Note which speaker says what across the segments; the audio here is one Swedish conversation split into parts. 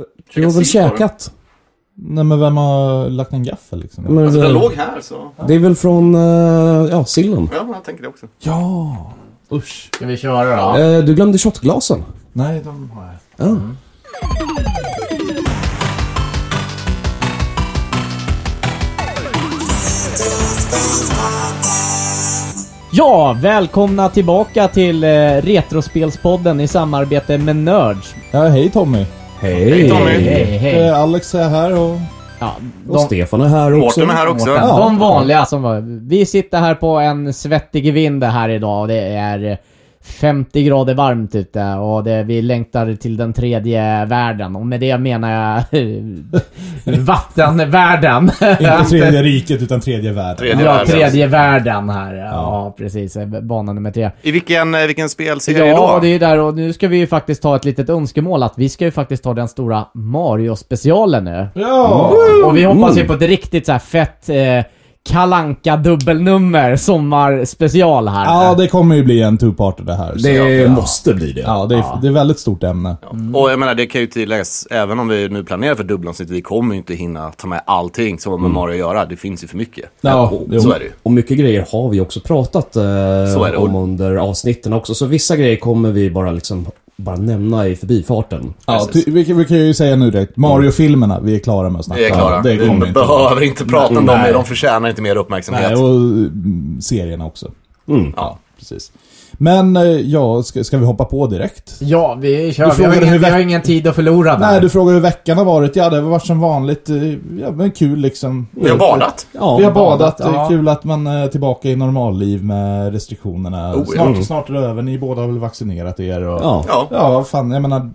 Speaker 1: Du har
Speaker 2: Jag
Speaker 1: väl
Speaker 2: ser på
Speaker 1: käkat?
Speaker 3: Nej men vem har lagt en gaffel liksom?
Speaker 1: Men
Speaker 2: Alltså den
Speaker 1: det,
Speaker 2: låg här så.
Speaker 1: det är väl från, eh, ja, sillen.
Speaker 2: Ja, jag tänker det också.
Speaker 3: Ja! Usch.
Speaker 4: Ska vi köra då?
Speaker 1: Eh, du glömde shotglasen.
Speaker 3: Nej, de har jag.
Speaker 1: Ja.
Speaker 5: Ja, välkomna tillbaka till eh, Retrospelspodden i samarbete med Nerds.
Speaker 3: Ja, hej Tommy.
Speaker 1: Hej!
Speaker 2: Tommy.
Speaker 4: Hej, hej.
Speaker 3: Eh, Alex är här och...
Speaker 5: Ja,
Speaker 1: Och
Speaker 5: de,
Speaker 1: Stefan är här också.
Speaker 2: Mårten är här också.
Speaker 5: de,
Speaker 3: Ja.
Speaker 5: vanliga som var. Vi sitter här på en svettig vind här idag och det är eh, 50 grader varmt ute och det, vi längtar till den tredje världen och med det menar jag vattenvärlden.
Speaker 3: Inte tredje riket utan tredje världen.
Speaker 2: Tredje
Speaker 5: ja,
Speaker 2: världen.
Speaker 5: tredje världen här. Ja, precis. Bana nummer tre.
Speaker 2: I vilken, eh, vilken spelserie
Speaker 5: Ja,
Speaker 2: då?
Speaker 5: det är ju där och nu ska vi ju faktiskt ta ett litet önskemål att vi ska ju faktiskt ta den stora Mario-specialen nu.
Speaker 3: Ja!
Speaker 5: Och vi hoppas ju på ett riktigt så här fett eh, kalanka dubbelnummer sommarspecial här.
Speaker 3: Ja, det kommer ju bli en two-parter det här. så-
Speaker 1: Det måste bli det.
Speaker 3: Ja, det är, det är ett väldigt stort ämne.
Speaker 2: Mm. Och jag menar, det kan ju tilläggas, även om vi nu planerar för dubblavsnitt, vi kommer ju inte hinna ta med allting som har med Mario att göra. Det finns ju för mycket.
Speaker 3: Ja, jo.
Speaker 2: så är det ju.
Speaker 1: Och mycket grejer har vi också pratat eh,
Speaker 2: är det.
Speaker 1: om under avsnitten också. Så vissa grejer kommer vi bara liksom bara nämna i förbifarten.
Speaker 3: Ja, ty, vi, kan- vi kan ju säga nu direkt. Mario-filmerna, vi är klara med att snacka
Speaker 2: Vi är klara.
Speaker 3: om. Det kommer
Speaker 2: vi
Speaker 3: inte.
Speaker 2: behöver inte prata om dem,
Speaker 3: Nej.
Speaker 2: de förtjänar inte mer uppmärksamhet.
Speaker 3: Nej, och mm, serierna också.
Speaker 1: Mm.
Speaker 3: Ja, precis. Men, eh, ja, ska, ska vi hoppa på direkt?
Speaker 5: Ja, vi
Speaker 3: Du
Speaker 5: kör. Vi
Speaker 3: frågade
Speaker 5: har,
Speaker 3: hur
Speaker 5: ingen, vi
Speaker 3: veck-
Speaker 5: har ingen tid att förlora där.
Speaker 3: Nej, du frågar hur veckan har varit. Ja, det har varit som vanligt. eh, Ja, men kul liksom.
Speaker 2: Vi har badat.
Speaker 1: Ja,
Speaker 3: Vi har badat.
Speaker 5: badat, ja.
Speaker 3: eh, Kul att man eh, är tillbaka i normalliv med restriktionerna.
Speaker 2: Oh, ja.
Speaker 3: snart,
Speaker 1: Mm.
Speaker 3: snart är det över. Ni båda har väl vaccinerat er och...
Speaker 1: Ja.
Speaker 2: Ja.
Speaker 3: Ja, fan, jag menar...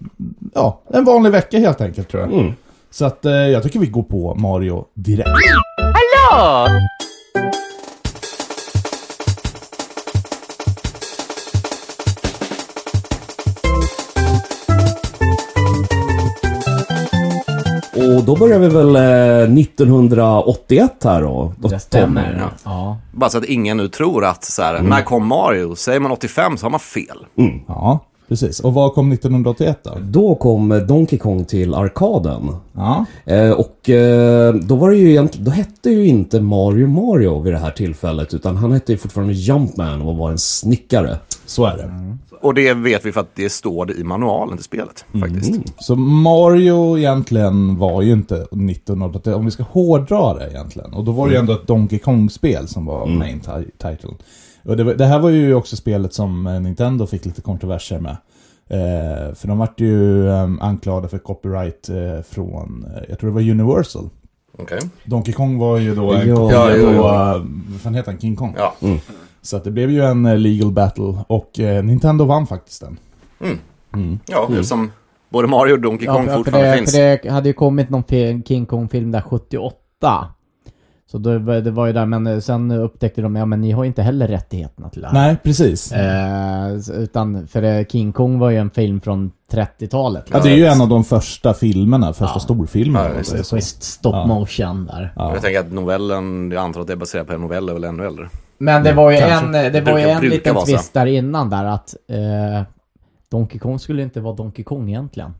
Speaker 3: Ja, en vanlig vecka helt enkelt tror jag.
Speaker 1: Mm.
Speaker 3: Så att eh, jag tycker vi går på Mario direkt.
Speaker 1: Och då börjar vi väl eh, 1981 här då. då
Speaker 5: Det stämmer.
Speaker 1: Tommy.
Speaker 5: Ja. Ja.
Speaker 2: Bara så att ingen nu tror att så här, när kom Mario? Säger man 85 så har man fel.
Speaker 3: Ja, precis. Och vad kom 1981 då?
Speaker 1: Då kom Donkey Kong till arkaden.
Speaker 3: Ja.
Speaker 1: Eh, och eh, då var det ju egentligen, då hette ju inte Mario Mario vid det här tillfället utan han hette ju fortfarande Jumpman och var en snickare.
Speaker 3: Så är det.
Speaker 2: Och det vet vi för att det står det i manualen till spelet faktiskt.
Speaker 3: Så Mario egentligen var ju inte 1980, om vi ska hårdra det egentligen. Och då var det ju ändå ett Donkey Kong-spel som var main ti- title. Och det, var, det här var ju också spelet som eh, Nintendo fick lite kontroverser med. Eh, för de vart ju eh, anklagade för copyright eh, från, eh, jag tror det var Universal.
Speaker 2: Okej.
Speaker 3: Donkey Kong var ju då en
Speaker 5: Ja,
Speaker 3: kopia
Speaker 2: ja, ja,
Speaker 3: på,
Speaker 2: ja.
Speaker 3: eh, vad fan heter han, King Kong?
Speaker 2: Ja.
Speaker 3: Så att det blev ju en eh, legal battle och eh, Nintendo vann faktiskt den.
Speaker 2: ja, eftersom både Mario och Donkey Kong
Speaker 5: för,
Speaker 2: fortfarande
Speaker 5: det,
Speaker 2: finns.
Speaker 5: för det hade ju kommit någon fi- King Kong-film där 78. Så det, var- det var ju där, men eh, sen upptäckte de, ja men ni har ju inte heller rättigheterna till det här.
Speaker 3: Nej, precis.
Speaker 5: Eh, s- utan, för det, King Kong var ju en film från 30-talet.
Speaker 3: Ja, det är ju en av de första filmerna, första storfilmerna.
Speaker 2: Ja,
Speaker 3: om man säger så.
Speaker 5: Schysst stop motion där.
Speaker 2: Jag tänker att novellen, jag antar att det är baserat på en novell, är väl ännu äldre.
Speaker 5: Men det var ju
Speaker 3: kanske.
Speaker 5: en, eh, det var ju
Speaker 2: brukar-
Speaker 5: en
Speaker 2: brukar
Speaker 5: liten
Speaker 2: vara så.
Speaker 5: twist där innan där att eh, Donkey Kong skulle inte vara Donkey Kong egentligen.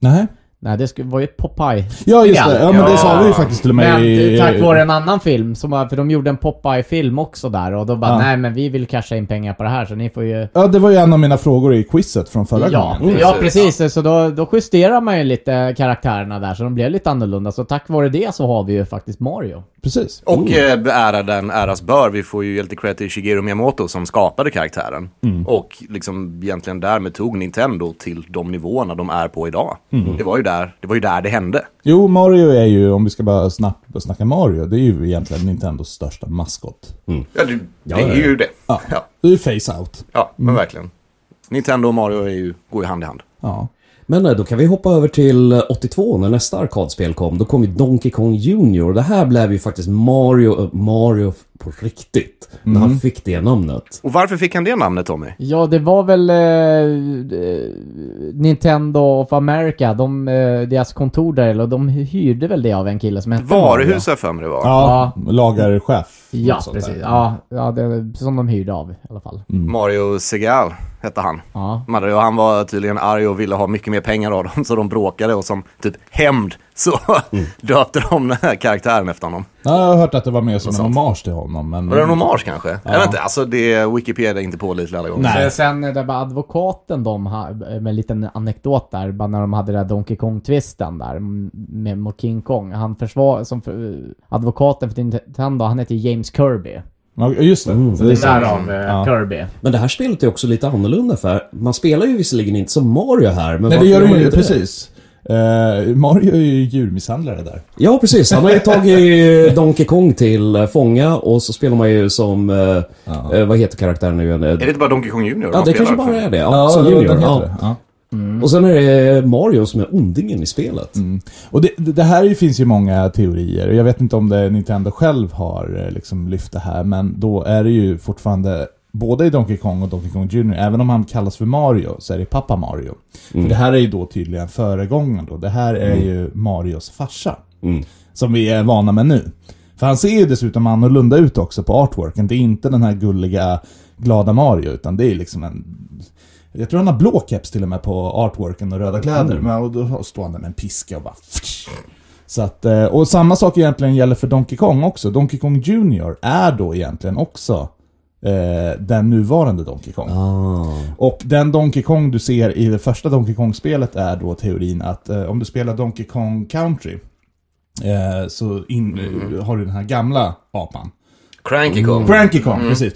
Speaker 3: Nej.
Speaker 5: Nej, det skulle, var ju ett Popeye.
Speaker 3: Ja, just det. Ja, men det
Speaker 2: Ja.
Speaker 3: sa vi ju faktiskt till och med
Speaker 5: Men
Speaker 3: i...
Speaker 5: tack vare en annan film, som, var- för de gjorde en Popeye-film också där och då bara
Speaker 3: Ja.
Speaker 5: nej men vi vill casha in pengar på det här så ni får ju...
Speaker 3: Ja, det var ju en av mina frågor i quizet från förra
Speaker 5: Ja,
Speaker 3: gången. Oh,
Speaker 5: ja precis. Så då, då justerar man ju lite karaktärerna där så de blev lite annorlunda. Så tack vare det så har vi ju faktiskt Mario.
Speaker 3: Precis. Oh.
Speaker 2: Och eh, ära den äras bör, vi får ju ge lite cred till Shigeru Miyamoto som skapade karaktären. Och liksom egentligen därmed tog Nintendo till de nivåerna de är på idag. Det, var ju där, det var ju där det hände.
Speaker 3: Jo, Mario är ju, om vi ska bara snabbt snacka Mario, det är ju egentligen Nintendos största maskot.
Speaker 2: Ja, det, det
Speaker 1: ja,
Speaker 2: är
Speaker 1: ja.
Speaker 2: ju det. Ja, ja,
Speaker 3: Det är ju Face-Out.
Speaker 2: men verkligen. Nintendo och Mario är ju, går ju hand i hand.
Speaker 3: Ja.
Speaker 1: Men eh, då kan vi hoppa över till eh, 82 när nästa arkadspel kom. Då kom ju Donkey Kong Jr. och det här blev ju faktiskt Mario, eh, Mario, på riktigt. När
Speaker 3: Mm.
Speaker 1: han fick det namnet.
Speaker 2: Och varför fick han det namnet Tommy?
Speaker 5: Ja, det var väl eh, eh, Nintendo of America, de, eh, deras kontor där, eller de hyrde väl det av en kille som hette Mario.
Speaker 2: Varuhus har jag för mig det var.
Speaker 3: Ja, lagerchef.
Speaker 5: Ja,
Speaker 3: något sånt där.
Speaker 5: precis. Ja, ja det, som de hyrde av i alla fall.
Speaker 2: Mm. Mario Segal hette han.
Speaker 5: Ja.
Speaker 2: Mario, han var tydligen arg och ville ha mycket mer pengar av dem så de bråkade och som typ hämnd så döpte de den här karaktären efter honom.
Speaker 3: Ja, jag har hört att det var mer som en hommage till honom, men...
Speaker 2: Var det en hommage kanske? Jag vet inte, alltså det, Wikipedia är inte pålitlig alla gånger.
Speaker 3: Nej.
Speaker 5: Sen, sen eh, det var advokaten de ha- eh, med en liten anekdot där, bara när de hade den där Donkey Kong-twisten där m- med mot King Kong. Han försvar, som för, eh, advokaten för Nintendo, han heter James Kirby.
Speaker 3: Ja, just det. Så det är sant.
Speaker 5: Därav ja. Kirby.
Speaker 1: Men det här spelet är också lite annorlunda för man spelar ju visserligen inte som Mario här. Men
Speaker 3: Nej,
Speaker 1: varför
Speaker 3: det gör
Speaker 1: man
Speaker 3: du ju.
Speaker 1: inte det?
Speaker 3: Precis. Eh, Mario är ju djurmisshandlare där.
Speaker 1: Ja, precis. Han har ju tagit Donkey Kong till eh, fånga och så spelar man ju som... Eh, eh, vad heter karaktären nu igen?
Speaker 2: Är det inte bara Donkey Kong Junior?
Speaker 1: Ja,
Speaker 2: man
Speaker 1: det
Speaker 2: spelar
Speaker 1: kanske
Speaker 2: för?
Speaker 1: bara är det. Ja, som
Speaker 3: den
Speaker 1: junior.
Speaker 3: heter
Speaker 1: Ja.
Speaker 3: det. Ja. Mm.
Speaker 1: Och sen är det eh, Mario som är ondingen i spelet.
Speaker 3: Och det, det det här ju- finns ju många teorier. Jag vet inte om det Nintendo själv har eh, liksom lyft det här, men då är det ju fortfarande Både i Donkey Kong och Donkey Kong Jr. Även om han kallas för Mario så är det pappa Mario. För det här är ju då tydligen föregångaren då. Det här är ju Marios farsa. Som vi är vana med nu. För han ser ju dessutom annorlunda ut också på artworken. Det är inte den här gulliga, glada Mario utan det är liksom en jag tror han har blå keps till och med på artworken och röda kläder. Men, och då står han där med en piska och bara... Så att, eh, och samma sak egentligen gäller för Donkey Kong också. Donkey Kong Jr är då egentligen också eh, den nuvarande Donkey Kong. Och den Donkey Kong du ser i det första Donkey Kong-spelet är då teorin att eh, om du spelar Donkey Kong Country eh, så in,
Speaker 2: Mm-hmm.
Speaker 3: har du den här gamla apan.
Speaker 2: Cranky Kong.
Speaker 3: Cranky Kong,
Speaker 2: Mm-hmm.
Speaker 3: precis.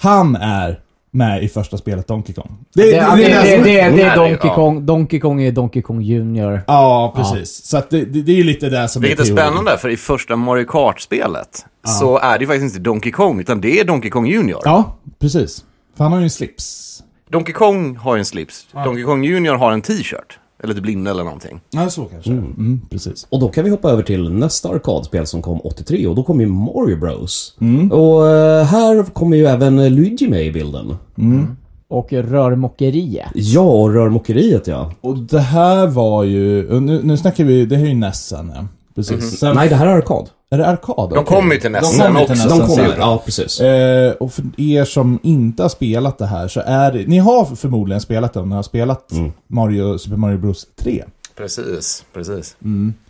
Speaker 3: Han är med i första spelet Donkey Kong. Det,
Speaker 5: Det, det,
Speaker 3: det-
Speaker 5: det, det, det är
Speaker 2: Ja, det-
Speaker 5: Donkey
Speaker 2: ja.
Speaker 5: Kong. Donkey Kong är Donkey Kong Junior.
Speaker 3: Ja, precis. Så att det, det, det är ju lite det som
Speaker 2: Vilket är
Speaker 3: teorin.
Speaker 2: spännande, för i första Mario Kart-spelet så är det ju faktiskt inte Donkey Kong, utan det är Donkey Kong Junior.
Speaker 3: Ja, precis. För han har ju en slips.
Speaker 2: Donkey Kong har ju en slips, Donkey Kong Junior har en t-shirt. Eller typ linne eller någonting.
Speaker 3: Ja, så kanske. Mm. precis.
Speaker 1: Och då kan vi hoppa över till nästa arkadspel som kom 83 och då kom ju Mario Bros.
Speaker 3: Mm.
Speaker 1: Och eh, här kommer ju även eh, Luigi med i bilden.
Speaker 5: Och rörmokeriet.
Speaker 1: Ja, och rörmokeriet ja.
Speaker 3: Och det här var ju... och Nu, nu snackar vi... Det här är ju Nessen, ja. Precis. Sen,
Speaker 1: Nej, det här är arkad.
Speaker 3: Är det arkad?
Speaker 2: Mm-hmm. De kommer ju till nästan
Speaker 3: kommer till
Speaker 2: också.
Speaker 3: nästan.
Speaker 1: De
Speaker 3: sen
Speaker 1: kommer.
Speaker 3: ser vi.
Speaker 1: Ja, precis.
Speaker 3: Eh, och för er som inte har spelat det här så är det... Ni har förmodligen spelat det om ni har spelat
Speaker 2: Mm.
Speaker 3: Mario, Super Mario Bros 3.
Speaker 2: Precis, precis.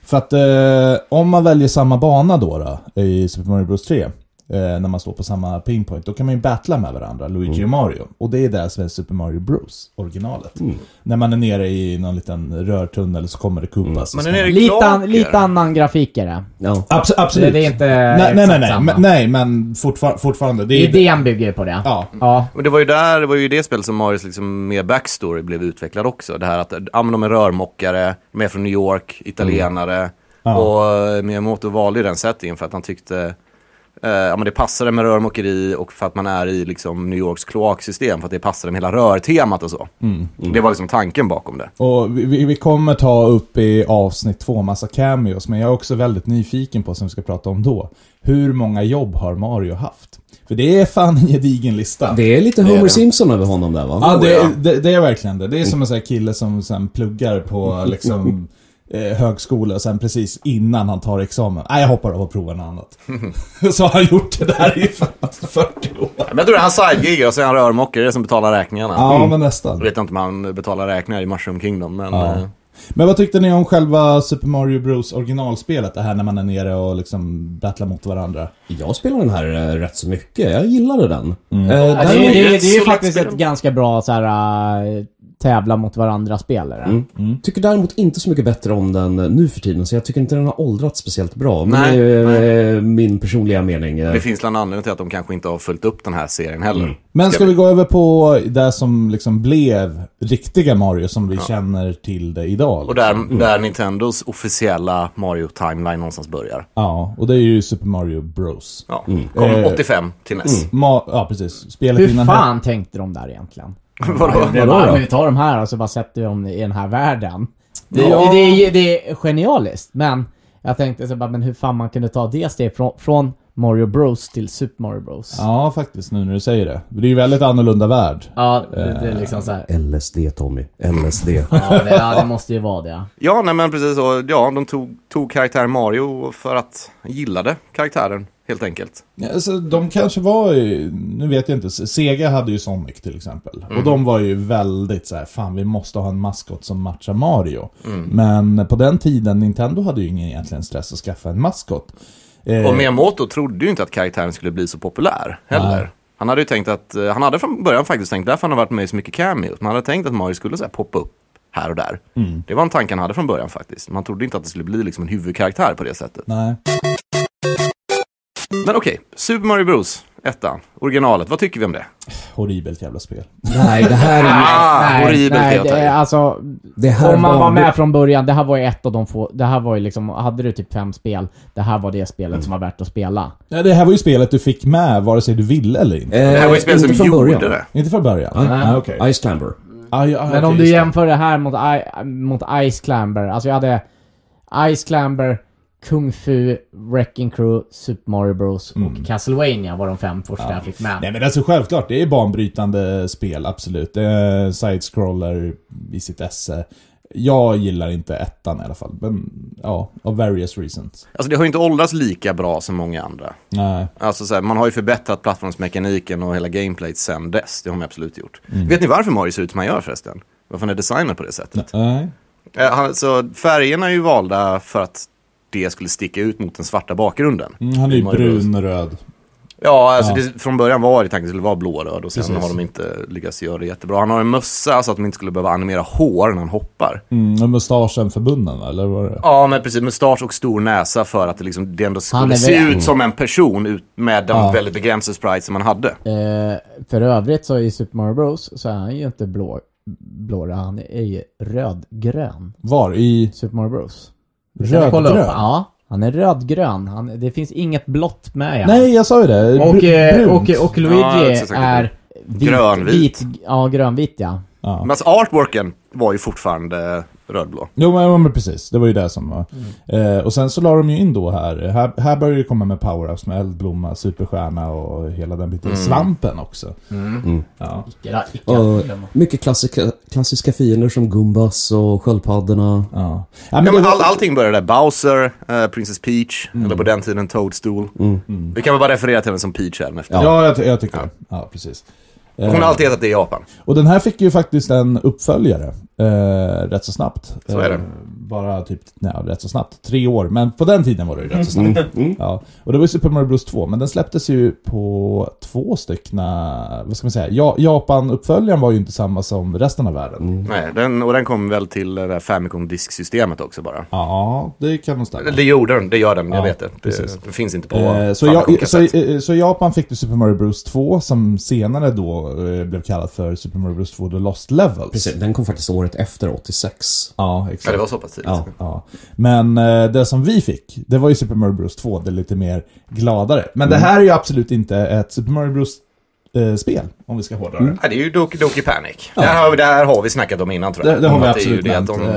Speaker 3: För att eh, om man väljer samma bana då, då i Super Mario Bros 3, eh, när man står på samma pinpoint, då kan man ju battla med varandra, Luigi och Mario. Och det är det som är Super Mario Bros, originalet. När man är nere i någon liten rörtunnel så kommer det Koopas.
Speaker 2: Men
Speaker 3: och
Speaker 2: den är det
Speaker 3: sånt.
Speaker 5: Lite,
Speaker 2: klart,
Speaker 5: an, lite annan grafik är det.
Speaker 1: Ja.
Speaker 3: Abs- absolut.
Speaker 5: Det är inte
Speaker 3: nej, nej, nej,
Speaker 5: exakt
Speaker 3: nej,
Speaker 5: samma.
Speaker 3: men, nej, men fortfar- fortfarande. Det är,
Speaker 5: Idén bygger ju på det.
Speaker 3: Ja.
Speaker 5: ja.
Speaker 2: Men det var ju där, det var ju det spel som Marios liksom mer backstory blev utvecklad också. Det här att, ja men de är rörmokare, de är från New York, italienare.
Speaker 3: Mm.
Speaker 2: Och eh, Miyamoto valde ju den settingen för att han tyckte, eh, ja men det passade med rörmokeri och för att man är i liksom New Yorks kloaksystem, för att det passade med hela rörtemat och så.
Speaker 3: Mm.
Speaker 2: Det var liksom tanken bakom det.
Speaker 3: Och vi- vi, vi kommer ta upp i avsnitt två massa cameos, men jag är också väldigt nyfiken på, som vi ska prata om då, hur många jobb har Mario haft? För det är fan en gedigen lista.
Speaker 1: Det är lite
Speaker 2: Det är
Speaker 1: Homer
Speaker 2: det.
Speaker 1: Simpson över honom där va?
Speaker 3: Ja,
Speaker 2: Oh,
Speaker 3: det,
Speaker 2: ja.
Speaker 3: Det, det är verkligen det. Det är som en sån här kille som sen pluggar på liksom, eh, högskola och sen precis innan han tar examen. Nej, jag hoppar av och provar något annat. så har han gjort det där i fan 40 år.
Speaker 2: Men jag tror det är han sidegiggar och så är han rörmokare, det är som betalar räkningarna.
Speaker 3: Ja, men nästan.
Speaker 2: Jag vet inte om han betalar räkningar i Mushroom Kingdom, men...
Speaker 3: Ja.
Speaker 2: eh,
Speaker 3: Men vad tyckte ni om själva Super Mario Bros originalspelet? Det här när man är nere och liksom battlar mot varandra.
Speaker 1: Jag spelar den här eh, rätt så mycket. Jag gillade den.
Speaker 2: Mm.
Speaker 1: Eh,
Speaker 5: Ja,
Speaker 1: däremot-
Speaker 5: det, det, det, det är ju
Speaker 2: Så
Speaker 5: faktiskt
Speaker 2: lätt
Speaker 5: ett ganska bra så här, äh, tävla mot varandra-spelare.
Speaker 1: Mm.
Speaker 2: Mm.
Speaker 1: Tycker däremot inte så mycket bättre om den eh, nu för tiden, så jag tycker inte den har åldrats speciellt bra. Men
Speaker 2: Nej,
Speaker 1: det är eh, min personliga mening. eh.
Speaker 2: Det finns bland anledning till att de kanske inte har följt upp den här serien heller.
Speaker 3: Men ska vi gå över på det som liksom blev riktiga Mario som vi känner till det idag?
Speaker 2: Och där, där Nintendos officiella Mario-timeline någonstans börjar.
Speaker 3: Ja, och det är ju Super Mario Bros.
Speaker 2: Ja. Kom 85 till E NES.
Speaker 3: Ma ja, precis. Spelet
Speaker 5: Hur
Speaker 3: innan...
Speaker 5: fan tänkte de där egentligen?
Speaker 2: Vadå?
Speaker 5: Det
Speaker 1: då?
Speaker 5: bara, men vi tar de här och så bara sätter vi dem i den här världen. Det, det, är- det är genialiskt, men jag tänkte så bara, men hur fan man kunde ta det steget från, från Mario Bros till Super Mario Bros. Ja,
Speaker 3: Ja, faktiskt, nu när du säger det. Det är ju väldigt annorlunda värld.
Speaker 5: det, det är liksom så här.
Speaker 1: LSD Tommy. LSD.
Speaker 5: Ja, det, ja, det måste ju vara det.
Speaker 2: Ja, nej men precis så. Ja, de tog, tog karaktären Mario för att gillade karaktären, helt enkelt.
Speaker 3: Ja, Alltså, de kanske var ju, nu vet jag inte, Sega hade ju Sonic till exempel.
Speaker 1: Mm.
Speaker 3: Och de var ju väldigt så här, fan vi måste ha en maskot som matchar Mario.
Speaker 1: Mm.
Speaker 3: Men på den tiden, Nintendo hade ju ingen egentligen stress att skaffa en maskot. Eh,
Speaker 2: Och Miyamoto trodde ju inte att karaktären skulle bli så populär heller. Han hade ju tänkt att, eh, han hade från början faktiskt tänkt, därför han har varit med i så mycket cameos, man hade tänkt att Mario skulle så här, poppa upp här och där. Det var en tanke han hade från början faktiskt. Man trodde inte att det skulle bli liksom en huvudkaraktär på det sättet.
Speaker 3: Nej.
Speaker 2: Men okej, Super Mario Bros. Ettan, originalet, vad tycker vi om det?
Speaker 3: Horribelt jävla spel.
Speaker 1: Nej, det här är...
Speaker 2: Ah, horribelt
Speaker 5: nej,
Speaker 2: helt
Speaker 5: det är
Speaker 2: enkelt.
Speaker 5: alltså...
Speaker 1: Det här
Speaker 5: Om man var
Speaker 1: det-
Speaker 5: med från början, det här var ju ett av de få, det här var ju liksom, hade du typ fem spel, det här var det spelet som var värt att spela.
Speaker 3: Ja, det här var ju spelet du fick med vare sig du ville eller inte.
Speaker 1: Eh,
Speaker 2: Det här var ju
Speaker 1: inte
Speaker 2: spel som
Speaker 1: från
Speaker 2: gjorde
Speaker 1: början.
Speaker 2: det.
Speaker 3: Inte från början?
Speaker 1: Nej.
Speaker 3: Ah, okej.
Speaker 1: Ice Climber.
Speaker 3: Ah, ja, ah,
Speaker 5: Men
Speaker 3: okej,
Speaker 5: om du
Speaker 3: just det.
Speaker 5: jämför det här mot, I, mot Ice Climber, alltså jag hade Ice Climber, Kung Fu, Wrecking Crew, Super Mario Bros och Castlevania var de fem första jag fick med.
Speaker 3: Mm. Nej men alltså självklart, det är banbrytande spel, absolut. Eh, Side-scroller i sitt esse. Jag gillar inte ettan i alla fall, men ja, av various reasons.
Speaker 2: Alltså det har ju inte åldrats lika bra som många andra.
Speaker 3: Nej.
Speaker 2: Alltså så här, man har ju förbättrat plattformsmekaniken och hela gameplayet sen dess. Det har man absolut gjort. Vet ni varför Mario ser ut som han gör förresten? Varför han är designad på det sättet?
Speaker 3: Nej.
Speaker 2: Eh, han, så färgerna är ju valda för att det skulle sticka ut mot den svarta bakgrunden.
Speaker 3: Mm, han är
Speaker 2: I
Speaker 3: ju
Speaker 2: Mario Bros.
Speaker 3: brun och röd.
Speaker 2: Ja, alltså
Speaker 3: Ja.
Speaker 2: Det, från början var det tanken att det skulle vara blå och röd och sen
Speaker 3: Precis.
Speaker 2: har de inte lyckats göra det jättebra. Han har en mössa så att man inte skulle behöva animera hår när han hoppar.
Speaker 3: Mm, och mustaschen förbunden eller vad är det?
Speaker 2: Ja, men precis. Mustasch och stor näsa för att det, liksom, det ändå
Speaker 5: Han är
Speaker 2: skulle se
Speaker 5: väl-
Speaker 2: ut som en person ut med de
Speaker 3: Ja.
Speaker 2: väldigt begränsade sprites som man hade.
Speaker 5: Eh, för övrigt så i Super Mario Bros så är han ju inte blå, blå han är ju rödgrön.
Speaker 3: Var? I
Speaker 5: Super Mario Bros. Kan du kolla upp?
Speaker 3: rödgrön?
Speaker 5: Ja, han är rödgrön. Han, det finns inget blått med han.
Speaker 3: Nej, jag sa ju det. Bru-
Speaker 5: och, eh,
Speaker 3: brunt.
Speaker 5: och, och
Speaker 2: Ja,
Speaker 5: Luigi
Speaker 2: jag tror säkert
Speaker 5: är vit,
Speaker 2: Grönvit.
Speaker 5: Vit, ja, grönvit ja.
Speaker 3: Ja.
Speaker 2: Men alltså artworken var ju fortfarande eh, rödblå.
Speaker 3: Jo men, ja, men precis, det var ju det som var.
Speaker 2: Mm.
Speaker 3: Eh, och sen så la de ju in då här, här, här började det komma med power-ups med eldblomma, superstjärna och hela den biten.
Speaker 2: Mm.
Speaker 3: Svampen också. Ja.
Speaker 5: Icke- icke-
Speaker 1: Och mycket klassiska, klassiska fiender som Gumbas och sköldpaddorna.
Speaker 3: Ja.
Speaker 2: Ja, men
Speaker 3: det Mm. var-
Speaker 2: all, allting började där. Bowser, eh, Princess Peach, eller på den tiden Toadstool. Vi kan väl bara referera till henne som Peach här efter.
Speaker 3: Mm. ja. ja jag, ty- jag tycker det. Ja, precis. Eh,
Speaker 2: Hon har alltid hetat det i Japan.
Speaker 3: Och den här fick ju faktiskt en uppföljare eh, rätt så snabbt.
Speaker 2: Så är det.
Speaker 3: Eh, bara typ, nej, rätt så snabbt. Tre år, men på den tiden var det ju rätt så snabbt.
Speaker 2: Mm.
Speaker 3: Ja. Och det var ju Super Mario Bros 2, men den släpptes ju på två stycken, vad ska man säga, ja, Japan-uppföljaren var ju inte samma som resten av världen.
Speaker 2: Nej, den, och den kom väl till det där Famicom-disksystemet också bara.
Speaker 3: Ja, det kan nog stämma.
Speaker 2: Eller Det gjorde den, det gör den, jag
Speaker 3: Ja,
Speaker 2: vet det.
Speaker 3: precis.
Speaker 2: Det, det finns inte på
Speaker 3: Eh, Så,
Speaker 2: Famicom
Speaker 3: ja, så,
Speaker 2: kassett.
Speaker 3: eh, så i Japan fick du Super Mario Bros 2 som senare då eh, blev kallat för Super Mario Bros 2 The Lost Levels.
Speaker 1: Precis, den kom faktiskt året efter, 86.
Speaker 3: Ja,
Speaker 2: Ja,
Speaker 3: exakt.
Speaker 2: det var så pass tidigt.
Speaker 1: Ja.
Speaker 3: Ja. Men eh, det som vi fick, det var ju Super Mario Bros 2, det lite mer gladare. Men det
Speaker 2: Mm.
Speaker 3: här är ju absolut inte ett Super Mario Bros eh, spel, om vi ska hårdra det.
Speaker 2: Ja, det är ju Doki Doki Panic. Det, här, har vi- det här har vi snackat om innan tror jag.
Speaker 3: Det, det har
Speaker 2: Om
Speaker 3: vi
Speaker 2: att är ju
Speaker 3: absolut
Speaker 2: det att
Speaker 3: nämnt.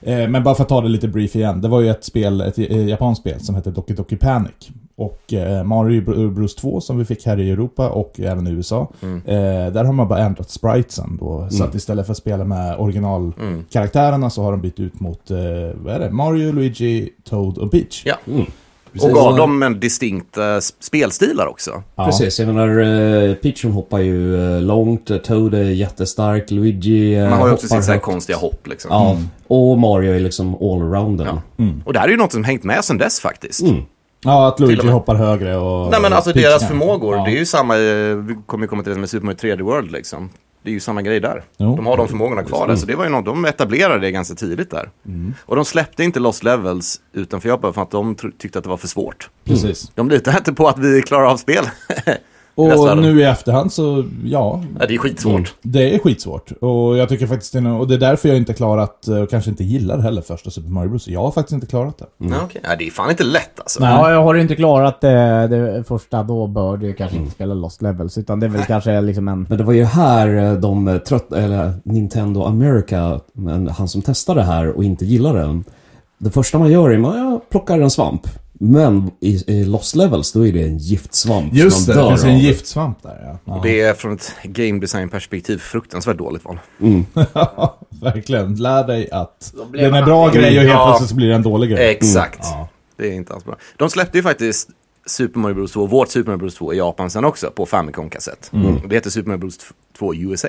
Speaker 2: de-
Speaker 3: Eh, eh, Men bara för att ta det lite brief igen. Det var ju ett spel, ett eh, japanskt spel som hette Doki Doki Panic. Och eh, Mario Br- Bros 2 som vi fick här i Europa och även i USA.
Speaker 2: Mm.
Speaker 3: Eh, där har man bara ändrat spritesen då. Så att istället för att spela med originalkaraktärerna så har de bytt ut mot, eh, vad är det? Mario, Luigi, Toad och Peach.
Speaker 2: Ja.
Speaker 1: Precis.
Speaker 2: Och gav dem en distinkt eh, s- spelstilar också.
Speaker 3: Ja.
Speaker 1: Precis, jag menar eh, Peach hon hoppar ju eh, långt, eh, Toad är jättestark, Luigi eh,
Speaker 2: Man har ju också
Speaker 1: hoppar
Speaker 2: sitt så här
Speaker 1: högt.
Speaker 2: konstiga hopp liksom.
Speaker 1: Ja, och Mario är liksom allrounden.
Speaker 2: Ja.
Speaker 3: Mm.
Speaker 2: Och det här är ju något som hängt med sedan dess faktiskt.
Speaker 1: Mm.
Speaker 3: Ja, att
Speaker 2: Till och
Speaker 3: Luigi
Speaker 2: med.
Speaker 3: hoppar högre och...
Speaker 2: Nej men alltså
Speaker 3: Peach
Speaker 2: deras
Speaker 3: kan.
Speaker 2: förmågor,
Speaker 3: Ja.
Speaker 2: det är ju samma, eh, vi kommer ju komma till det med Super Mario 3D World liksom. Det är ju samma grej där.
Speaker 3: Jo. Mm.
Speaker 2: De har de förmågorna kvar där, så det var ju något, de etablerade det ganska tidigt där. Och de släppte inte Lost Levels utanför Japan för att de tr- tyckte att det var för svårt.
Speaker 3: Precis.
Speaker 2: De litade inte på att vi klarar av spel. Resten av
Speaker 3: Och
Speaker 2: dem.
Speaker 3: nu i efterhand så, ja,
Speaker 2: ja, det är skitsvårt.
Speaker 3: Det är skitsvårt. Och jag tycker faktiskt det är, och det är därför jag inte klarat, eh, och kanske inte gillar heller första Super Mario Bros. Jag har faktiskt inte klarat det.
Speaker 2: Ja, okej. ja, det är fan inte lätt alltså.
Speaker 3: Nej.
Speaker 5: Ja, jag har du inte klarat eh, det första då bör du ju kanske inte spela Lost Levels utan det är väl kanske liksom en...
Speaker 1: Men det var ju här eh, de eh, trött, eller Nintendo America, men han som testade det här och inte gillar den. Det första man gör är att man ja, plockar en svamp. Men i, i Lost Levels, då är det en giftsvamp
Speaker 3: Just
Speaker 1: som
Speaker 3: det, det
Speaker 1: man
Speaker 3: finns
Speaker 1: dör
Speaker 3: en
Speaker 1: av.
Speaker 3: giftsvamp där ja.
Speaker 2: Och det är från ett game design perspektiv fruktansvärt dåligt val.
Speaker 3: ja. Verkligen, lär dig att
Speaker 5: Då blir
Speaker 3: den är
Speaker 5: man-
Speaker 3: bra grej och helt
Speaker 2: Ja.
Speaker 3: plötsligt så blir det en dålig grej. Mm.
Speaker 2: Exakt.
Speaker 3: Ja.
Speaker 2: Det är inte alls bra. De släppte ju faktiskt Super Mario Bros 2, vårt Super Mario Bros 2 i Japan sen också på Famicom-kassett. Det heter Super Mario Bros 2 USA.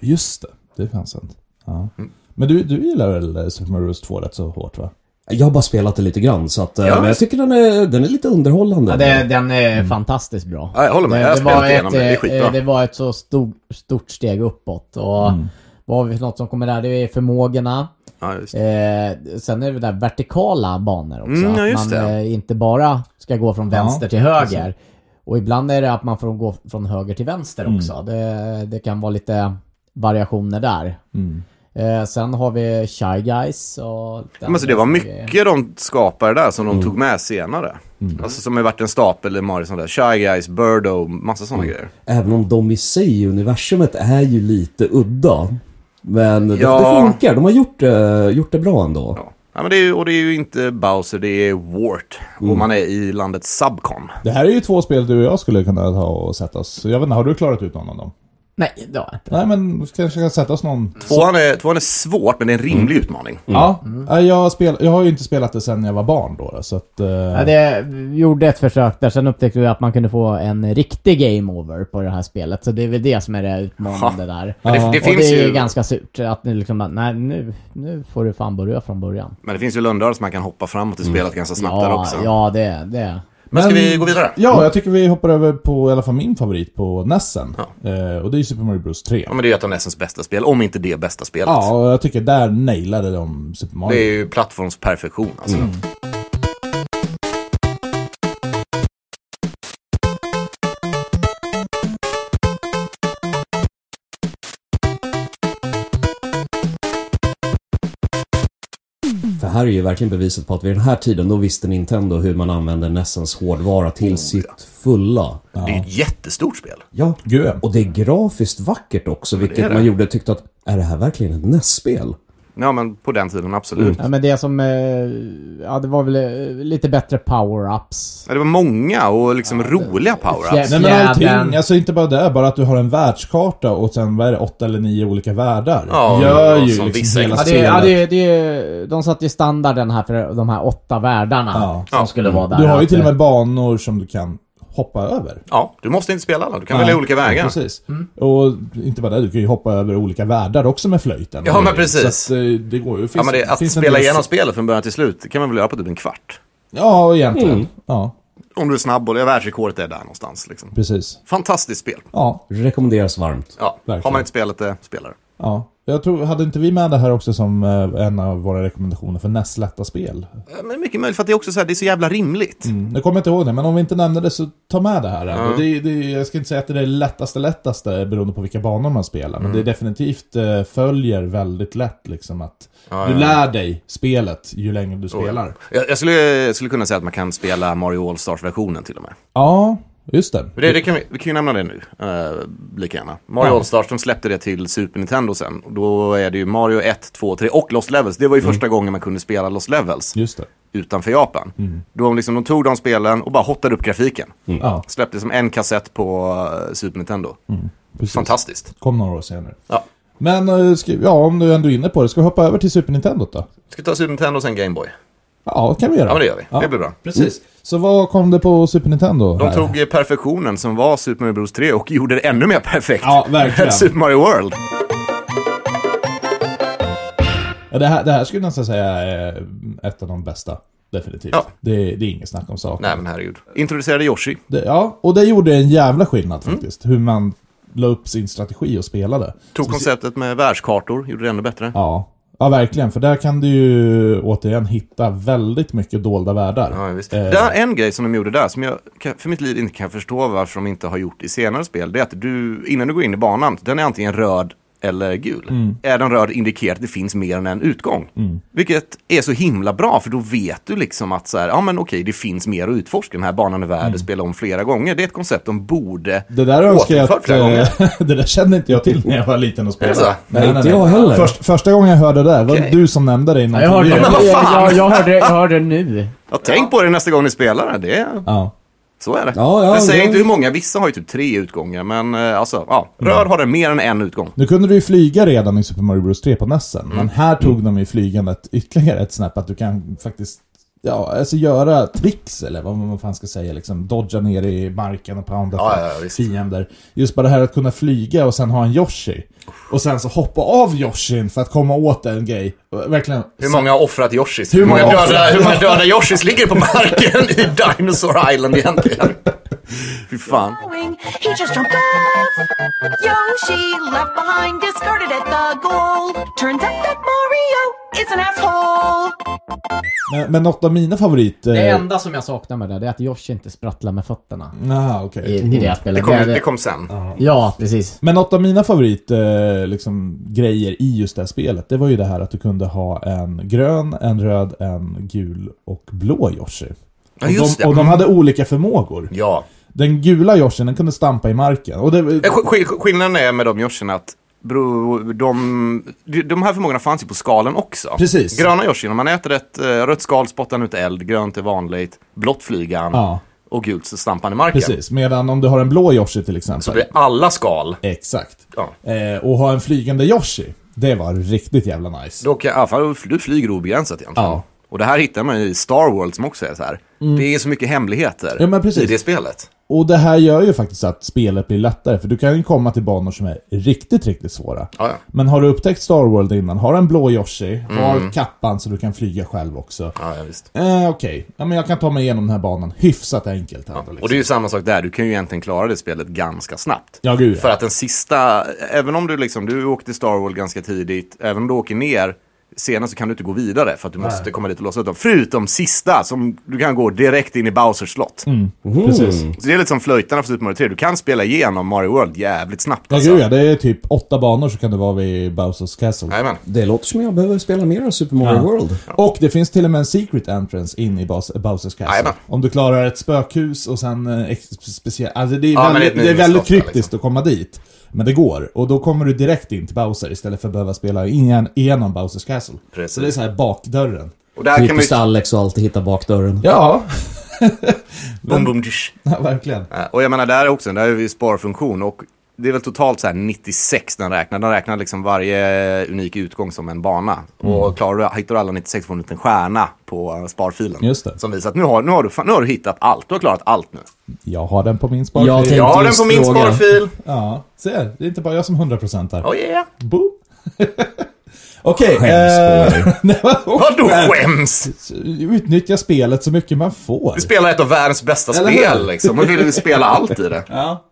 Speaker 3: Just det, det fanns sant. Ja.
Speaker 2: Mm.
Speaker 3: Men du, du gillar väl eh, Super Mario Bros 2 rätt så hårt va?
Speaker 1: Jag har bara spelat det lite grann så att... eh,
Speaker 2: Ja.
Speaker 1: Men jag tycker den är, den är lite underhållande.
Speaker 5: Ja, det, den är
Speaker 3: Mm.
Speaker 5: fantastiskt bra.
Speaker 2: Ja, jag håller med. Jag har
Speaker 5: det,
Speaker 2: spelat
Speaker 5: var
Speaker 2: igenom
Speaker 5: ett,
Speaker 2: det. Det är
Speaker 5: eh,
Speaker 2: skitbra.
Speaker 5: det var ett så stor, stort steg uppåt. Och
Speaker 3: Mm.
Speaker 5: Vad har vi för något som kommer där? Det är förmågorna.
Speaker 2: Ja, just. det.
Speaker 5: Eh, sen är det där vertikala banor också.
Speaker 2: Mm, ja,
Speaker 5: att
Speaker 2: just
Speaker 5: man
Speaker 2: det.
Speaker 5: eh, inte bara ska gå från vänster till höger. Och ibland är det att man får gå från höger till vänster
Speaker 2: Mm.
Speaker 5: också. Det, det kan vara lite variationer där.
Speaker 2: Mm.
Speaker 5: Eh, sen har vi Shy Guys och...
Speaker 2: Ja, Men alltså, det Mm. var mycket de skapade där som de tog med senare. Alltså som har varit en stapel i Mario, sånt där. Shy Guys, Birdo, massa sådana grejer.
Speaker 1: Även om de i sig, universumet, är ju lite udda. Men det,
Speaker 2: Ja.
Speaker 1: det funkar. De har gjort, det- gjort det bra ändå.
Speaker 2: Ja. Ja, men det är, ju- och det är ju inte Bowser, det är Wart. Och man är i landet Subcon.
Speaker 3: Det här är ju två spel du och jag skulle kunna ta och sätta oss. Jag vet inte, har du klarat ut någon av dem?
Speaker 5: Nej, det har jag inte.
Speaker 3: Nej men vi kanske kan sätta oss någon.
Speaker 2: Tvåan är, tvåan är svårt, men det är en rimlig utmaning.
Speaker 3: Ja,
Speaker 2: Mm.
Speaker 3: Nej, jag, spel, jag har ju inte spelat det sen jag var barn då. då, Så att, eh,
Speaker 5: Ja, det vi gjorde ett försök där, sen upptäckte vi att man kunde få en riktig game over på det här spelet. Så det är väl det som är det utmanande där.
Speaker 2: Men det, det
Speaker 5: och
Speaker 2: finns
Speaker 5: det är
Speaker 2: ju...
Speaker 5: ganska surt. Att nu liksom, bara, nej nu, nu får du fan börja från början.
Speaker 2: Men det finns ju lundar som man kan hoppa framåt
Speaker 3: Mm.
Speaker 2: i spelet ganska snabbt där
Speaker 5: Ja,
Speaker 2: också.
Speaker 5: ja det, det.
Speaker 2: Men ska vi gå vidare?
Speaker 3: Ja, jag tycker vi hoppar över på i alla fall min favorit på Nessen. Eh, och det är ju Super Mario Bros 3.
Speaker 2: Ja, men det är ju ett av Nessens bästa spel, om inte det bästa spelet.
Speaker 3: Ja, och jag tycker där nailade de Super Mario.
Speaker 2: Det är ju plattformsperfektion alltså.
Speaker 3: Mm.
Speaker 1: För här är ju verkligen beviset på att vid den här tiden, då visste Nintendo hur man använder Nessens hårdvara
Speaker 2: Oh,
Speaker 1: till sitt fulla.
Speaker 2: Det är ju ett jättestort spel.
Speaker 1: Ja.
Speaker 3: Gud, ja.
Speaker 1: Och det är grafiskt vackert också, vilket
Speaker 2: det.
Speaker 1: man gjorde tyckte att, är det här verkligen ett NES-spel?
Speaker 2: Ja, men på den tiden absolut.
Speaker 3: Mm.
Speaker 5: Ja, men det som... eh, Ja, det var väl eh, lite bättre power-ups.
Speaker 2: Ja, det var många och liksom roliga power-ups.
Speaker 5: Fjär-
Speaker 3: Nej men allting,
Speaker 5: Jävlar.
Speaker 3: alltså inte bara det, bara att du har en världskarta och sen vad är det, åtta eller nio olika världar.
Speaker 2: Ja,
Speaker 3: Gör
Speaker 2: och
Speaker 3: ju
Speaker 2: som
Speaker 3: liksom
Speaker 2: vissa
Speaker 3: hela
Speaker 5: Ja, det,
Speaker 3: spelet.
Speaker 5: ja, det, det, de satte ju standarden här för de här åtta världarna
Speaker 3: Ja.
Speaker 5: som skulle vara där.
Speaker 3: Du har ju
Speaker 5: Att,
Speaker 3: till och med banor som du kan hoppa över.
Speaker 2: Ja, du måste inte spela alla, du kan
Speaker 3: Ja,
Speaker 2: välja olika vägar. Mm.
Speaker 3: Precis. Och inte bara det, du kan ju hoppa över olika världar också med flöjten.
Speaker 2: Ja, men precis.
Speaker 3: Så att, eh, det går ju. Finns,
Speaker 2: Ja, men det, att
Speaker 3: finns en
Speaker 2: spela
Speaker 3: del-
Speaker 2: igenom spelet från början till slut, det kan man väl göra på typ en kvart.
Speaker 3: Ja, egentligen.
Speaker 2: Mm.
Speaker 3: Ja,
Speaker 2: Om du är snabb och det världsrekordet är där någonstans. Liksom.
Speaker 3: precis.
Speaker 2: Fantastiskt spel.
Speaker 3: Ja,
Speaker 1: Rekommenderas varmt.
Speaker 2: Ja,
Speaker 3: Verkligen.
Speaker 2: har man inte spelat det, spelar det.
Speaker 3: ja. Jag tror, hade inte vi med det här också som eh, en av våra rekommendationer för näst lätta spel?
Speaker 2: Ja, Men det är mycket möjligt för att det är också så här, det är så jävla rimligt.
Speaker 3: Mm. Jag kommer inte ihåg det, men om vi inte nämnde det så ta med det här. ändå. Det, det, jag ska inte säga att det är det lättaste lättaste beroende på vilka banor man spelar, men det
Speaker 2: Mm.
Speaker 3: är definitivt eh, följer väldigt lätt liksom att du lär dig spelet ju längre du spelar.
Speaker 2: Jag, jag, skulle, jag skulle kunna säga att man kan spela Mario All-Stars-versionen till och med.
Speaker 3: Ja, just det.
Speaker 2: Det, det kan vi, vi kan ju nämna det nu, eh, lika gärna. Mario
Speaker 3: Ja.
Speaker 2: All-Stars, de släppte det till Super Nintendo sen. Och Då är det ju Mario 1, 2, 3 och Lost Levels. Det var
Speaker 3: Mm.
Speaker 2: ju första gången man kunde spela Lost Levels
Speaker 3: Just det.
Speaker 2: utanför Japan.
Speaker 3: Mm.
Speaker 2: De, liksom, de tog de spelen och bara hottade upp grafiken.
Speaker 3: Ja,
Speaker 2: Släppte som en kassett på eh, Super Nintendo.
Speaker 3: Mm. precis.
Speaker 2: Fantastiskt.
Speaker 3: Kom några år senare.
Speaker 2: Ja.
Speaker 3: Men eh, ska, ja, om du ändå är inne på det, ska vi hoppa över till Super Nintendo då?
Speaker 2: Ska vi ta Super Nintendo och sen Game Boy?
Speaker 3: Ja, det kan vi göra.
Speaker 2: Ja, men det gör vi. Det blir bra.
Speaker 3: Precis. Så vad kom det på Super Nintendo?
Speaker 2: De
Speaker 3: här?
Speaker 2: tog eh, perfektionen som var Super Mario Bros 3 och gjorde det ännu mer perfekt.
Speaker 3: Ja, verkligen.
Speaker 2: Super Mario World.
Speaker 3: Ja, det, här, det här skulle jag nästan säga är ett av de bästa. Definitivt.
Speaker 2: Ja.
Speaker 3: Det, det är inget snack om saken.
Speaker 2: Nej men herregud. Introducerade Yoshi.
Speaker 3: Det, ja, och det gjorde en jävla skillnad
Speaker 2: Mm.
Speaker 3: faktiskt. Hur man la upp sin strategi och spelade.
Speaker 2: Tog konceptet med världskartor, gjorde det ännu bättre.
Speaker 3: Ja. ja, verkligen. För där kan du ju återigen hitta väldigt mycket dolda världar.
Speaker 2: Ja, visst.
Speaker 3: Eh.
Speaker 2: Där, en grej som de gjorde där, som jag kan- för mitt liv inte kan förstå varför de inte har gjort i senare spel, det är att du, innan du går in i banan, den är antingen röd eller gul. Är den röd indikerar att det finns mer än en utgång. Vilket är så himla bra, för då vet du liksom att så här, ja men okej, det finns mer att utforska. Den här banan är värd att spela om flera gånger. Det är ett koncept Mm. de borde
Speaker 3: Det där önskar jag
Speaker 2: återinfört
Speaker 3: att...
Speaker 2: flera gånger.
Speaker 3: eh, det där kände inte jag till när jag var liten och spelade.
Speaker 2: Alltså,
Speaker 1: Nej, inte jag heller.
Speaker 3: Först, första gången jag hörde det där, var det
Speaker 2: Okej.
Speaker 3: du som nämnde det i
Speaker 5: Jag hörde,
Speaker 3: någonting.
Speaker 5: jag,
Speaker 2: Men vad fan!
Speaker 5: jag, jag, hörde, jag hörde nu.
Speaker 2: Ja, tänk på det nästa gång ni spelar. Det är,
Speaker 3: Ja.
Speaker 2: så är det.
Speaker 1: Ja, ja,
Speaker 2: jag säger
Speaker 1: ja.
Speaker 2: inte hur många, vissa har ju typ tre utgångar. Men eh, alltså, ja, röd har den mer än en utgång.
Speaker 3: Nu kunde du ju flyga redan i Super Mario Bros 3 på NESen,
Speaker 2: Mm.
Speaker 3: men här tog
Speaker 1: Mm.
Speaker 3: de ju flygandet ytterligare ett snäpp, att du kan faktiskt Ja, alltså göra tricks eller vad man fan ska säga liksom. Dodga ner i marken och pounda
Speaker 2: Ja,
Speaker 3: för
Speaker 2: ja, ja, visst.
Speaker 3: fiender. Just bara det här att kunna flyga och sen ha en Yoshi. Och sen så hoppa av Yoshin för att komma åt en grej. Verkligen.
Speaker 2: Hur många har offrat Yoshis?
Speaker 3: Hur
Speaker 2: Hur många,
Speaker 3: många
Speaker 2: döda,
Speaker 3: offrat?
Speaker 2: hur många döda Yoshis ligger på marken i Dinosaur Island egentligen? Fy fan.
Speaker 4: going. He just jumped off. Yoshi left behind, discarded at the goal. Turns out that Mario is an asshole.
Speaker 3: Men, men något av mina favorit...
Speaker 5: Det
Speaker 3: Eh,
Speaker 5: enda som jag saknar med det, det är att Josh inte sprattlar med fötterna.
Speaker 3: ah, okej.
Speaker 5: I, i det här spelet.
Speaker 2: Det kom,
Speaker 5: Det-
Speaker 2: det kom sen.
Speaker 5: Ja, precis.
Speaker 3: Men något av mina favorit eh, liksom, grejer i just det här spelet, det var ju det här att du kunde ha en grön, en röd, en gul och blå Yoshi.
Speaker 2: Ja, just
Speaker 3: de, och de
Speaker 2: det.
Speaker 3: hade olika förmågor.
Speaker 2: Ja.
Speaker 3: Den gula Yoshin, den kunde stampa i marken. Och det,
Speaker 2: Eh, sk- sk- Skillnaden är med de Yoshin att bro, de, de här förmågorna fanns ju på skalen också.
Speaker 3: Precis.
Speaker 2: Gröna Yoshin, om man äter ett eh, rött skal spottar han ut eld, grönt är vanligt, blått flyger han
Speaker 3: Ja.
Speaker 2: och gult så stampar han i marken.
Speaker 3: precis, medan om du har en blå Yoshi till exempel.
Speaker 2: Så det är alla skal.
Speaker 3: Exakt.
Speaker 2: Ja.
Speaker 3: Eh, och ha en flygande Yoshi, det var riktigt jävla nice.
Speaker 2: Då kan, i alla fall, du flyger obegränsat egentligen.
Speaker 3: Ja. Mm.
Speaker 2: Och det här hittar man ju i Star World som också är så här. Det är så mycket hemligheter
Speaker 3: Ja, men precis.
Speaker 2: i det spelet.
Speaker 3: Och det här gör ju faktiskt att spelet blir lättare, för du kan ju komma till banor som är riktigt, riktigt svåra.
Speaker 2: Ja, Mm. ja.
Speaker 3: Men har du upptäckt Star World innan, har en blå Yoshi, har kappan så du kan flyga själv också.
Speaker 2: Ja, ja, visst.
Speaker 3: Eh, Okej, ja, men jag kan ta mig igenom den här banan hyfsat enkelt. Ändå, liksom.
Speaker 2: Och det är ju samma sak där, du kan ju egentligen klara det spelet ganska snabbt.
Speaker 3: Ja, gud, ja.
Speaker 2: För att den sista, även om du liksom, du åkte till Star World ganska tidigt, även om du åker ner senare så kan du inte gå vidare för att du måste komma dit och låsa ut dem. Förutom sista, som du kan gå direkt in i Bowsers slott.
Speaker 3: Mm.
Speaker 1: Mhm.
Speaker 3: Precis.
Speaker 2: Så det är lite som flöjtarna för Super Mario 3, du kan spela igenom Mario World jävligt snabbt alltså.
Speaker 3: Ja, gud ja, det är typ åtta banor så kan det vara vid Bowsers Castle.
Speaker 2: Jajamän.
Speaker 1: Det låter som jag behöver spela mer av Super Mario World.
Speaker 3: Och det finns till och med en secret entrance in i Bas- Bowsers Castle.
Speaker 2: Jajamän.
Speaker 3: Om du klarar ett spökhus och sen eh, ex- speciellt... Alltså det är
Speaker 2: Ja, men
Speaker 3: väldigt,
Speaker 2: det
Speaker 3: det
Speaker 2: är
Speaker 3: är
Speaker 2: ett
Speaker 3: väldigt
Speaker 2: minneslott där,
Speaker 3: kryptiskt att komma dit. Men det går. Och då kommer du direkt in till Bowser istället för att behöva spela igen, igenom Bowsers Castle.
Speaker 2: Precis.
Speaker 3: Så det är så här bakdörren.
Speaker 2: Och där kan man
Speaker 1: Typiskt
Speaker 2: ju...
Speaker 1: Alex och alltid hitta bakdörren.
Speaker 3: Ja,
Speaker 2: Boom, boom, dish.
Speaker 3: ja verkligen.
Speaker 2: Ja, Eh, Och jag menar, där är också, där är ju sparfunktion och det är väl totalt så här 96 den räknar. Den räknar liksom varje unik utgång som en bana.
Speaker 3: Mm.
Speaker 2: Och klarar du, hittar du alla 96 får du en liten stjärna på eh, sparfilen.
Speaker 3: Just det.
Speaker 2: Som visar att nu har, nu, har du, fan- nu har du hittat allt, du har klarat allt nu.
Speaker 3: Jag har den på min sparfil.
Speaker 1: Jag tänkte-
Speaker 2: Jag har den
Speaker 1: just
Speaker 2: på min
Speaker 1: fråga.
Speaker 2: sparfil!
Speaker 3: Ja, se. Det är inte bara jag som 100% där.
Speaker 2: Oh yeah!
Speaker 3: Boom. Okej.
Speaker 1: Skäms på
Speaker 3: eh, nej, vadå
Speaker 2: Vadå
Speaker 3: skäms?
Speaker 2: skäms?
Speaker 3: Utnyttja spelet så mycket man får.
Speaker 2: Du spelar ett av världens bästa
Speaker 3: Eller hur?
Speaker 2: spel liksom. Och vill spela allt i det.
Speaker 3: Ja.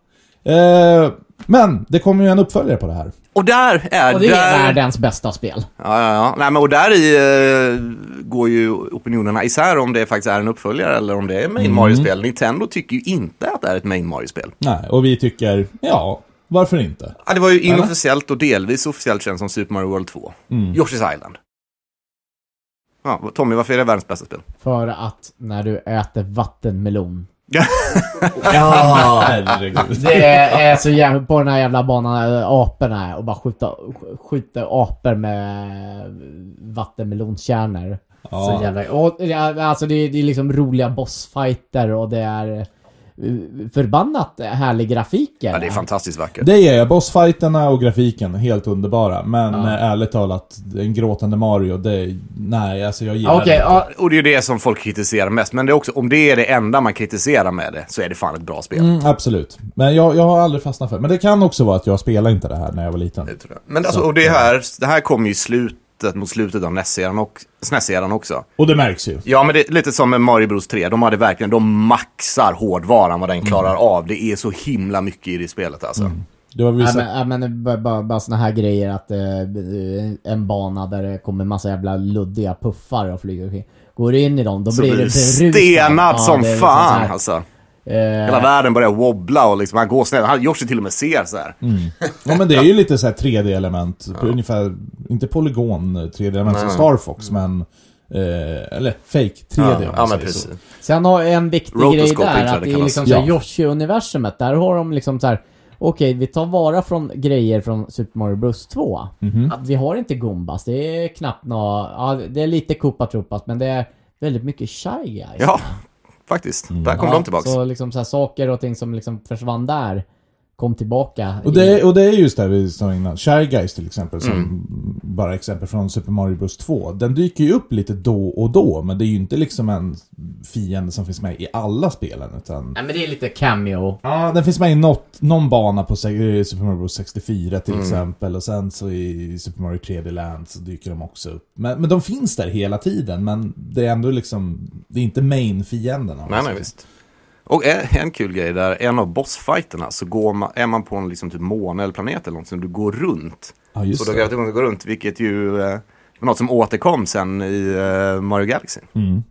Speaker 3: Eh, men det kommer ju en uppföljare på det här.
Speaker 2: Och där är...
Speaker 5: Och det är
Speaker 2: där...
Speaker 5: världens bästa spel.
Speaker 2: Ja, ja, ja. Nej, men och där i eh, går ju opinionerna isär om det faktiskt är en uppföljare eller om det är main Mario-spel. Nintendo tycker ju inte att det är ett main Mario-spel.
Speaker 3: Nej, och vi tycker, ja, varför inte?
Speaker 2: Ja, det var ju inofficiellt och delvis officiellt känns som Super Mario World 2. Yoshi's Island. Ja, Tommy, varför är det världens bästa spel?
Speaker 5: För att när du äter vattenmelon.
Speaker 3: Ja, herregud.
Speaker 5: Det är så jävla... På den här jävla banan, eh, aporna. Och bara skjuta, skjuta apor med vattenmelonkärnor.
Speaker 3: Ja.
Speaker 5: Så jävla... Och, det är- alltså det är, det är liksom roliga bossfighter och det är eh, förbannat härlig grafik.
Speaker 2: Ja, det är fantastiskt vackert.
Speaker 3: Det är jag. Bossfighterna och grafiken, helt underbara. Men eh, ärligt talat, en gråtande Mario, det... Nej, alltså jag gillar
Speaker 5: Okej,
Speaker 3: det.
Speaker 5: ja,
Speaker 2: Och det är ju det som folk kritiserar mest. Men det är också, om det är det enda man kritiserar med det så är det fan ett bra spel.
Speaker 3: Mm, absolut. Men jag, jag har aldrig fastnat för det. Men det kan också vara att jag spelade inte det här när jag var liten.
Speaker 2: Nu, tror jag. Men alltså, och det här, det här kommer ju i slutet, mot slutet av NES-eran och- SNES-eran också.
Speaker 3: Och det märks ju.
Speaker 2: Ja, men det är lite som med Mario Bros 3. De hade verkligen, de maxar hårdvaran vad
Speaker 5: Mm.
Speaker 2: den klarar av. Det är så himla mycket i det spelet alltså.
Speaker 3: Det var
Speaker 5: Ja
Speaker 3: vissa...
Speaker 5: men, ja, men bara, bara, bara såna här grejer att eh, en bana där det kommer massa jävla luddiga puffar och flyger omkring. Går du in i dem då
Speaker 2: Så
Speaker 5: blir
Speaker 2: blir
Speaker 5: du
Speaker 2: det
Speaker 5: berusad.
Speaker 2: stenad
Speaker 5: Ja,
Speaker 2: som
Speaker 5: det är liksom så
Speaker 2: fan
Speaker 5: här,
Speaker 2: alltså.
Speaker 5: Eh,
Speaker 2: Hela världen börjar wobbla och liksom, han går snett. Han, Yoshi till och med ser så här.
Speaker 5: Mm.
Speaker 3: Ja men det är ju lite så här 3D-element. Ungefär, inte polygon 3D-element som Star Fox, men... Eh, eller fake 3D om
Speaker 2: Ja,
Speaker 3: man
Speaker 2: ja men
Speaker 3: säger
Speaker 2: precis.
Speaker 3: så.
Speaker 5: Sen har jag en viktig
Speaker 2: Rotoscoping
Speaker 5: grej
Speaker 2: tror jag
Speaker 5: där,
Speaker 2: det
Speaker 5: att det är
Speaker 2: kallas.
Speaker 5: liksom så
Speaker 3: Ja.
Speaker 5: här Yoshi-universumet. Där har de liksom så här. Okej, vi tar vara från grejer från Super Mario Bros 2.
Speaker 3: Mhm.
Speaker 5: Att vi har inte Gumbas, det är knappt nå... Ja, det är lite Koopa Troopas, men det är väldigt mycket Shy Guys.
Speaker 2: Ja, faktiskt. Där kom
Speaker 5: Mm. Ja,
Speaker 2: de tillbaks.
Speaker 5: Så liksom så här, saker och ting som liksom försvann där kom tillbaka.
Speaker 3: Och
Speaker 5: i-
Speaker 3: det,
Speaker 2: Mm.
Speaker 3: är- och det är just det vi sa innan. Shy Guys till exempel, som bara exempel från Super Mario Bros 2. Den dyker ju upp lite då och då, men det är ju inte liksom en fiende som finns med i alla spelen. Utan,
Speaker 5: Nej men det är lite cameo.
Speaker 3: ja, den finns med i något, någon bana på se- eh, Super Mario Bros 64 till
Speaker 2: Mm.
Speaker 3: exempel. Och sen så i Super Mario 3D Land så dyker de också upp. Men, men de finns där hela tiden, men det är ändå liksom, det är inte main-fienden.
Speaker 2: Nej, nej, visst. Och en, en kul grej där, en av bossfighterna så går man, är man på en liksom typ måne eller planet eller något som du går runt.
Speaker 3: Ja, just
Speaker 2: och då
Speaker 3: det.
Speaker 2: kan jag inte gå runt, vilket ju eh, var något som återkom sen i eh, Mario Galaxy.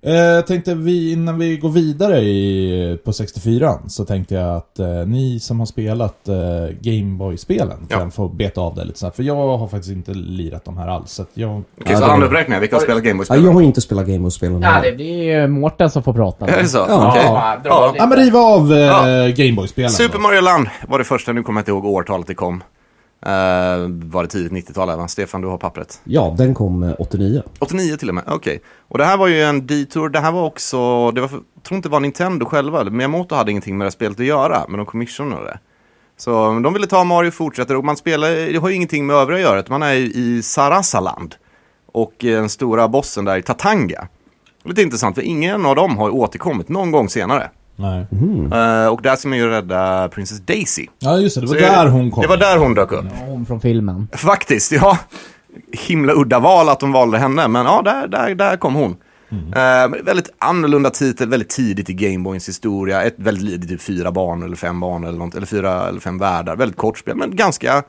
Speaker 3: Eh, Jag tänkte vi, innan vi går vidare i, på 64 så tänkte jag att eh, ni som har spelat eh, Gameboy-spelen
Speaker 2: Ja.
Speaker 3: kan få beta av det lite snabbt. För jag har faktiskt inte lirat de här alls. Så att jag...
Speaker 2: Okej, så
Speaker 1: det-
Speaker 2: andra uppräkningar, vilka har spelat
Speaker 1: Ja,
Speaker 2: Gameboy-spel?
Speaker 1: jag har inte spelat Gameboy-spelen.
Speaker 5: Ja, det, det är ju Mårten som får prata.
Speaker 2: Är det så?
Speaker 1: Ja.
Speaker 2: Okej.
Speaker 5: Ja, bra.
Speaker 2: Ja.
Speaker 3: Ja men riva av eh,
Speaker 2: Ja.
Speaker 3: Gameboy-spelen.
Speaker 2: Super
Speaker 3: då.
Speaker 2: Mario Land var det första, nu kommer jag inte ihåg årtalet det kom. Eh, var det tidigt 90-tal även? Stefan, du har pappret.
Speaker 1: Ja, den kom eh, 89.
Speaker 2: 89 till och med, okej. Och det här var ju en detour, det här var också, det var, jag tror inte det var Nintendo själva, eller Miyamoto hade ingenting med det här spelet att göra, men de commissionade det. Så men de ville ta Mario och fortsätta, och man spelar, det har ju ingenting med övriga att göra, utan man är ju i Sarasaland. Och eh, den stora bossen där i Tatanga. Lite intressant, för ingen av dem har ju återkommit någon gång senare.
Speaker 3: Nej.
Speaker 2: Eh, och där ska man ju rädda Princess Daisy.
Speaker 3: Ja just det, det var
Speaker 2: Så
Speaker 3: där hon kom.
Speaker 2: Det var där hon dök upp.
Speaker 5: Hon från filmen.
Speaker 2: Faktiskt, ja. Himla udda val att de valde henne, men ja, där, där, där kom hon.
Speaker 3: Mm.
Speaker 2: Eh, men väldigt annorlunda titel, väldigt tidigt i Gameboys historia. Ett väldigt litet, typ fyra barn eller fem barn eller något, eller fyra eller fem världar. Väldigt kort spel, men ganska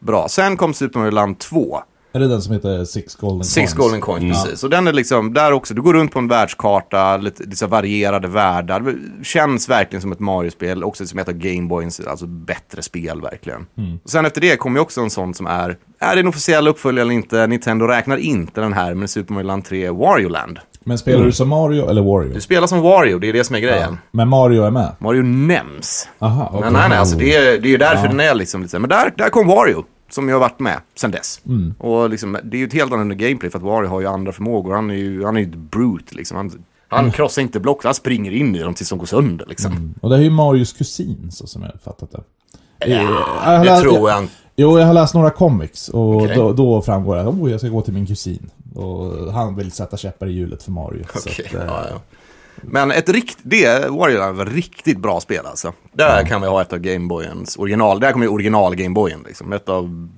Speaker 2: bra. Sen kom Super Mario Land 2.
Speaker 3: Är det den som heter Six Golden
Speaker 2: Six
Speaker 3: Coins? Mm.
Speaker 2: Golden Coins, precis. Och den är liksom, där också, du går runt på en världskarta, lite, lite varierade världar. Det Känns verkligen som ett Mario-spel, också som ett av Gameboys, alltså bättre spel verkligen. Och sen efter det kommer ju också en sån som är, är det en officiell uppföljare eller inte? Nintendo räknar inte den här, men Super Mario Land 3 Wario Land.
Speaker 3: Men spelar du som Mario eller Wario?
Speaker 2: Du spelar som Wario, det är det som är grejen.
Speaker 3: Men Mario är med?
Speaker 2: Mario nämns.
Speaker 3: Aha, okej.
Speaker 2: Men nej, nej, alltså det är, det är ju därför den är liksom lite så här- Men där, där kom Wario, som ju har varit med sen dess.
Speaker 3: Mm.
Speaker 2: Och liksom, det är ju ett helt annorlunda gameplay, för att Wario har ju andra förmågor. Han är ju, han är ju ett brute liksom. Han,
Speaker 3: Mm.
Speaker 2: han krossar inte block, han springer in i dem tills de går sönder liksom.
Speaker 3: Och det här är ju Marios kusin så som jag har fattat det. Eh, jag har
Speaker 2: Det
Speaker 3: läst-
Speaker 2: tror jag inte.
Speaker 3: Jo, jag har läst några comics och
Speaker 2: Okej.
Speaker 3: då, då framgår det att oh, jag ska gå till min kusin. Och han vill sätta käppar i hjulet för Mario. så
Speaker 2: Okej,
Speaker 3: att, eh,
Speaker 2: ja, ja. Men ett rikt, det Wario Land var ett riktigt bra spel alltså. Där kan vi ha ett av Gameboyens original, där kommer ju original Gameboyen liksom. Ett av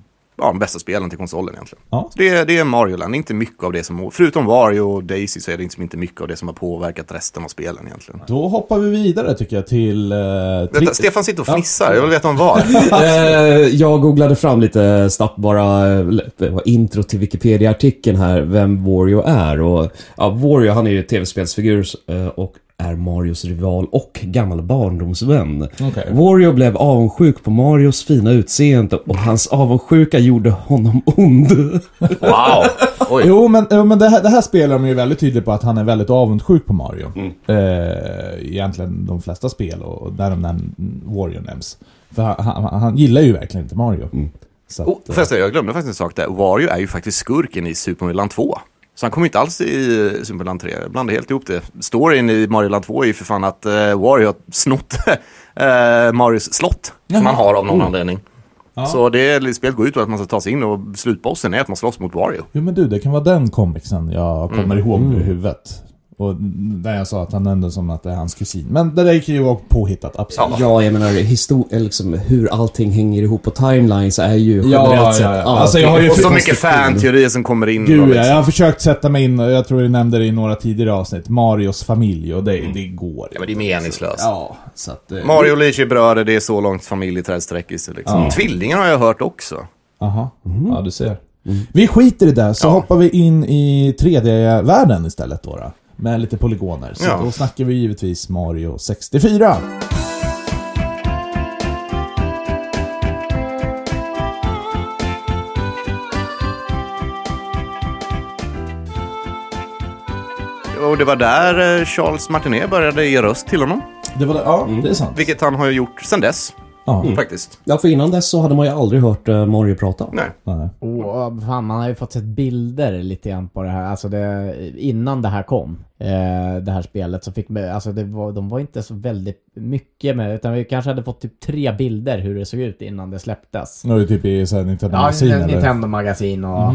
Speaker 2: ja, de bästa spelen till konsolen egentligen.
Speaker 3: Ja.
Speaker 2: Så Det, är- det är Mario Land, inte mycket av det som, förutom Wario och Daisy så är det liksom inte mycket av det som har påverkat resten av spelen egentligen.
Speaker 3: Då hoppar vi vidare tycker jag till... eh,
Speaker 2: Vänta,
Speaker 3: tri-
Speaker 2: Stefan sitter och
Speaker 3: Ja.
Speaker 2: fnissar, jag vill veta om var.
Speaker 1: Eh, jag googlade fram lite snabbt bara eh, det var intro till Wikipedia-artikeln här, vem Wario är. Och, ja, Wario han är ju tv-spelsfigur eh, och är Marios rival och gammal barndomsvän.
Speaker 3: Okej.
Speaker 1: Wario blev avundsjuk på Marios fina utseende och hans avundsjuka gjorde honom ond.
Speaker 2: Wow! Oj.
Speaker 3: Jo, men, jo, men det, här, det här spelar de ju väldigt tydligt på att han är väldigt avundsjuk på Mario. Eh, egentligen de flesta spel och och där de nämn, Wario nämns. För han, han, han gillar ju verkligen inte Mario. Så att, eh,
Speaker 2: Oh, förresten, jag glömde faktiskt en sak där. Wario är ju faktiskt skurken i Super Mario Land 2. Så han kommer inte alls i Super Mario Land 3. Jag blandar helt ihop det. Storyn i Mario Land 2 är ju för fan att eh, Wario har snott eh, Marios slott. Som han har av någon anledning. Så det spelet går ut på att man ska ta sig in och slutbossen är att man slåss mot Wario.
Speaker 3: Jo men du, det kan vara den komiksen jag
Speaker 2: Mm.
Speaker 3: kommer ihåg nu i huvudet. Och där jag sa att han nämnde som att det är hans kusin. Men det där kan ju vara påhittat, absolut.
Speaker 1: Ja, jag menar histor- eller liksom, hur allting hänger ihop på timelines är ju generellt
Speaker 3: ja,
Speaker 1: sett...
Speaker 3: ja. Alltså, jag
Speaker 1: det-
Speaker 3: har ju-
Speaker 2: Och så mycket
Speaker 1: konstruktion.
Speaker 2: fan-teorier som kommer in. och
Speaker 3: Gud ja,
Speaker 2: liksom-
Speaker 3: jag har försökt sätta mig in, och jag tror jag nämnde det i några tidigare avsnitt, Marios familj och det, det går
Speaker 2: Mm. Ja, men det är meningslöst.
Speaker 3: Ja, så att... eh,
Speaker 2: Mario och Luigi är bröder, det är så långt familjeträdsträckelse. Liksom. Tvillingar har jag hört också.
Speaker 3: Aha. Ja, du ser. Vi skiter i det, så hoppar vi in i 3D-världen istället då. då. Med lite polygoner. Så
Speaker 2: Ja.
Speaker 3: då snackar vi givetvis Mario 64.
Speaker 2: Och det var där eh, Charles Martinet började ge röst till honom.
Speaker 3: Det var det, ja, det är sant.
Speaker 2: Vilket han har ju gjort sedan dess,
Speaker 3: Ja.
Speaker 2: Mm. faktiskt.
Speaker 1: Ja, för innan dess så hade man ju aldrig hört eh, Mario prata.
Speaker 2: Nej.
Speaker 3: Nej.
Speaker 5: Oh, fan, man har ju fått sett bilder lite grann på det här. Alltså det, innan det här kom, eh, det här spelet, så fick man, alltså det var, de var inte så väldigt mycket med utan vi kanske hade fått typ tre bilder hur det såg ut innan det släpptes.
Speaker 3: Nu är det typ i så här Nintendo
Speaker 5: Ja,
Speaker 3: magasin eller? Mhm.
Speaker 5: Nintendo-magasin och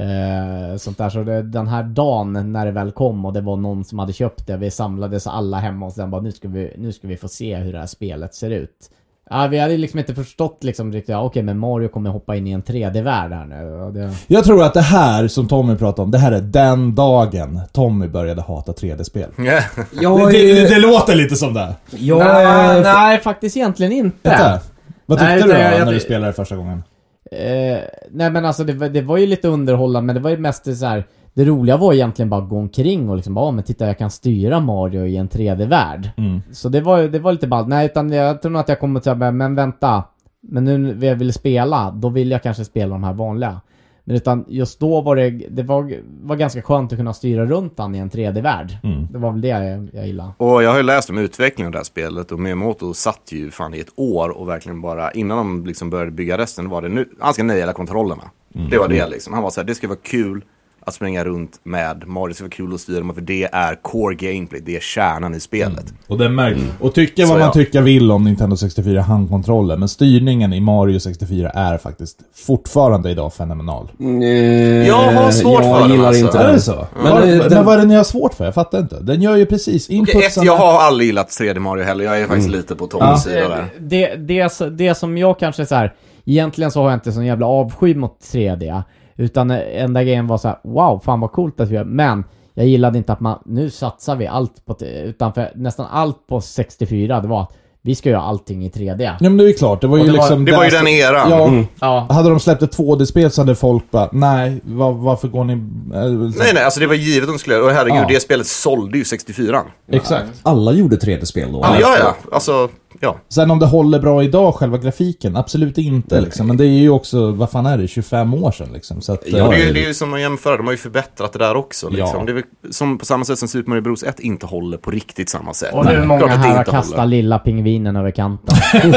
Speaker 5: eh, sånt där. Så det, den här dagen när det väl kom och det var någon som hade köpt det, vi samlades alla hemma och sen bara nu ska vi, nu ska vi få se hur det här spelet ser ut. Ja, vi hade liksom inte förstått liksom riktigt, ja, okej men Mario kommer hoppa in i en 3D-värld här nu. Och det...
Speaker 3: Jag tror att det här som Tommy pratade om, det här är den dagen Tommy började hata 3D-spel.
Speaker 2: Mm.
Speaker 1: Jag
Speaker 3: Det, det,
Speaker 1: är...
Speaker 3: det låter lite som det.
Speaker 1: Jag
Speaker 5: nej,
Speaker 1: är...
Speaker 5: nej, faktiskt egentligen inte.
Speaker 3: Vänta. Vad tyckte
Speaker 5: Nej,
Speaker 3: du då,
Speaker 5: utan jag- jag-
Speaker 3: när du spelade första gången?
Speaker 5: Eh, nej men alltså det, var- det var ju lite underhållande men det var ju mest så här. Det roliga var egentligen bara att gå omkring och liksom bara, ah, men titta jag kan styra Mario i en 3D-värld.
Speaker 3: Mm.
Speaker 5: Så det var, ju- det var lite ballt. Nej utan jag tror nog att jag kommer till att säga, men vänta. Men nu när jag vill spela, då vill jag kanske spela de här vanliga. Men utan just då var det, det var, var ganska skönt att kunna styra runt han i en 3D-värld. Det var väl det jag, jag gillade.
Speaker 2: Och jag har ju läst om utvecklingen av det här spelet och Miyamoto satt ju fan i ett år och verkligen bara innan de liksom började bygga resten var det nu, han ska nöja alla kontrollerna.
Speaker 3: Mm.
Speaker 2: Det var det liksom. Han var så här, det ska vara kul att springa runt med Mario, det ska vara kul att styra dem för det är core gameplay, det är kärnan i spelet.
Speaker 3: Och, den märk-
Speaker 2: Mm.
Speaker 3: och tycka vad
Speaker 2: Så
Speaker 3: man
Speaker 2: ja.
Speaker 3: tycka vill om Nintendo 64 handkontroller, men styrningen i Mario 64 är faktiskt fortfarande idag fenomenal.
Speaker 1: Eh,
Speaker 2: Jag har svårt
Speaker 1: jag
Speaker 2: för den,
Speaker 1: gillar
Speaker 2: alltså.
Speaker 1: inte
Speaker 3: Är
Speaker 1: den.
Speaker 3: det så?
Speaker 1: Men,
Speaker 3: var,
Speaker 1: eh,
Speaker 3: men
Speaker 1: den-
Speaker 3: vad är det ni har svårt för? Jag fattar inte. Den gör ju precis
Speaker 2: Okej, ett,
Speaker 3: inputsen...
Speaker 2: jag har aldrig gillat 3D Mario heller, jag är
Speaker 3: Mm.
Speaker 2: faktiskt lite på Tommys sida där.
Speaker 5: Eh, det, det, det som jag kanske så här, egentligen så har jag inte sån jävla avsky mot 3D. Utan enda grejen var så här, wow, fan vad coolt att vi gör. Men jag gillade inte att man, nu satsar vi allt på, utan för nästan allt på 64, det var att vi ska göra allting i 3D.
Speaker 3: Ja men det är ju klart, det var ju
Speaker 5: det var-
Speaker 3: liksom...
Speaker 2: Det var ju
Speaker 3: där-
Speaker 2: den eran. Mm.
Speaker 3: Ja,
Speaker 5: Ja.
Speaker 3: hade de släppt ett 2D-spel så hade folk bara, nej, var, varför går ni... Äh, liksom.
Speaker 2: Nej, nej, alltså det var givet att de skulle göra det. Och herregud,
Speaker 3: Ja.
Speaker 2: det spelet sålde ju 64
Speaker 3: Exakt.
Speaker 1: Alla gjorde 3D-spel då.
Speaker 2: Ja, ja, ja. Alltså, ja.
Speaker 3: Sen om det håller bra idag, själva grafiken, absolut inte liksom. Men det är ju också, vad fan är det, 25 år sedan liksom. Så att,
Speaker 2: Ja, det, är ju,
Speaker 3: eh,
Speaker 2: det är ju som att jämföra, de har ju förbättrat det där också. Liksom.
Speaker 3: Ja.
Speaker 2: Det är väl som på samma sätt som Super Mario Bros 1 inte håller på riktigt samma sätt.
Speaker 5: Och hur många
Speaker 2: Klart att det
Speaker 5: här har
Speaker 2: inte
Speaker 5: kastat
Speaker 2: håller.
Speaker 5: lilla pingvinen över kanten?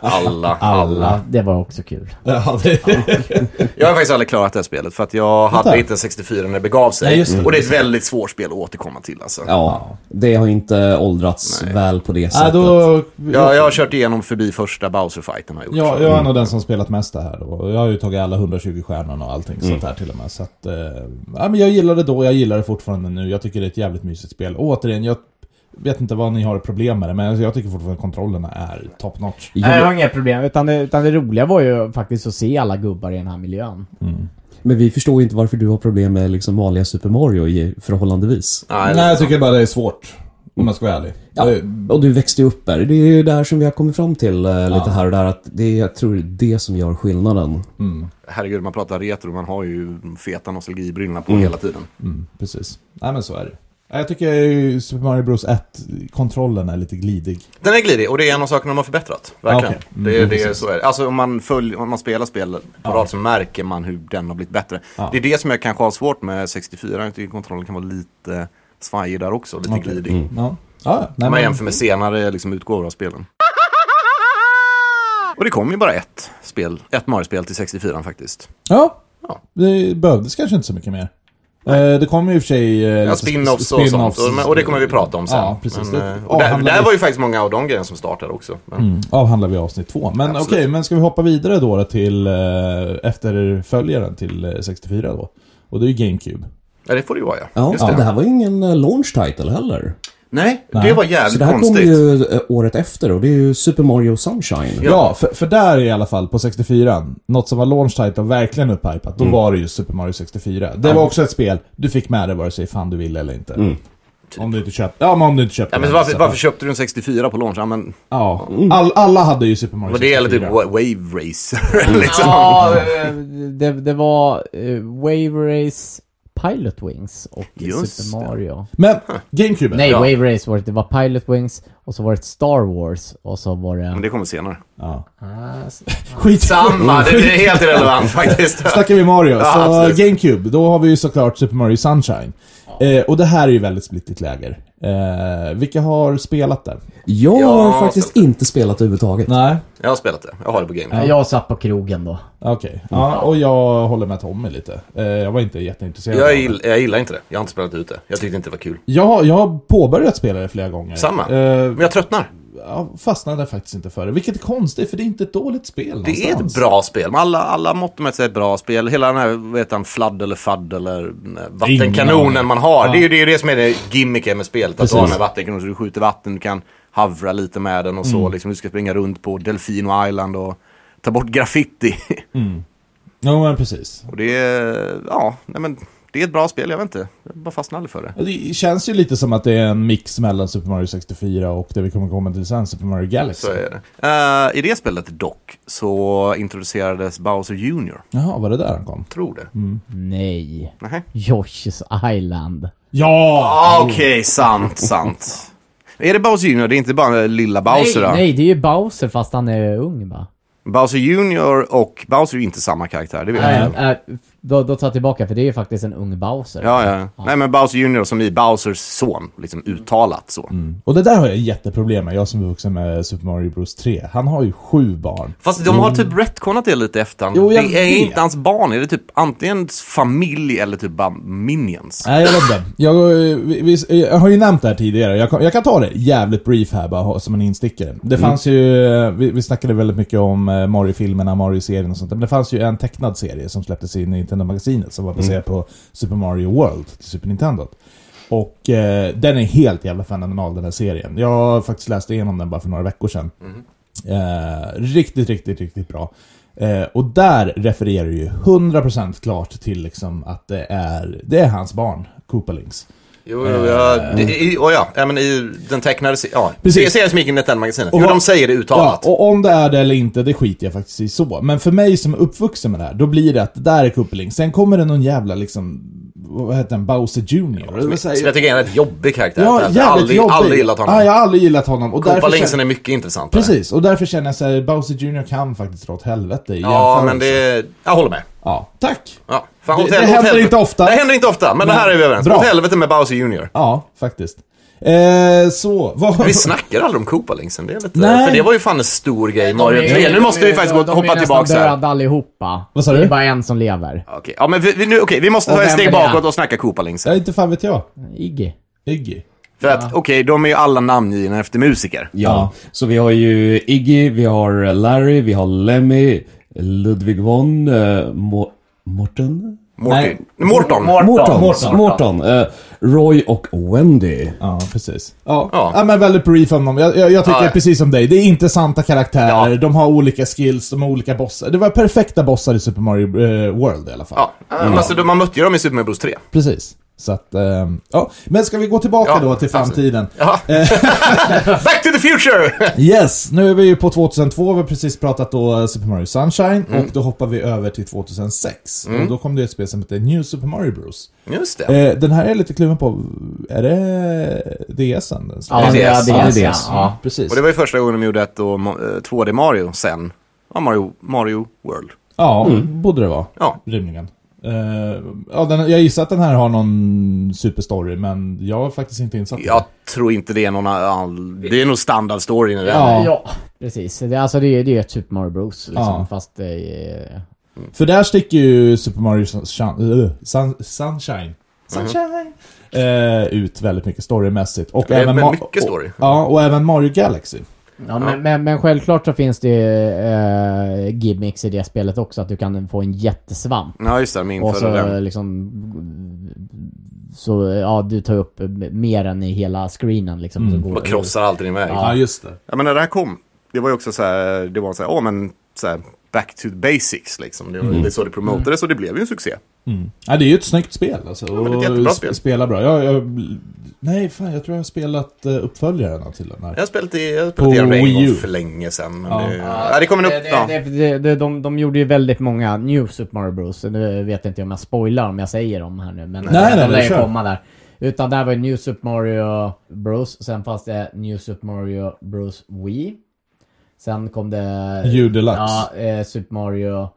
Speaker 2: Alla,
Speaker 5: Ja,
Speaker 2: alla.
Speaker 5: det var också kul.
Speaker 3: ja, det,
Speaker 2: Jag har faktiskt aldrig klarat det här spelet för att jag hade inte en 64 när det begav sig.
Speaker 3: Nej, just det.
Speaker 2: Och det är ett väldigt svårt spel att återkomma till alltså.
Speaker 1: Ja, det har inte åldrats väl på det
Speaker 3: Nej,
Speaker 1: sättet.
Speaker 3: då...
Speaker 2: Jag, jag har kört igenom förbi första Bowser-fighten har jag gjort.
Speaker 3: Ja, jag är nog den som spelat mest det här då. Jag har ju tagit alla 120 stjärnorna och allting sånt
Speaker 2: Mm.
Speaker 3: här till och med. Så att, eh, ja, men jag gillade det då, jag gillar det fortfarande nu. Jag tycker det är ett jävligt mysigt spel. Och återigen, jag vet inte vad ni har problem med det, men jag tycker fortfarande kontrollerna är top notch.
Speaker 5: Nej, det var inget problem. Utan det, utan det roliga var ju faktiskt att se alla gubbar i den här miljön.
Speaker 1: Men vi förstår ju inte varför du har problem med liksom vanliga Super Mario i förhållandevis.
Speaker 2: Nej, liksom.
Speaker 3: Nej, jag tycker bara det är svårt. Om jag ska vara ärlig.
Speaker 1: Ja,
Speaker 3: Det-
Speaker 1: och du växte ju upp där. Det är ju där som vi har kommit fram till eh, lite här och där att det är, jag tror det är det som gör skillnaden.
Speaker 2: herregud, man pratar retro, man har ju feta nostalgibrillorna på hela tiden.
Speaker 3: mm, Precis. Nej men så är det Nej, Jag tycker ju Super Mario Bros 1-kontrollen är lite glidig.
Speaker 2: Den är glidig och det är en av sakerna de har förbättrat. Verkligen.
Speaker 3: Ja, Ah, okej. Mm,
Speaker 2: det, är- det är så är det. Alltså om man, följer, om man spelar spel på rad så märker man hur den har blivit bättre. Det är det som jag kanske har svårt med 64. Jag tycker kontrollen kan vara lite svajig där också, lite glidig. Om
Speaker 3: Ja. Ja, nej,
Speaker 2: man
Speaker 3: men,
Speaker 2: jämför med senare liksom, utgåvor av spelen. Och det kom ju bara ett spel, ett Mario-spel till 64 faktiskt.
Speaker 3: ja.
Speaker 2: Ja.
Speaker 3: det behövdes kanske inte så mycket mer. Eh, Det kommer ju i och för sig... eh,
Speaker 2: Ja,
Speaker 3: lite
Speaker 2: spin-offs och
Speaker 3: spin-offs.
Speaker 2: sånt. Och, men- och det kommer vi prata om sen.
Speaker 3: Ja, precis.
Speaker 2: Men,
Speaker 3: Det-
Speaker 2: eh, och där,
Speaker 3: avhandlar
Speaker 2: där
Speaker 3: vi- Mm.
Speaker 2: var ju faktiskt många av de grejerna som startade också. Men,
Speaker 3: Avhandlar vi avsnitt två. Men okej,
Speaker 2: Absolut.
Speaker 3: men ska vi hoppa vidare då till eh, efterföljaren till eh, 64 då? Och det är ju GameCube.
Speaker 2: Ja, det får det ju vara ja.
Speaker 1: Ja,
Speaker 2: Just
Speaker 1: det.
Speaker 2: det.
Speaker 1: här var ju ingen eh, launch title heller.
Speaker 2: Nej, det var
Speaker 1: Så
Speaker 2: jävligt
Speaker 1: det här kom
Speaker 2: konstigt.
Speaker 1: ju eh, året efter och det är ju Super Mario Sunshine.
Speaker 3: Ja, för, för där i alla fall, på 64 något som var launch title och verkligen upphypat, då var det ju Super Mario 64. Det var också ett spel, du fick med det vare sig fan du ville eller inte. Om du inte köpte, ja men om du inte köpte
Speaker 2: Ja, men
Speaker 3: den,
Speaker 2: varför,
Speaker 3: så-
Speaker 2: varför köpte du en 64 på launch? Ja, men
Speaker 3: Ja, all, alla hade ju Super Mario
Speaker 2: Vad
Speaker 3: 64.
Speaker 2: det gäller typ wa- Wave Racer liksom.
Speaker 5: Ja, eh, det, det var eh, Wave Race Pilot Wings och
Speaker 2: Just
Speaker 5: Super
Speaker 2: det.
Speaker 5: Mario.
Speaker 3: Men, GameCube.
Speaker 5: Nej,
Speaker 2: Ja.
Speaker 5: Wave Race var det. Det var Pilot Wings och så var det Star Wars och så var det...
Speaker 2: Men det kommer senare.
Speaker 3: Ja.
Speaker 5: Ah, s-
Speaker 3: Skit
Speaker 2: Samma, det
Speaker 3: Mm.
Speaker 2: är helt irrelevant faktiskt.
Speaker 3: snackar vi Mario.
Speaker 2: Ja,
Speaker 3: så
Speaker 2: absolut.
Speaker 3: GameCube, då har vi ju såklart Super Mario Sunshine. Eh, och det här är ju väldigt splittigt läger. Eh, vilka har spelat det?
Speaker 1: Jag har
Speaker 2: Ja,
Speaker 1: faktiskt
Speaker 2: så-
Speaker 1: inte spelat överhuvudtaget.
Speaker 3: Nej,
Speaker 2: Jag har spelat det, jag har det på game.
Speaker 5: Jag satt på krogen då.
Speaker 3: okej. Ja, och jag håller med Tommy lite. Eh, jag var inte jätteintresserad
Speaker 2: Jag,
Speaker 3: av det.
Speaker 2: gill, jag gillar inte det, jag har inte spelat ut det. Jag tyckte inte det var kul.
Speaker 3: Jag, har- jag har påbörjat spela det flera gånger.
Speaker 2: Samma.
Speaker 3: Eh,
Speaker 2: Men jag tröttnar.
Speaker 3: jag fastnade faktiskt inte för det, vilket är konstigt för det är inte ett dåligt spel
Speaker 2: Det är ett
Speaker 3: någonstans.
Speaker 2: bra spel. Med Alla, alla mått med sig är ett bra spel. Hela den här, vad heter han, fladd eller fadd eller eh,
Speaker 3: Ingen aning.
Speaker 2: vattenkanonen man har. Det är ju det, är ju det som är det gimmicken med spelet. Att du har den
Speaker 3: Precis.
Speaker 2: här vattenkanonen så du skjuter vatten, du kan havra lite med den och så.
Speaker 3: Mm.
Speaker 2: Liksom, du ska springa runt på Delfino Island och ta bort graffiti.
Speaker 3: Ja, men precis.
Speaker 2: och det är, ja, nej men det är ett bra spel, jag vet inte. Jag bara fastnar aldrig för det.
Speaker 3: Det känns ju lite som att det är en mix mellan Super Mario 64 och det vi kommer komma till sen, Super Mario Galaxy.
Speaker 2: Så är det. Eh, I det spelet dock så introducerades Bowser Jr.
Speaker 3: Jaha, var det där han kom?
Speaker 2: Tror det.
Speaker 3: Mm.
Speaker 5: Nej.
Speaker 2: Nej.
Speaker 5: Yoshi's Island.
Speaker 3: Ja!
Speaker 2: Ah, Okej, sant, sant. Är det Bowser Jr? Det är inte bara lilla Bowser
Speaker 5: nej,
Speaker 2: då?
Speaker 5: nej, det är ju Bowser fast han är ung va?
Speaker 2: Bowser Jr och Bowser är ju inte samma karaktär, det vet jag.
Speaker 5: Äh, äh, då, då tar jag tillbaka för det är ju faktiskt en ung Bowser.
Speaker 2: Ja, ja. Nej, men Bowser Jr som i Bowsers son, liksom uttalat så.
Speaker 3: Och det där har jag jätteproblem med, jag som är vuxen med Super Mario Bros 3. Han har ju sju barn.
Speaker 2: Fast de har typ retconat det lite efter han.
Speaker 3: Mm. Jo,
Speaker 2: Det
Speaker 3: jag
Speaker 2: är
Speaker 3: vet.
Speaker 2: inte hans barn, det är typ antingen hans familj eller typ bara minions.
Speaker 3: Nej, jag vet inte. Jag, eh, vi, vi, jag har ju nämnt det här tidigare, jag, kan- jag kan ta det jävligt brief här bara ha- som en instickare. Det fanns ju, eh, vi, vi snackade väldigt mycket om eh, Mario-filmerna, Mario-serien och sånt där, men det fanns ju en tecknad serie som släpptes i Nintendo-magasinet som var baserad på Super Mario World till Super Nintendo. Och eh, den är helt jävla fenomenal den här serien. Jag faktiskt läste igenom den bara för några veckor sedan. Eh, riktigt, riktigt, riktigt bra. Eh, och där refererar ju 100% klart till liksom att det är, det är hans barn, Koopalings.
Speaker 2: Jo, jo, ja. Det, i, och ja, ja, men i den tecknade se- ja.
Speaker 3: Precis.
Speaker 2: Precis. serien som gick i Nintendo-magasinet.
Speaker 3: Och
Speaker 2: Hur
Speaker 3: vad-
Speaker 2: de säger det uttalat.
Speaker 3: Ja, och om det är det eller inte, det skiter jag faktiskt i så. Men för mig som är uppvuxen med det här, då blir det att det där är Koopalings. Sen kommer det någon jävla liksom, vad heter den, Bowser Jr. Eller vad
Speaker 2: som
Speaker 3: säger-
Speaker 2: jag tycker är en rätt jobbig karaktär.
Speaker 3: Ja,
Speaker 2: Jag har
Speaker 3: jävligt
Speaker 2: aldrig,
Speaker 3: jobbig.
Speaker 2: aldrig gillat honom.
Speaker 3: Ja, jag har aldrig gillat honom. Och därför
Speaker 2: Koopalingsen
Speaker 3: känner-
Speaker 2: är mycket intressantare.
Speaker 3: Precis, och därför känner jag så här, Bowser Jr kan faktiskt dra åt helvete i
Speaker 2: Ja, men
Speaker 3: jämförelse.
Speaker 2: det... Jag håller med.
Speaker 3: Ja, tack!
Speaker 2: Ja. Fan,
Speaker 3: Det-
Speaker 2: åt
Speaker 3: det
Speaker 2: helvete- åt
Speaker 3: händer
Speaker 2: helvete.
Speaker 3: inte ofta.
Speaker 2: Det händer inte ofta, men det här är vi överens om.
Speaker 3: Bra.
Speaker 2: Åt helvete med Bowser Jr.
Speaker 3: Ja, faktiskt. Eh, så, vad...
Speaker 2: Vi snackar aldrig om Koopalingsen, det är lite...
Speaker 3: Nej.
Speaker 2: För det var ju fan en stor grej i Mario 3. Nu måste vi faktiskt gå,
Speaker 5: de,
Speaker 2: hoppa tillbaka
Speaker 5: De är
Speaker 2: här.
Speaker 5: nästan döda allihopa.
Speaker 3: Vad sa du?
Speaker 5: Det är bara en som lever.
Speaker 2: Okej, ja, men vi, vi, nu, okej, vi måste
Speaker 5: Och
Speaker 2: ta ett
Speaker 5: vem är
Speaker 2: steg
Speaker 5: det?
Speaker 2: bakåt och snacka
Speaker 3: Ja,
Speaker 2: Koopalingsen.
Speaker 3: inte fan vet jag.
Speaker 5: Iggy.
Speaker 3: Iggy.
Speaker 2: För att, okej, de är ju alla namngivna efter musiker.
Speaker 1: Ja, så vi har ju Iggy, vi har Larry, vi har Lemmy, Ludvig von, eh, Mo- Morten?
Speaker 2: Morty. Morton.
Speaker 1: Morton.
Speaker 3: Morton.
Speaker 1: Morton. eh, Roy och Wendy.
Speaker 3: Ja, precis. Ja.
Speaker 2: Ja.
Speaker 3: Ja. men väldigt brief om dem. Jag, jag, jag tycker
Speaker 2: Ja.
Speaker 3: precis som dig. Det är intressanta karaktärer,
Speaker 2: Ja.
Speaker 3: de har olika skills, de har olika bossar. Det var perfekta bossar i Super Mario eh, World i alla fall.
Speaker 2: Ja, men alltså de- man mötte ju dem i Super Mario Bros 3.
Speaker 3: Precis. Så att, ehm, ja. Men ska vi gå tillbaka
Speaker 2: Ja,
Speaker 3: då till framtiden?
Speaker 2: Ja.
Speaker 3: Eh.
Speaker 2: Back to the future!
Speaker 3: Yes, nu är vi ju på 2002, vi har precis pratat då eh, Super Mario Sunshine
Speaker 2: Mm.
Speaker 3: och då hoppar vi över till 2006. Och då kom det ett spel som heter New Super Mario Bros.
Speaker 2: Just det.
Speaker 3: Eh, den här är jag lite kluven på, är det DSen? den
Speaker 5: Ja,
Speaker 2: det är
Speaker 5: ja,
Speaker 2: DS.
Speaker 5: det är DS.
Speaker 1: Ja.
Speaker 5: Ja.
Speaker 3: precis.
Speaker 2: Och det var ju första gången de gjorde ett då, eh, 2D Mario sen. Ja, Mario, Mario World.
Speaker 3: Ja,
Speaker 5: Mm.
Speaker 3: borde det vara.
Speaker 2: Ja.
Speaker 3: Rimligen. Eh, ja, den, jag gissar att den här har någon superstory, men jag är faktiskt inte insatt i
Speaker 2: Jag
Speaker 3: det.
Speaker 2: tror inte det är någon all... Det är nog standardstory i den.
Speaker 3: Ja.
Speaker 5: Ja, precis. Det, alltså det, är- det är ett Super Mario Bros. Liksom,
Speaker 3: Ja.
Speaker 5: Fast det är...
Speaker 3: För där sticker ju Super Mario Sunshine, eh, Sun, Sunshine, Sunshine eh, ut väldigt mycket storymässigt. Och
Speaker 2: Det är
Speaker 3: även
Speaker 2: väl
Speaker 3: Ma-
Speaker 2: mycket story.
Speaker 3: Och, ja, och även Mario Galaxy.
Speaker 5: Ja, men, men, men självklart så finns det ju eh, gimmicks i det spelet också. Att du kan få en jättesvamp.
Speaker 2: Ja, just det. Min
Speaker 5: Och
Speaker 2: förra
Speaker 5: så
Speaker 2: den.
Speaker 5: liksom... Så ja, du tar upp mer än i hela screenen liksom. Så går,
Speaker 2: Och krossar alltid din väg.
Speaker 3: Ja, just det.
Speaker 2: Ja, men när det här kom, det var ju också så här, det var så här, åh men, så här, back to basics liksom. Det, var- det är så det promotades och det blev ju en succé.
Speaker 3: Ja, det är ju ett snyggt spel alltså.
Speaker 2: men det är ett
Speaker 3: och
Speaker 2: jättebra
Speaker 3: sp-
Speaker 2: spel.
Speaker 3: Spela bra. Jag, jag Nej, fan jag tror jag har spelat eh, uppföljarna till den här.
Speaker 2: Jag har spelat, i, jag har
Speaker 3: På
Speaker 2: spelat igenom det
Speaker 3: Wii
Speaker 2: en
Speaker 3: U.
Speaker 2: gång för länge sedan. Men
Speaker 3: Ja.
Speaker 2: det, ja, det kommer nog...
Speaker 5: Det,
Speaker 2: ja.
Speaker 5: det, det, det, de, de gjorde ju väldigt många New Super Mario Bros. Nu vet inte jag om jag spoilar om jag säger dem här nu. Men
Speaker 3: Nej, nej,
Speaker 5: de
Speaker 3: nej,
Speaker 5: lär ju
Speaker 3: kör.
Speaker 5: komma där. Utan där var ju New Super Mario Bros. Sen fanns det New Super Mario Bros. Wii. Sen kom det...
Speaker 3: U Deluxe.
Speaker 5: Ja, eh, Super Mario...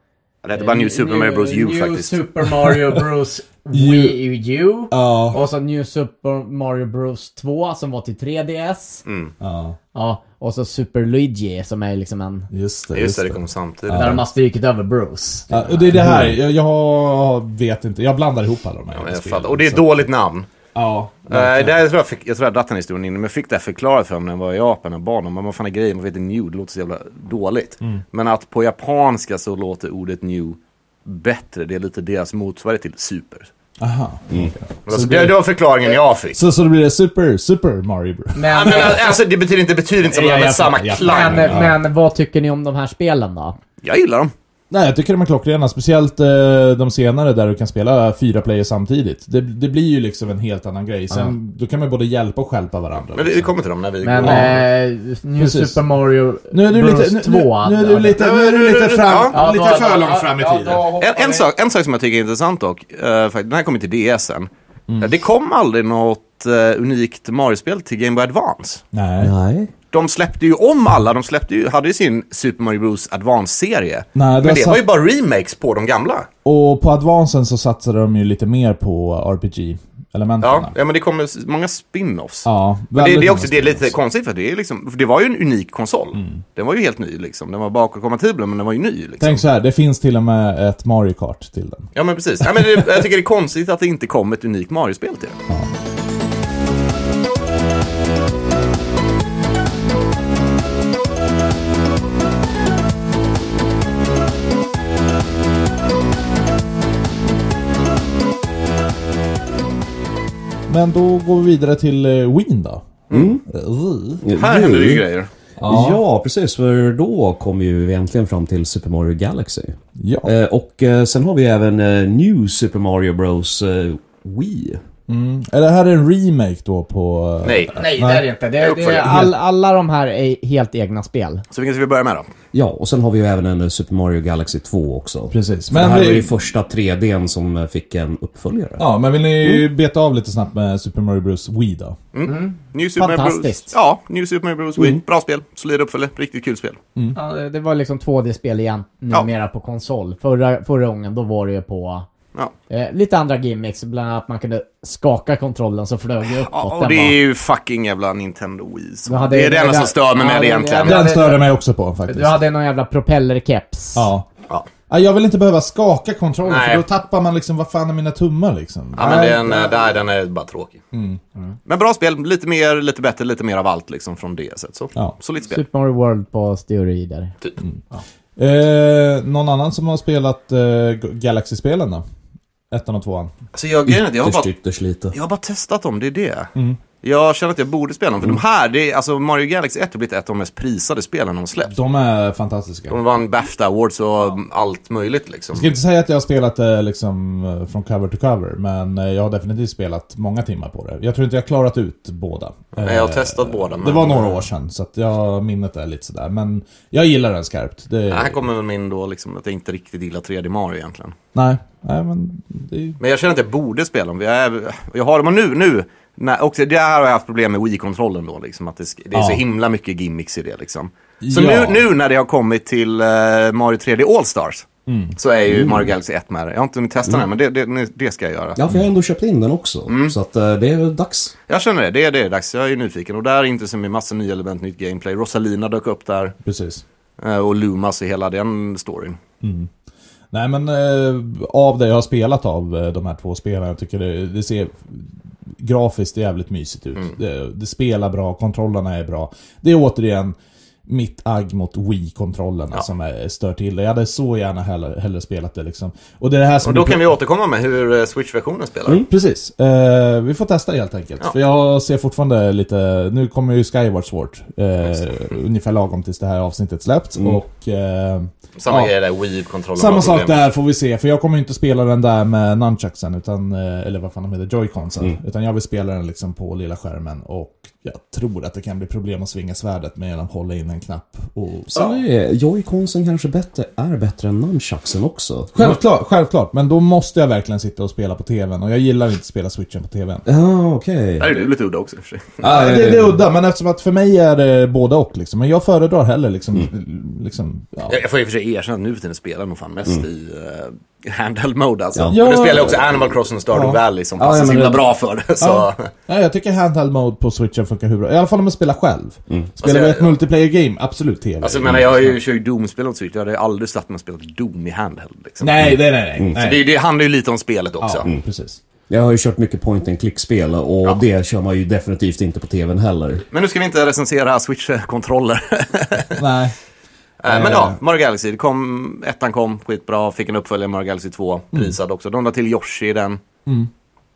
Speaker 2: Det heter bara New Super Mario Bros U
Speaker 5: New
Speaker 2: faktiskt.
Speaker 5: Super Mario Bros. Wii U.
Speaker 3: Ja.
Speaker 5: Och så New Super Mario Bros 2 som var till 3DS.
Speaker 2: Mm.
Speaker 3: ja,
Speaker 5: Ja, och så Super Luigi som är liksom en...
Speaker 3: just det.
Speaker 2: Just det, det kom samtidigt.
Speaker 5: Där de har strykit över Bros.
Speaker 3: Ja, och det är det här, jag, jag vet inte, jag blandar ihop alla de här.
Speaker 2: Ja,
Speaker 3: jävla
Speaker 2: jag
Speaker 3: spelen,
Speaker 2: fattar. Och det är ett
Speaker 3: så-
Speaker 2: dåligt namn.
Speaker 3: liksom. Ja.
Speaker 2: Nej, det här, jag, tror jag, fick, jag tror jag har dratt den historien innan, men jag fick det här förklarat för mig när jag var i Japan och barn. Men vad fan är grejen? Man vet inte new, det låter så jävla dåligt.
Speaker 3: Mm.
Speaker 2: Men att på japanska så låter ordet new bättre. Det är lite deras motsvarighet till super.
Speaker 3: Aha. Mm.
Speaker 2: Men alltså, det, det var förklaringen jag fick.
Speaker 3: Så, så då blir det Super, Super Mario Bros.
Speaker 2: Ja,
Speaker 5: Men,
Speaker 2: men, alltså, det betyder inte, betyder inte samma,
Speaker 3: Ja, jag
Speaker 2: men samma
Speaker 3: fattar, jag
Speaker 2: klang.
Speaker 5: men, men vad tycker ni om de här spelen då?
Speaker 2: Jag gillar dem.
Speaker 3: Nej, jag tycker de är klockrena. Speciellt eh, de senare där du kan spela fyra player samtidigt. Det, det blir ju liksom en helt annan grej. Sen, Då kan man både hjälpa och stjälpa varandra.
Speaker 2: Men vi, vi kommer till dem när vi
Speaker 5: Men
Speaker 2: går.
Speaker 5: eh, New
Speaker 3: Precis.
Speaker 5: Super Mario
Speaker 3: Nu är du
Speaker 5: Bros
Speaker 3: lite, nu,
Speaker 5: 2.
Speaker 3: nu, nu är du lite, nu är du lite fram,
Speaker 2: Ja,
Speaker 3: lite för långt fram i tiden.
Speaker 2: En, en, sak, en sak som jag tycker är intressant dock, eh, faktiskt, den här kom ju till DSen. Eh, Det kom aldrig något eh, unikt Mario-spel till Game Boy Advance.
Speaker 3: Nej.
Speaker 1: Nej.
Speaker 2: De släppte ju om alla, de släppte ju, hade ju sin Super Mario Bros Advance-serie.
Speaker 3: Nej, det
Speaker 2: Men det
Speaker 3: satt-
Speaker 2: var ju bara remakes på de gamla.
Speaker 3: Och på Advancen så satsade de ju lite mer på RPG-elementen.
Speaker 2: Ja, ja men det kom ju s- många spin-offs.
Speaker 3: ja
Speaker 2: Men det,
Speaker 3: väldigt
Speaker 2: det är
Speaker 3: många
Speaker 2: också det är lite
Speaker 3: spelare.
Speaker 2: konstigt för det, är liksom, för det var ju en unik konsol.
Speaker 3: Mm.
Speaker 2: Den var ju helt ny liksom. Den var bakåtkompatibel men den var ju ny. Liksom.
Speaker 3: Tänk så här, det finns till och med ett Mario Kart till den.
Speaker 2: Ja men precis. Ja, men det, jag tycker det är konstigt att det inte kom ett unikt Mario-spel till den.
Speaker 3: Men då går vi vidare till eh, Wien då.
Speaker 2: Här händer det ju
Speaker 1: Mm.
Speaker 2: grejer.
Speaker 1: Ja. precis. För då kom vi ju egentligen fram till Super Mario Galaxy.
Speaker 3: Ja.
Speaker 1: Eh, och eh, sen har vi även eh, New Super Mario Bros eh, Wii.
Speaker 3: Är det här en remake då på... eh,
Speaker 2: Nej.
Speaker 5: Nej, det är det inte. Det,
Speaker 2: Jag
Speaker 5: är- det är
Speaker 2: uppföljer.
Speaker 5: all, alla de här är helt egna spel.
Speaker 2: Så vilken ska vi börja med då?
Speaker 1: Ja, och sen har vi ju även en eh, Super Mario Galaxy 2 också.
Speaker 3: Precis.
Speaker 1: Men det
Speaker 3: Men
Speaker 1: här
Speaker 3: vi-
Speaker 1: var ju första 3Dn som eh, fick en uppföljare.
Speaker 3: Ja, men vill ni beta av lite snabbt med Super Mario Bros Wii då?
Speaker 2: New Super Mario Bros.
Speaker 5: Fantastiskt.
Speaker 2: Ja, New Super Mario Bros. Wii. Bra spel. Solid uppföljare. Riktigt kul spel.
Speaker 3: Mm.
Speaker 5: Ja, det var liksom 2D-spel igen, numera på konsol. Förra, förra gången då var det ju på
Speaker 2: Ja.
Speaker 5: eh, lite andra gimmicks, bland annat att man kunde skaka kontrollen så flög det uppåt.
Speaker 2: Ja,
Speaker 5: Den
Speaker 2: och det
Speaker 5: var-
Speaker 2: är ju fucking jävla Nintendo Wii. Så.
Speaker 5: Du hade-
Speaker 2: det är det enda
Speaker 5: det-
Speaker 2: som stör mig
Speaker 5: ja,
Speaker 2: med det
Speaker 5: det-
Speaker 2: egentligen.
Speaker 5: det-
Speaker 3: Den
Speaker 5: det-
Speaker 3: störde mig också på faktiskt.
Speaker 5: Du hade någon jävla propellerkeps.
Speaker 3: Ja.
Speaker 2: Ja.
Speaker 3: Ja, Jag vill inte behöva skaka kontrollen
Speaker 2: Nej.
Speaker 3: för då tappar man liksom, vad fan är mina tummar liksom?
Speaker 2: Ja, men den, eh, nej, den är bara tråkig.
Speaker 5: Mm.
Speaker 2: Men bra spel. Lite mer, lite bättre, lite mer av allt liksom från det sättet. Så
Speaker 3: Ja.
Speaker 2: solitt spel.
Speaker 5: Super Mm. Mario World på steroider.
Speaker 2: Typ.
Speaker 3: Eh, någon annan som har spelat eh, G- Galaxy-spelen då? Ettan och tvåan.
Speaker 2: Alltså jag, grejen är att jag har
Speaker 1: Ytterst,
Speaker 2: bara,
Speaker 1: ytterst lite.
Speaker 2: jag har bara testat dem, det är det.
Speaker 5: Mm.
Speaker 2: Jag känner att jag borde spela dem, för de här, det är, alltså Mario Galaxy 1 har blivit ett av de mest prisade spelen de släppt.
Speaker 3: De är fantastiska.
Speaker 2: De
Speaker 3: Jag
Speaker 2: vann Bafta Awards och allt möjligt liksom.
Speaker 3: ska inte säga att jag har spelat det liksom eh, från cover to cover, men eh, jag har definitivt spelat många timmar på det. Jag tror inte jag har klarat ut båda. Eh,
Speaker 2: Nej, jag har testat båda.
Speaker 3: Det var några år sedan, så att jag minnet är lite sådär. Men jag gillar den skarpt. Det,
Speaker 2: Ja, Här kommer väl min då, liksom, att jag inte riktigt gillar 3D Mario egentligen.
Speaker 3: Nej, nej men det är ju...
Speaker 2: Men jag känner att jag borde spela dem. Jag, är, jag har dem nu, nu. Nej, och det här har jag haft problem med Wii-kontrollen då, liksom, att det, sk- det är så
Speaker 3: Ja.
Speaker 2: himla mycket gimmicks i det. Liksom. Så
Speaker 3: Ja.
Speaker 2: nu, nu när det har kommit till eh, Mario 3D All-Stars
Speaker 3: Mm.
Speaker 2: så är ju Mario Galaxy 1 med det. Jag har inte hunnit testa den, men det, det, det ska jag göra.
Speaker 1: Ja, för jag har ändå köpt in den också.
Speaker 3: Mm.
Speaker 1: Så att eh, det är väl dags.
Speaker 2: Jag känner det, det är det är dags. Jag är nyfiken. Och där inte som med massor nya element, nytt gameplay. Rosalina dök upp där
Speaker 3: Precis.
Speaker 2: eh, och Lumas i hela den storyn.
Speaker 3: Mm. Nej men eh, av det jag har spelat av eh, de här två spelen, jag tycker det, det ser
Speaker 2: Mm.
Speaker 3: grafiskt jävligt mysigt ut. Det, det spelar bra, kontrollerna är bra. Det är återigen mitt agg mot Wii-kontrollerna
Speaker 2: Ja.
Speaker 3: som är, stör till det. Jag hade så gärna hellre, hellre spelat det liksom. Och det är det här som...
Speaker 2: Och då kan vi återkomma med hur eh, Switch-versionen spelar.
Speaker 3: Mm. Precis. Eh, vi får testa helt enkelt.
Speaker 2: Ja.
Speaker 3: För jag ser fortfarande lite... Nu kommer ju Skyward Sword. Eh, ungefär lagom tills det här avsnittet släppts.
Speaker 2: Mm.
Speaker 3: Och... Eh,
Speaker 2: Samma
Speaker 3: ja.
Speaker 2: grej där, Wii-kontrollen.
Speaker 3: Samma
Speaker 2: var
Speaker 3: sak
Speaker 2: problemet.
Speaker 3: där får vi se, för jag kommer ju inte spela den där med nunchucksen, utan, eh, eller vad fan de heter, joyconsen.
Speaker 2: Mm.
Speaker 3: Utan jag vill spela den liksom på lilla skärmen och jag tror att det kan bli problem att svinga svärdet med genom att hålla in en knapp och...
Speaker 1: Sen är det- joyconsen kanske bättre, är bättre än nunchucksen också.
Speaker 3: Självklart, självklart, men då måste jag verkligen sitta och spela på TVn och jag gillar inte att spela switchen på TVn.
Speaker 1: Ja, okej.
Speaker 2: Där är du lite udda också i och för sig.
Speaker 1: Ah,
Speaker 3: Ja,
Speaker 1: ja,
Speaker 3: det,
Speaker 1: ja,
Speaker 3: det
Speaker 1: ja.
Speaker 3: är udda, men eftersom att för mig är det båda och liksom. Men jag föredrar hellre liksom...
Speaker 2: Mm.
Speaker 3: liksom ja.
Speaker 2: Jag jag får i och för sig erkänna att nu för tiden spelar jag nog fan mest
Speaker 3: Mm.
Speaker 2: i uh, handheld mode alltså.
Speaker 1: Ja.
Speaker 2: Men nu spelar jag också Animal Crossing Stardew
Speaker 3: Ja.
Speaker 2: Valley som
Speaker 1: Ja,
Speaker 2: passar
Speaker 1: ja,
Speaker 2: så
Speaker 1: men
Speaker 2: himla
Speaker 1: det-
Speaker 2: bra för det. Så.
Speaker 3: Ja. Nej, jag tycker handheld mode på switchen funkar hur bra. I alla fall om man spelar själv. Spelar
Speaker 2: Alltså,
Speaker 3: vi ett
Speaker 2: jag-
Speaker 3: multiplayer game, absolut TV.
Speaker 2: Alltså, jag menar, jag har ju, kör ju Doom-spel och Switch. Jag hade ju aldrig satt mig och spelat Doom i handheld. Liksom.
Speaker 3: Nej, nej, nej. nej. nej.
Speaker 2: Så det, det handlar ju lite om spelet också.
Speaker 3: Ja, Mm. precis.
Speaker 1: Jag har ju kört mycket point and click-spel och det kör man ju definitivt inte på tvn heller.
Speaker 2: Men nu ska vi inte recensera Switch-kontroller.
Speaker 3: Nej.
Speaker 2: Eh, Men ja, Mario Galaxy. Det kom, ettan kom, skitbra. Fick en uppföljare, Mario Galaxy 2.
Speaker 3: Mm.
Speaker 2: Prisad också. De la till Yoshi i den.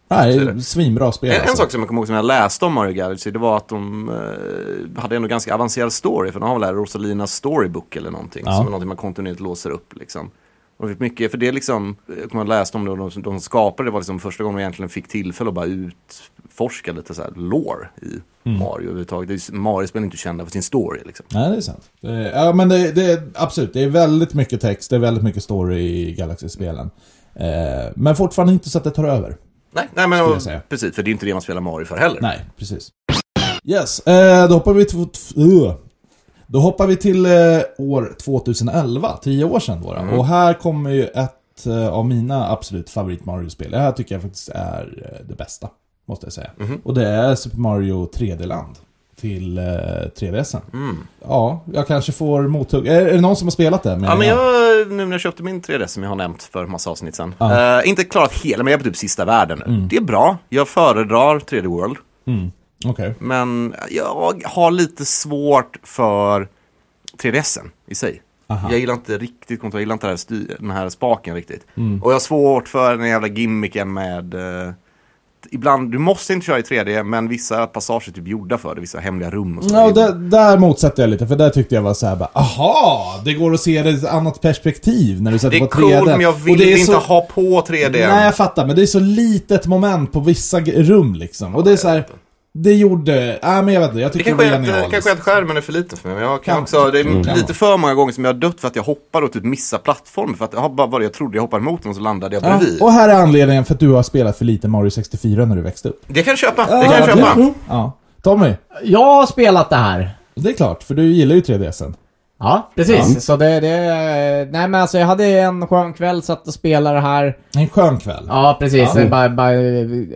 Speaker 3: Nej, svinbra spel
Speaker 2: En, en
Speaker 3: alltså.
Speaker 2: sak som jag kommer ihåg som jag läste om Mario Galaxy, det var att de eh, hade ändå ganska avancerad story, för de har väl det här Rosalinas storybook eller någonting,
Speaker 3: Ja.
Speaker 2: som är någonting man kontinuerligt låser upp liksom. Och de fick mycket, för det är liksom, jag kommer ihåg att läste om det, och de, de som skapade det var liksom första gången de egentligen fick tillfälle att bara utforska lite så här lore i
Speaker 3: Mm.
Speaker 2: Mario överhuvudtaget. Det är ju- Mario-spel är inte kända för sin story liksom.
Speaker 3: Nej, det är sant. Eh, Ja, men det, det är absolut. Det är väldigt mycket text, det är väldigt mycket story i Galaxy-spelen. Eh, Men fortfarande inte så att det tar över.
Speaker 2: Nej, nej men
Speaker 3: Skulle
Speaker 2: och,
Speaker 3: jag säga.
Speaker 2: precis, för det är inte det man spelar Mario för heller.
Speaker 3: Nej, precis. Yes, eh, då hoppar vi till... uh. Då hoppar vi till eh, år 2011, tio år sedan då. då.
Speaker 2: Mm.
Speaker 3: Och här kommer ju ett eh, av mina absolut favorit Mario-spel. Det här tycker jag faktiskt är eh, det bästa, måste jag säga.
Speaker 2: Mm-hmm.
Speaker 3: Och det är Super Mario 3D-land till eh, 3DSen.
Speaker 2: Mm.
Speaker 3: Ja, jag kanske får mothugg. Är, är det någon som har spelat det?
Speaker 2: Ja, men jag, nu när jag köpte min 3DS som jag har nämnt för massa avsnitt sen. eh, inte klarat hela, men jag är på typ sista världen nu.
Speaker 3: Mm.
Speaker 2: Det är bra. Jag föredrar 3D World.
Speaker 3: Okej.
Speaker 2: Men jag har lite svårt för 3DSen i sig.
Speaker 3: Aha.
Speaker 2: Jag gillar inte riktigt kontroll, jag gillar inte det här sty- den här spaken riktigt.
Speaker 3: Mm.
Speaker 2: Och jag har svårt för den jävla gimmicken med... Eh, ibland, du måste inte köra i 3D, men vissa passager är typ gjorda för det, vissa hemliga rum och så.
Speaker 3: Ja, och där, där motsatte jag lite, för där tyckte jag var såhär bara Aha! Det går att se det i ett annat perspektiv när du
Speaker 2: det
Speaker 3: sätter
Speaker 2: är
Speaker 3: på 3D.
Speaker 2: coolt, men jag
Speaker 3: Och
Speaker 2: vill
Speaker 3: det är
Speaker 2: inte
Speaker 3: så-
Speaker 2: ha på 3D.
Speaker 3: Nej, jag fattar. Men det är så litet moment på vissa g- rum liksom. Och det är så här. Det gjorde... Nej, men jag vet inte. Jag
Speaker 2: Det
Speaker 3: tycker det,
Speaker 2: kanske
Speaker 3: var
Speaker 2: är att,
Speaker 3: genialiskt.
Speaker 2: kanske är att skärmen är för liten för mig. Men jag kan
Speaker 3: Kan-
Speaker 2: också, det är
Speaker 3: Mm.
Speaker 2: lite för många gånger som jag har dött för att jag hoppar och typ missar plattformen. För att jag har bara varit, jag trodde jag hoppade mot någon så landade jag
Speaker 3: Ja,
Speaker 2: bredvid.
Speaker 3: och här är anledningen för att du har spelat för lite Mario 64 när du växte upp.
Speaker 2: Det kan jag köpa, det kan jag
Speaker 3: Ja,
Speaker 2: köpa.
Speaker 3: mm. Ja. Tommy,
Speaker 5: Jag har spelat det här.
Speaker 3: det är klart, för du gillar ju 3DSen.
Speaker 5: Ja, precis. Så det, det... Nej men alltså jag hade en skön kväll, satt och spelade det här.
Speaker 3: En skön kväll.
Speaker 5: Ja, precis. Jag Bara, bara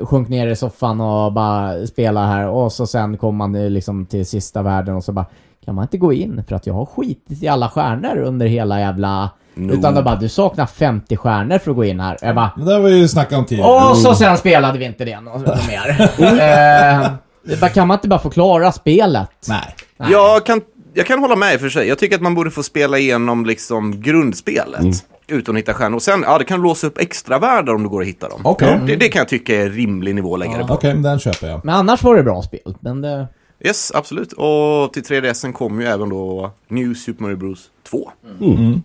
Speaker 5: sjönk ner i soffan och bara spela här. Och så sen kom man ju liksom till sista världen och så bara kan man inte gå in för att jag har skitit i alla stjärnor under hela jävla... Utan då bara du saknar 50 stjärnor för att gå in här. Jag bara
Speaker 3: Men det har vi ju snackat om tidigare.
Speaker 5: och så sen spelade vi inte det något mer. eh, det bara, kan man inte bara få klara spelet?
Speaker 3: Nej.
Speaker 2: Jag kan, jag kan hålla med i och för sig. Jag tycker att man borde få spela igenom liksom grundspelet.
Speaker 3: Mm.
Speaker 2: Utan att hitta stjärnor. Och sen, ja det kan låsa upp extra världar om du går att hitta dem.
Speaker 3: Okej.
Speaker 2: Det, det kan jag tycka är rimlig nivå att lägga det på.
Speaker 3: Okej, men den köper jag.
Speaker 5: Men annars var det bra spel. Men det...
Speaker 2: Yes, absolut. Och till 3DSen kom ju även då New Super Mario Bros 2.
Speaker 3: Mm.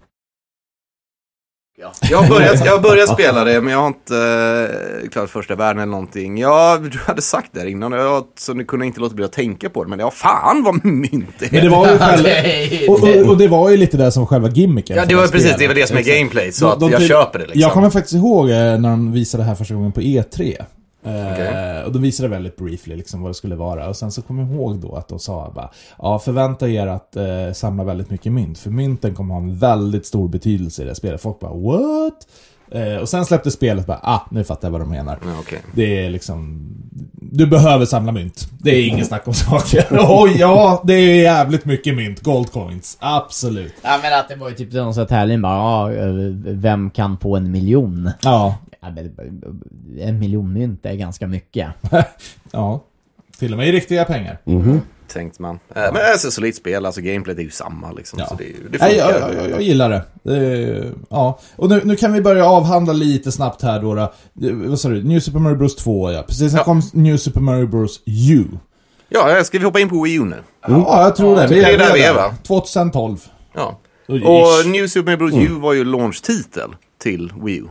Speaker 2: Ja. Jag har börjat, jag har börjat spela det, men jag har inte eh, klarat första världen eller någonting. Ja, du hade sagt det här innan, och jag, så nu kunde jag inte låta bli att tänka på det. Men ja, fan vad mynt det
Speaker 3: Men
Speaker 2: är.
Speaker 3: det var ju själva...
Speaker 5: det-
Speaker 3: Och, och, och det var ju lite det som var själva gimmicken.
Speaker 2: Ja,
Speaker 3: för
Speaker 2: det var
Speaker 3: spelet.
Speaker 2: precis, det var det som är
Speaker 3: Exakt.
Speaker 2: gameplay. Så
Speaker 3: De-
Speaker 2: att
Speaker 3: de
Speaker 2: jag
Speaker 3: typ-
Speaker 2: köper det
Speaker 3: Jag
Speaker 2: liksom.
Speaker 3: kommer faktiskt ihåg eh, när de visade det här första gången på E3. Eh,
Speaker 2: Okej.
Speaker 3: Och de visade väldigt briefly liksom vad det skulle vara. Och sen så kommer jag ihåg då att de sa bara, ja förvänta er att eh, samla väldigt mycket mynt. För mynten kommer ha en väldigt stor betydelse i det här spelet. Folk bara what? Eh, och sen släppte spelet bara, ah nu fattar jag vad de menar.
Speaker 2: Ja, okej.
Speaker 3: Det är liksom... Du behöver samla mynt. Det är ingen snack om saker. Oj, ja, det är jävligt mycket mynt. Gold coins. Absolut.
Speaker 5: Ja men att det var ju typ någon sån här tävling bara, ja, eh, vem kan få en miljon?
Speaker 3: Ja.
Speaker 5: Ja, men, eh, en miljon mynt är ganska mycket.
Speaker 3: Ja. Till och med i riktiga pengar.
Speaker 2: tänkte man. Eh, Men alltså, så lite spel, alltså gameplayet är ju samma liksom. Så det, är ju- det funkar.
Speaker 3: Nej, jag, jag, jag, jag gillar det. Eh, ja. Och nu, nu kan vi börja avhandla lite snabbt här då. då. Eh, Vad sa du? New Super Mario Bros 2, ja. Precis, sen
Speaker 2: Ja.
Speaker 3: kom New Super Mario Bros U.
Speaker 2: Ja, eh, ska vi hoppa in på Wii U nu?
Speaker 3: Ja, jag tror det.
Speaker 2: det är där vi är, va?
Speaker 3: 2012.
Speaker 2: Ja.
Speaker 3: Och
Speaker 2: Och
Speaker 3: ish. Mm.
Speaker 2: New Super Mario Bros. U var ju launchtitel till Wii U.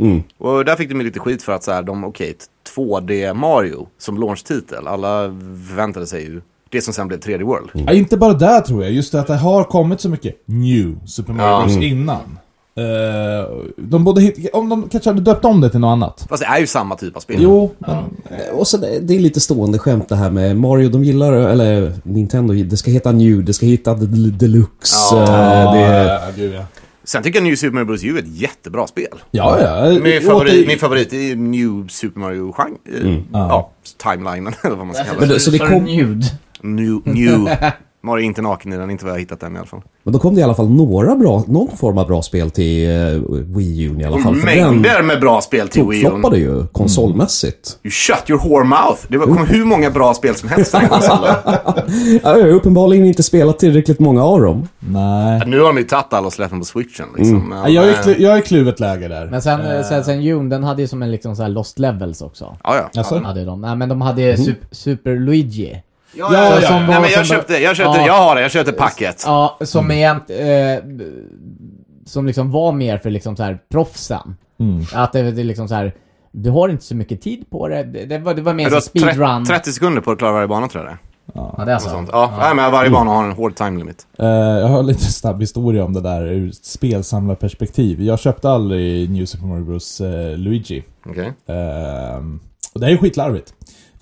Speaker 1: Mm.
Speaker 2: Och där fick de ju lite skit för att så här, de, okej, t- 2D Mario som launchtitel. Alla förväntade sig ju det som sen blev 3D World.
Speaker 1: Mm.
Speaker 3: Ja, inte bara där tror jag, just det att det har kommit så mycket New Super Mario
Speaker 2: Ja.
Speaker 3: Bros innan. Eh, de borde hit, om de kanske hade döpt om det till något annat.
Speaker 2: Fast det är ju samma typ av spel.
Speaker 3: Jo, men,
Speaker 1: Och sen, eh, det är lite stående skämt det här med Mario, de gillar, eller Nintendo, det ska heta New, det ska heta Del- Deluxe. eh, Det,
Speaker 3: Ja, gud, ja.
Speaker 2: Sen tycker jag New Super Mario Bros. U är ett jättebra spel.
Speaker 3: Ja,
Speaker 1: Mm.
Speaker 3: ja.
Speaker 2: Min
Speaker 3: Åter-
Speaker 2: favorit, min favorit är New Super Mario genre, ja, timelinen eller vad man ska kalla
Speaker 1: Mm. Men
Speaker 2: det.
Speaker 1: då- så det
Speaker 5: För
Speaker 1: kom-
Speaker 5: nude.
Speaker 2: New, new. Mario är inte naken i den, inte vad jag har hittat än i alla fall.
Speaker 1: men då kom det i alla fall några bra, någon form av bra spel till eh, Wii U i alla fall. för den
Speaker 2: Mängder med bra spel till Wii U. Mm.
Speaker 1: floppade ju konsolmässigt.
Speaker 2: You shut your whore mouth! Det var-
Speaker 3: Mm.
Speaker 2: kom hur många bra spel som helst. i den konsolen.
Speaker 1: Ja, Jag har uppenbarligen inte spelat tillräckligt många av dem.
Speaker 3: Nej.
Speaker 2: nu har de ju tagit alla och släppt dem på switchen. Liksom.
Speaker 3: Mm. Ja,
Speaker 2: Men,
Speaker 3: jag,
Speaker 2: eh,
Speaker 3: är klu, jag är kluvet läge där.
Speaker 5: Men sen, eh, sen, sen June, den hade ju som en liksom så här lost levels också.
Speaker 2: Ja, ja.
Speaker 3: Alltså?
Speaker 5: Hade de. Nej men de hade super, super Luigi.
Speaker 2: ja,
Speaker 3: ja,
Speaker 2: ja,
Speaker 3: ja.
Speaker 2: ja. Nej,
Speaker 5: Som-
Speaker 2: men jag
Speaker 5: som-
Speaker 2: köpte, jag köpte,
Speaker 5: Ja.
Speaker 2: jag har det, jag köpte packet.
Speaker 5: Ja, som egent, eh, Som liksom var mer för liksom så här proffsen. Att det, det är liksom så här. Du har inte så mycket tid på det. Det, det, var, det var mer
Speaker 2: Men Du
Speaker 5: som
Speaker 2: har
Speaker 5: speedrun.
Speaker 2: tre- 30 sekunder på att klara varje bana tror jag det är.
Speaker 5: ja, det är
Speaker 2: Något
Speaker 5: så.
Speaker 2: sånt. Ja, Nej, men
Speaker 3: Mm.
Speaker 2: varje bana har en hård time limit.
Speaker 3: Eh, jag har lite snabb historia om det där ur ett spelsamlarperspektiv. Jag köpte aldrig New Super Mario Bros eh, Luigi.
Speaker 2: Okej.
Speaker 3: Ehm, och det här är skitlarvigt.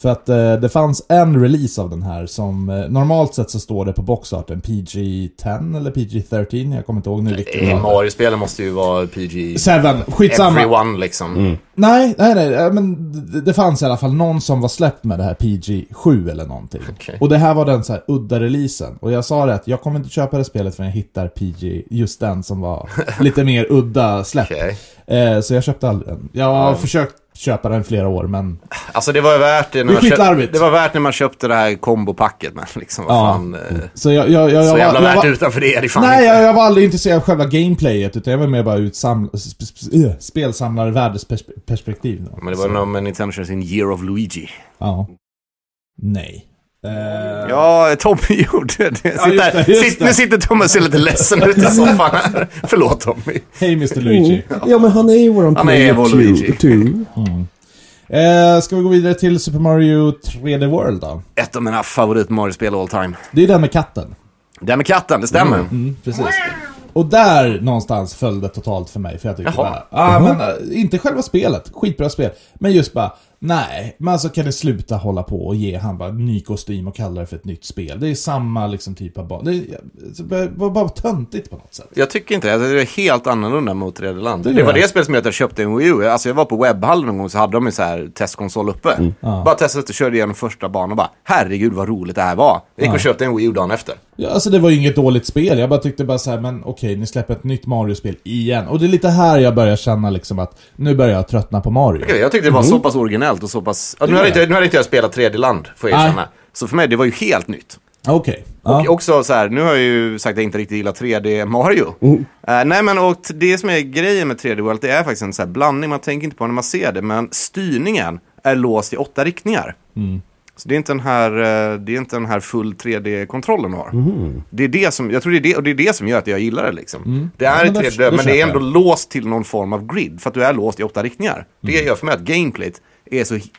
Speaker 3: För att eh, det fanns en release av den här som eh, normalt sett så står det på boxarten PG-10 eller PG-13, jag kommer inte ihåg nu vilken.
Speaker 2: Eh,
Speaker 3: det var.
Speaker 2: Mario-spelen måste ju vara PG...
Speaker 3: Seven, skitsamma.
Speaker 2: Everyone liksom.
Speaker 3: Mm. Nej, nej, nej, eh, men det, det fanns i alla fall någon som var släppt med det här PG-7 eller någonting.
Speaker 2: Okej.
Speaker 3: Och det här var den så här udda releasen. Och jag sa det att jag kommer inte köpa det spelet förrän jag hittar PG, just den som var lite mer udda släppt.
Speaker 2: Okej.
Speaker 3: Eh, så jag köpte aldrig den. Jag har försökt köpa den flera år, men
Speaker 2: Alltså det var värt det när
Speaker 3: Det är
Speaker 2: man köpte,
Speaker 3: skitlarvigt.
Speaker 2: det var värt när man köpte det här kombopacket men liksom vad
Speaker 3: Ja.
Speaker 2: fan. eh,
Speaker 3: Så jag, jag, jag, jag,
Speaker 2: Så jävla
Speaker 3: var, jag,
Speaker 2: värt
Speaker 3: var,
Speaker 2: utanför det är det fan
Speaker 3: Nej,
Speaker 2: inte.
Speaker 3: jag, jag var aldrig intresserad av själva gameplayet, utan jag var mer bara ur ett saml- sp- sp- eh, spelsamlarvärldens pers- perspektiv. då.
Speaker 2: Men det var ju när Nintendo körde sin Year of Luigi.
Speaker 3: Ja. Nej. Eh,
Speaker 2: Ja, Tommy gjorde det. Sitt
Speaker 3: just
Speaker 2: där.
Speaker 3: det, just
Speaker 2: Sitt,
Speaker 3: det.
Speaker 2: nu sitter Tommy och ser lite ledsen ut i soffan här. Förlåt Tommy.
Speaker 3: Hej Mr. Luigi.
Speaker 1: Mm. Ja, men han är ju våran
Speaker 2: Han är
Speaker 1: player
Speaker 2: vår
Speaker 1: two-
Speaker 2: Luigi.
Speaker 1: two.
Speaker 3: Eh, ska vi gå vidare till Super Mario 3D World då?
Speaker 2: Ett av mina favorit Mario-spel all time.
Speaker 3: Det är den med katten.
Speaker 2: Det här med katten, det stämmer.
Speaker 3: Mm, precis. Och där någonstans föll det totalt för mig, för jag tyckte
Speaker 2: Jaha.
Speaker 3: bara... Ah, men, eh, inte själva spelet, skitbra spel. Men just bara, nej, men alltså kan det sluta hålla på och ge han bara en ny kostym och kalla det för ett nytt spel. Det är samma liksom typ av barn. Det är- så Det var bara töntigt på något sätt.
Speaker 2: Jag tycker inte det. Jag tycker Det är helt annorlunda mot tredje land. Det,
Speaker 3: gör
Speaker 2: var
Speaker 3: jag.
Speaker 2: det spelet som gjorde att jag köpte en Wii U. Alltså jag var på webbhallen någon gång så hade de en så här testkonsol uppe. Bara testat och körde igenom första banan och bara herregud vad roligt det här var. Jag gick och köpte en Wii U dagen efter.
Speaker 3: Ja, alltså det var ju inget dåligt spel, jag bara tyckte bara så här, men okej, ni släpper ett nytt Mario-spel igen. Och det är lite här jag börjar känna liksom att nu börjar jag tröttna på Mario.
Speaker 2: Jag tyckte det var så pass originellt och så pass... Ja, nu, hade inte, nu hade inte jag spelat tredje land får jag
Speaker 3: Nej.
Speaker 2: erkänna. Så för mig det var ju helt nytt.
Speaker 3: Okej. Ja.
Speaker 2: Och också så här, nu har jag ju sagt att jag inte riktigt gillar 3D Mario.
Speaker 3: Mm.
Speaker 2: Eh, nej men och t- det som är grejen med 3D World, det är faktiskt en så här blandning, man tänker inte på när man ser det, men styrningen är låst i åtta riktningar.
Speaker 3: Mm.
Speaker 2: Så det är inte den här, eh, det är inte den här full 3D-kontrollen du har.
Speaker 3: Mhm.
Speaker 2: Det är det som, jag tror det är det, och det är det som gör att jag gillar det liksom. Det är
Speaker 3: Mm. men
Speaker 2: ett
Speaker 3: då-
Speaker 2: 3D,
Speaker 3: då
Speaker 2: men det är
Speaker 3: köper
Speaker 2: ändå
Speaker 3: jag.
Speaker 2: låst till någon form av grid, för att du är låst i åtta riktningar.
Speaker 3: Mm.
Speaker 2: Det gör för mig att gameplayt är så, hi-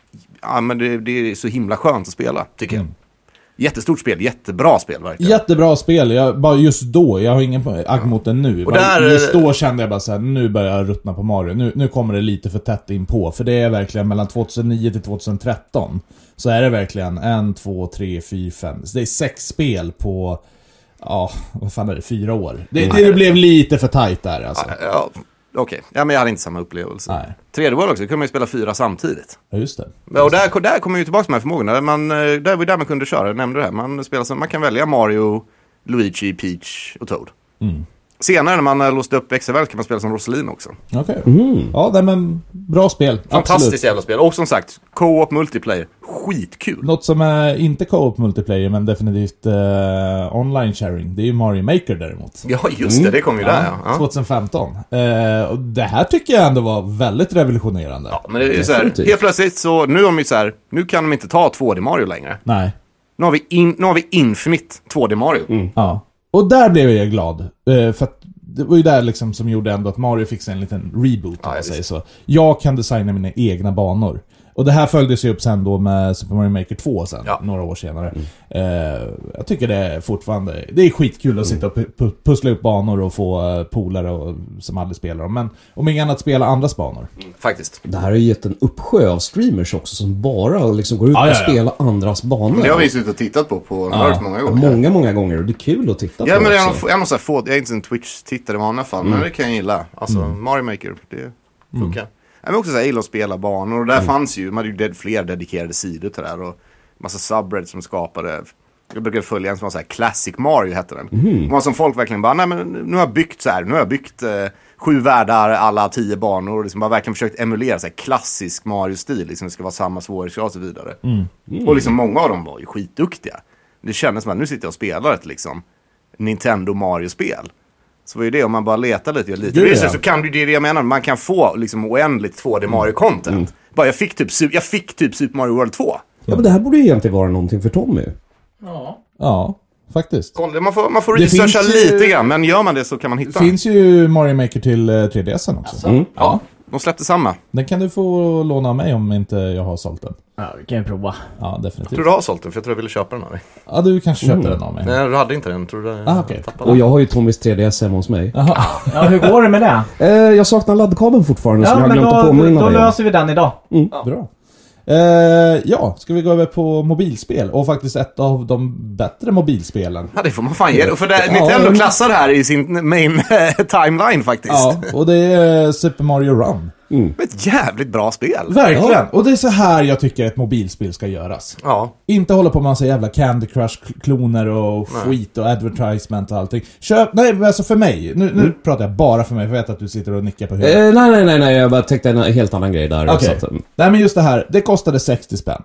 Speaker 2: ja, men det, det är så himla skönt att spela, tycker
Speaker 3: Mm.
Speaker 2: jag. Jättestort spel, jättebra spel verkligen.
Speaker 3: Jättebra spel, jag, bara just då. Jag har ingen po- agg mot den nu. Bara
Speaker 2: där-
Speaker 3: just då kände jag bara så här, nu börjar jag ruttna på Mario. Nu, nu kommer det lite för tätt in på. För det är verkligen mellan 2009 till 2013. Så är det verkligen en, två, tre, fyra, fem. Så det är sex spel på, ja, vad fan är det, fyra år. Det,
Speaker 2: Mm.
Speaker 3: det, blev lite för tajt där alltså.
Speaker 2: Eh, Ja, Okej, ja, men jag hade inte samma upplevelse.
Speaker 3: Nej.
Speaker 2: 3D World också, då kunde man ju spela fyra samtidigt.
Speaker 3: Ja, just det.
Speaker 2: Ja, Och där, där kommer ju tillbaka de här förmågorna. Man, eh, där var ju där man kunde köra, jag nämnde det här. Man, spelar, som- man kan välja Mario, Luigi, Peach och Toad. Senare när man har låst upp växelverk kan man spela som Roselin också.
Speaker 3: Okej. Ja, nej, men bra spel.
Speaker 2: Fantastiskt
Speaker 3: Absolut.
Speaker 2: jävla spel. Och som sagt, co-op multiplayer. Skitkul.
Speaker 3: Något som är inte co-op multiplayer, men definitivt eh, online sharing, det är ju Mario Maker däremot.
Speaker 2: Ja, just det. Det kom ju där ja. ja.
Speaker 3: 2015. Eh, och det här tycker jag ändå var väldigt revolutionerande.
Speaker 2: ja men det är ju så här,
Speaker 1: Definitivt.
Speaker 2: helt plötsligt så, nu har de ju så här, nu kan de inte ta 2D Mario längre.
Speaker 3: Nej.
Speaker 2: Nu har vi, in, nu har vi Infinite 2D Mario.
Speaker 3: Ja. Och där blev jag glad. eh, För att det var ju där liksom som gjorde ändå att Mario fick sig en liten reboot, om
Speaker 2: Ja,
Speaker 3: man
Speaker 2: visst.
Speaker 3: säger så. Jag kan designa mina egna banor. Och det här följdes ju upp sen då med Super Mario Maker 2 sen,
Speaker 2: Ja. Mm.
Speaker 3: några år senare. Eh, jag tycker det är fortfarande... Det är skitkul att sitta och pu- pu- pussla upp banor och få eh, polare och, som aldrig spelar dem. Men om inget annat, spela andras banor.
Speaker 2: Faktiskt.
Speaker 1: Det här har ju gett en uppsjö av streamers också som bara liksom går ut
Speaker 3: Ja,
Speaker 1: och
Speaker 3: ja, ja.
Speaker 1: spelar andras banor.
Speaker 2: Det har vi ju suttit och tittat på på Nerd många gånger.
Speaker 1: Många, många gånger och det är kul att titta
Speaker 2: Ja,
Speaker 1: på
Speaker 2: men jag är
Speaker 1: också.
Speaker 2: nog- jag är nog så här få, jag är inte en Twitch-tittare i vanliga fall, men det kan jag gilla. Alltså, Mario Maker, det funkar. Jag vill också säga, jag gillar att spela banor och där fanns ju, man hade ju ded, fler dedikerade sidor till det här och massa subreddits som skapade. Jag brukade följa en som var så här, Classic Mario hette den. Mm. var som folk verkligen bara, nej men nu har jag byggt så här, nu har jag byggt eh, sju världar alla tio banor och liksom bara verkligen försökt emulera så här klassisk Mario-stil, liksom det ska vara samma svårighetsgrad och så vidare. Och liksom många av dem var ju skitduktiga. Det kändes som att nu sitter jag och spelar ett liksom Nintendo Mario-spel. Så var ju det, om man bara letar lite, gör lite
Speaker 3: Gud,
Speaker 2: research,
Speaker 3: ja.
Speaker 2: så kan du det är det jag menar, man kan få liksom oändligt 2D Mario-content. Bara jag fick, typ, Su- jag fick typ Super Mario World 2.
Speaker 1: Ja, men det här borde ju egentligen vara någonting för Tommy.
Speaker 3: Ja, faktiskt.
Speaker 2: Kolla, Man får, man får
Speaker 3: Det
Speaker 2: researcha
Speaker 3: finns ju-
Speaker 2: lite grann, men gör man det så kan man
Speaker 3: Det
Speaker 2: hitta.
Speaker 3: finns ju Mario Maker till eh, 3DSen också.
Speaker 2: Ja, de släppte samma.
Speaker 3: Den kan du få låna av mig om inte jag har sålt den.
Speaker 5: Ja, vi kan ju prova.
Speaker 3: Ja, definitivt.
Speaker 2: Tror du har sålt den? För jag tror jag ville köpa den av dig.
Speaker 3: Ja, du kanske köpte den av mig.
Speaker 2: Nej, du hade inte den. Tror du
Speaker 3: Ah, okej.
Speaker 2: tappade
Speaker 1: Och jag har ju Tommys 3DS hemma hos mig.
Speaker 5: Ja, hur går det med det?
Speaker 1: Eh, jag saknar laddkabeln fortfarande som jag har glömt att påminna
Speaker 5: då
Speaker 1: dig om.
Speaker 5: löser vi den idag.
Speaker 3: Bra. Eh, ja, ska vi gå över på mobilspel? Och faktiskt ett av de bättre mobilspelen.
Speaker 2: Ja, det får man fan ge det. För det,
Speaker 3: Ja,
Speaker 2: Nintendo
Speaker 3: men-
Speaker 2: klassar det här i sin main timeline faktiskt.
Speaker 3: Ja, och det är Super Mario Run.
Speaker 2: Det är Ett jävligt bra spel.
Speaker 3: Verkligen! Och det är så här jag tycker ett mobilspel ska göras.
Speaker 2: Ja,
Speaker 3: Inte hålla på med massa jävla Candy Crush-kloner och skit och advertisement och allting. Köp, nej men alltså för mig, nu, nu
Speaker 2: Mm.
Speaker 3: pratar jag bara för mig, för jag vet att du sitter och nickar på huvudet.
Speaker 1: Eh, nej, nej, nej, nej, jag bara tänkte en helt annan grej där.
Speaker 3: Okej.
Speaker 1: Så att, mm.
Speaker 3: Nej men just det här, det kostade 60 spänn.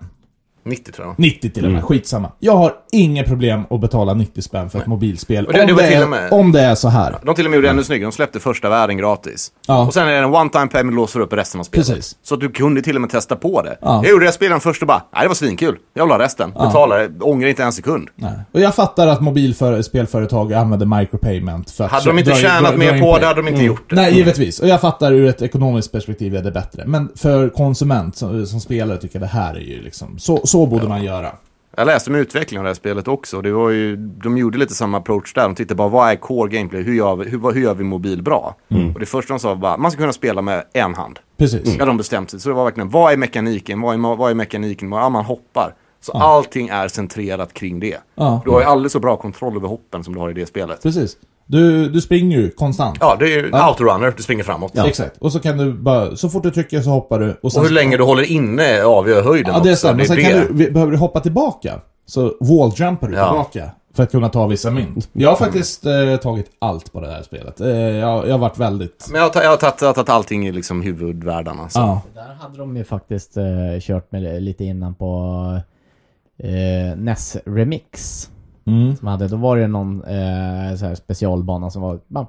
Speaker 2: 90 tror jag.
Speaker 3: 90 till och med,
Speaker 2: Mm.
Speaker 3: skitsamma. Jag har inga problem att betala 90 spänn för ett mobilspel.
Speaker 2: Och det-
Speaker 3: om,
Speaker 2: det var till
Speaker 3: är,
Speaker 2: och med-
Speaker 3: om det är så här.
Speaker 2: De till och med gjorde det ännu snyggare. De släppte första världen gratis.
Speaker 3: Ja.
Speaker 2: Och sen är det en one time payment låser upp resten av spelet.
Speaker 3: Precis.
Speaker 2: Så att du kunde till och med testa på det.
Speaker 3: Ja.
Speaker 2: Jag gjorde det, jag spelade den först och bara, nej det var svinkul. Jag vill ha resten. Betalade, ångrar inte en sekund.
Speaker 3: Nej. Och jag fattar att mobilspelföretag använder micropayment för att
Speaker 2: Hade de
Speaker 3: dra
Speaker 2: inte
Speaker 3: in-
Speaker 2: tjänat
Speaker 3: dra- dra
Speaker 2: mer
Speaker 3: in Mm.
Speaker 2: på
Speaker 3: pengar.
Speaker 2: det hade de inte gjort det.
Speaker 3: Nej, givetvis. Och jag fattar ur ett ekonomiskt perspektiv är det bättre. Men för konsument som, som spelare tycker jag det här är ju liksom, så, så borde man göra.
Speaker 2: Jag läste om utvecklingen av det här spelet också. Det var ju, de gjorde lite samma approach där. De tittade bara, vad är core gameplay? Hur gör vi, hur, vad- hur gör vi mobil bra? Och det första de sa var bara, man ska kunna spela med en hand.
Speaker 3: Mm. Precis.
Speaker 2: Ja, de bestämt sig. Så det var verkligen, vad är mekaniken? Vad är, ma- vad är mekaniken? Ja, man hoppar. Så allting är centrerat kring det.
Speaker 3: Ja.
Speaker 2: Du har ju alldeles så bra kontroll över hoppen som du har i det spelet.
Speaker 3: Precis. Du, du springer ju konstant.
Speaker 2: Ja, det är ju outrunner, du springer framåt.
Speaker 3: Exakt. Och så kan du bara, så fort du trycker så hoppar du. Och, sen,
Speaker 2: Och hur länge du håller inne avgör höjden
Speaker 3: Ja, det är
Speaker 2: också.
Speaker 3: sant. Men sen
Speaker 2: det.
Speaker 3: kan du, vi- behöver du hoppa tillbaka. Så walljumpar du
Speaker 2: Ja.
Speaker 3: tillbaka. För att kunna ta vissa mynt. Jag har faktiskt eh, tagit allt på det här spelet. Eh, jag, jag har varit väldigt...
Speaker 2: Men jag har ta- jag har tagit- jag har tagit allting i liksom huvudvärldarna. Så.
Speaker 3: Ja.
Speaker 5: Där hade de ju faktiskt eh, kört med det lite innan på eh, NES Remix.
Speaker 3: Mm.
Speaker 5: Som hade, då var det någon eh, så här specialbana som var bara,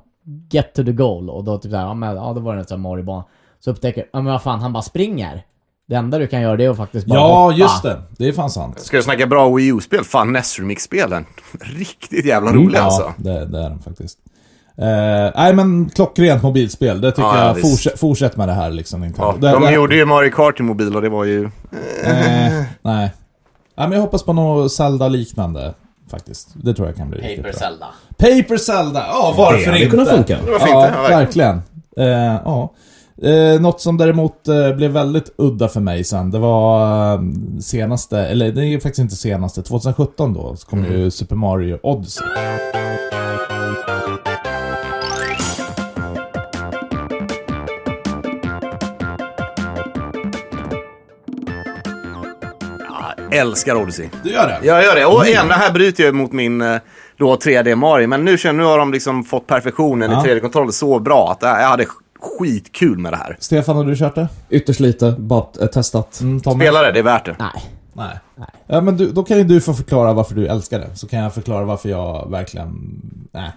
Speaker 5: Get to the goal och då typ såhär, ja, men, ja då var det en sån här Mario-bana. Så upptäcker ja men vad fan han bara springer. Det enda du kan göra det är att faktiskt bara
Speaker 3: Ja,
Speaker 5: hoppa.
Speaker 3: just det. Det är fan sant.
Speaker 2: Ska du snacka bra Wii U-spel? Fan, NES Remix-spelen. Riktigt jävla roliga alltså.
Speaker 3: Mm, Ja, det, det är de faktiskt. Eh, nej men klockrent mobilspel, det tycker
Speaker 2: Ja, ja,
Speaker 3: jag.
Speaker 2: visst.
Speaker 3: Fortsätt, fortsätt med det här liksom Nintendo.
Speaker 2: Ja,
Speaker 3: det,
Speaker 2: de
Speaker 3: det,
Speaker 2: gjorde ju Mario Kart i mobil och det var ju...
Speaker 3: eh, nej. Ja, men jag hoppas på något Zelda-liknande faktiskt. Det tror jag kan bli
Speaker 5: Paper
Speaker 3: riktigt bra.
Speaker 5: Zelda.
Speaker 3: Paper Zelda! Ja,
Speaker 1: Det
Speaker 3: varför
Speaker 1: hade
Speaker 3: inte?
Speaker 1: kunnat funka.
Speaker 2: Varför
Speaker 3: ja,
Speaker 2: inte? Ja, verkligen.
Speaker 3: verkligen. Eh, ja. Eh, något som däremot eh, blev väldigt udda för mig sen, det var eh, senaste, eller det är ju faktiskt inte senaste, 2017 då, så kom
Speaker 2: Mm.
Speaker 3: ju Super Mario Odyssey.
Speaker 2: Älskar Odyssey.
Speaker 3: Du gör det? Mm.
Speaker 2: Jag gör det. Och igen, det här bryter ju mot min eh, då 3D Mario. Men nu känner nu har de liksom fått perfektionen
Speaker 3: Ja.
Speaker 2: i 3D-kontrollen så bra att äh, jag hade skitkul med det här.
Speaker 3: Stefan, har du kört det?
Speaker 1: Ytterst lite, bara eh, testat.
Speaker 3: Mm, Tommy?
Speaker 2: Spela det, det är värt det.
Speaker 5: Nej.
Speaker 3: Nej. Ja, men du, då kan ju du få förklara varför du älskar det. Så kan jag förklara varför jag verkligen... Nej.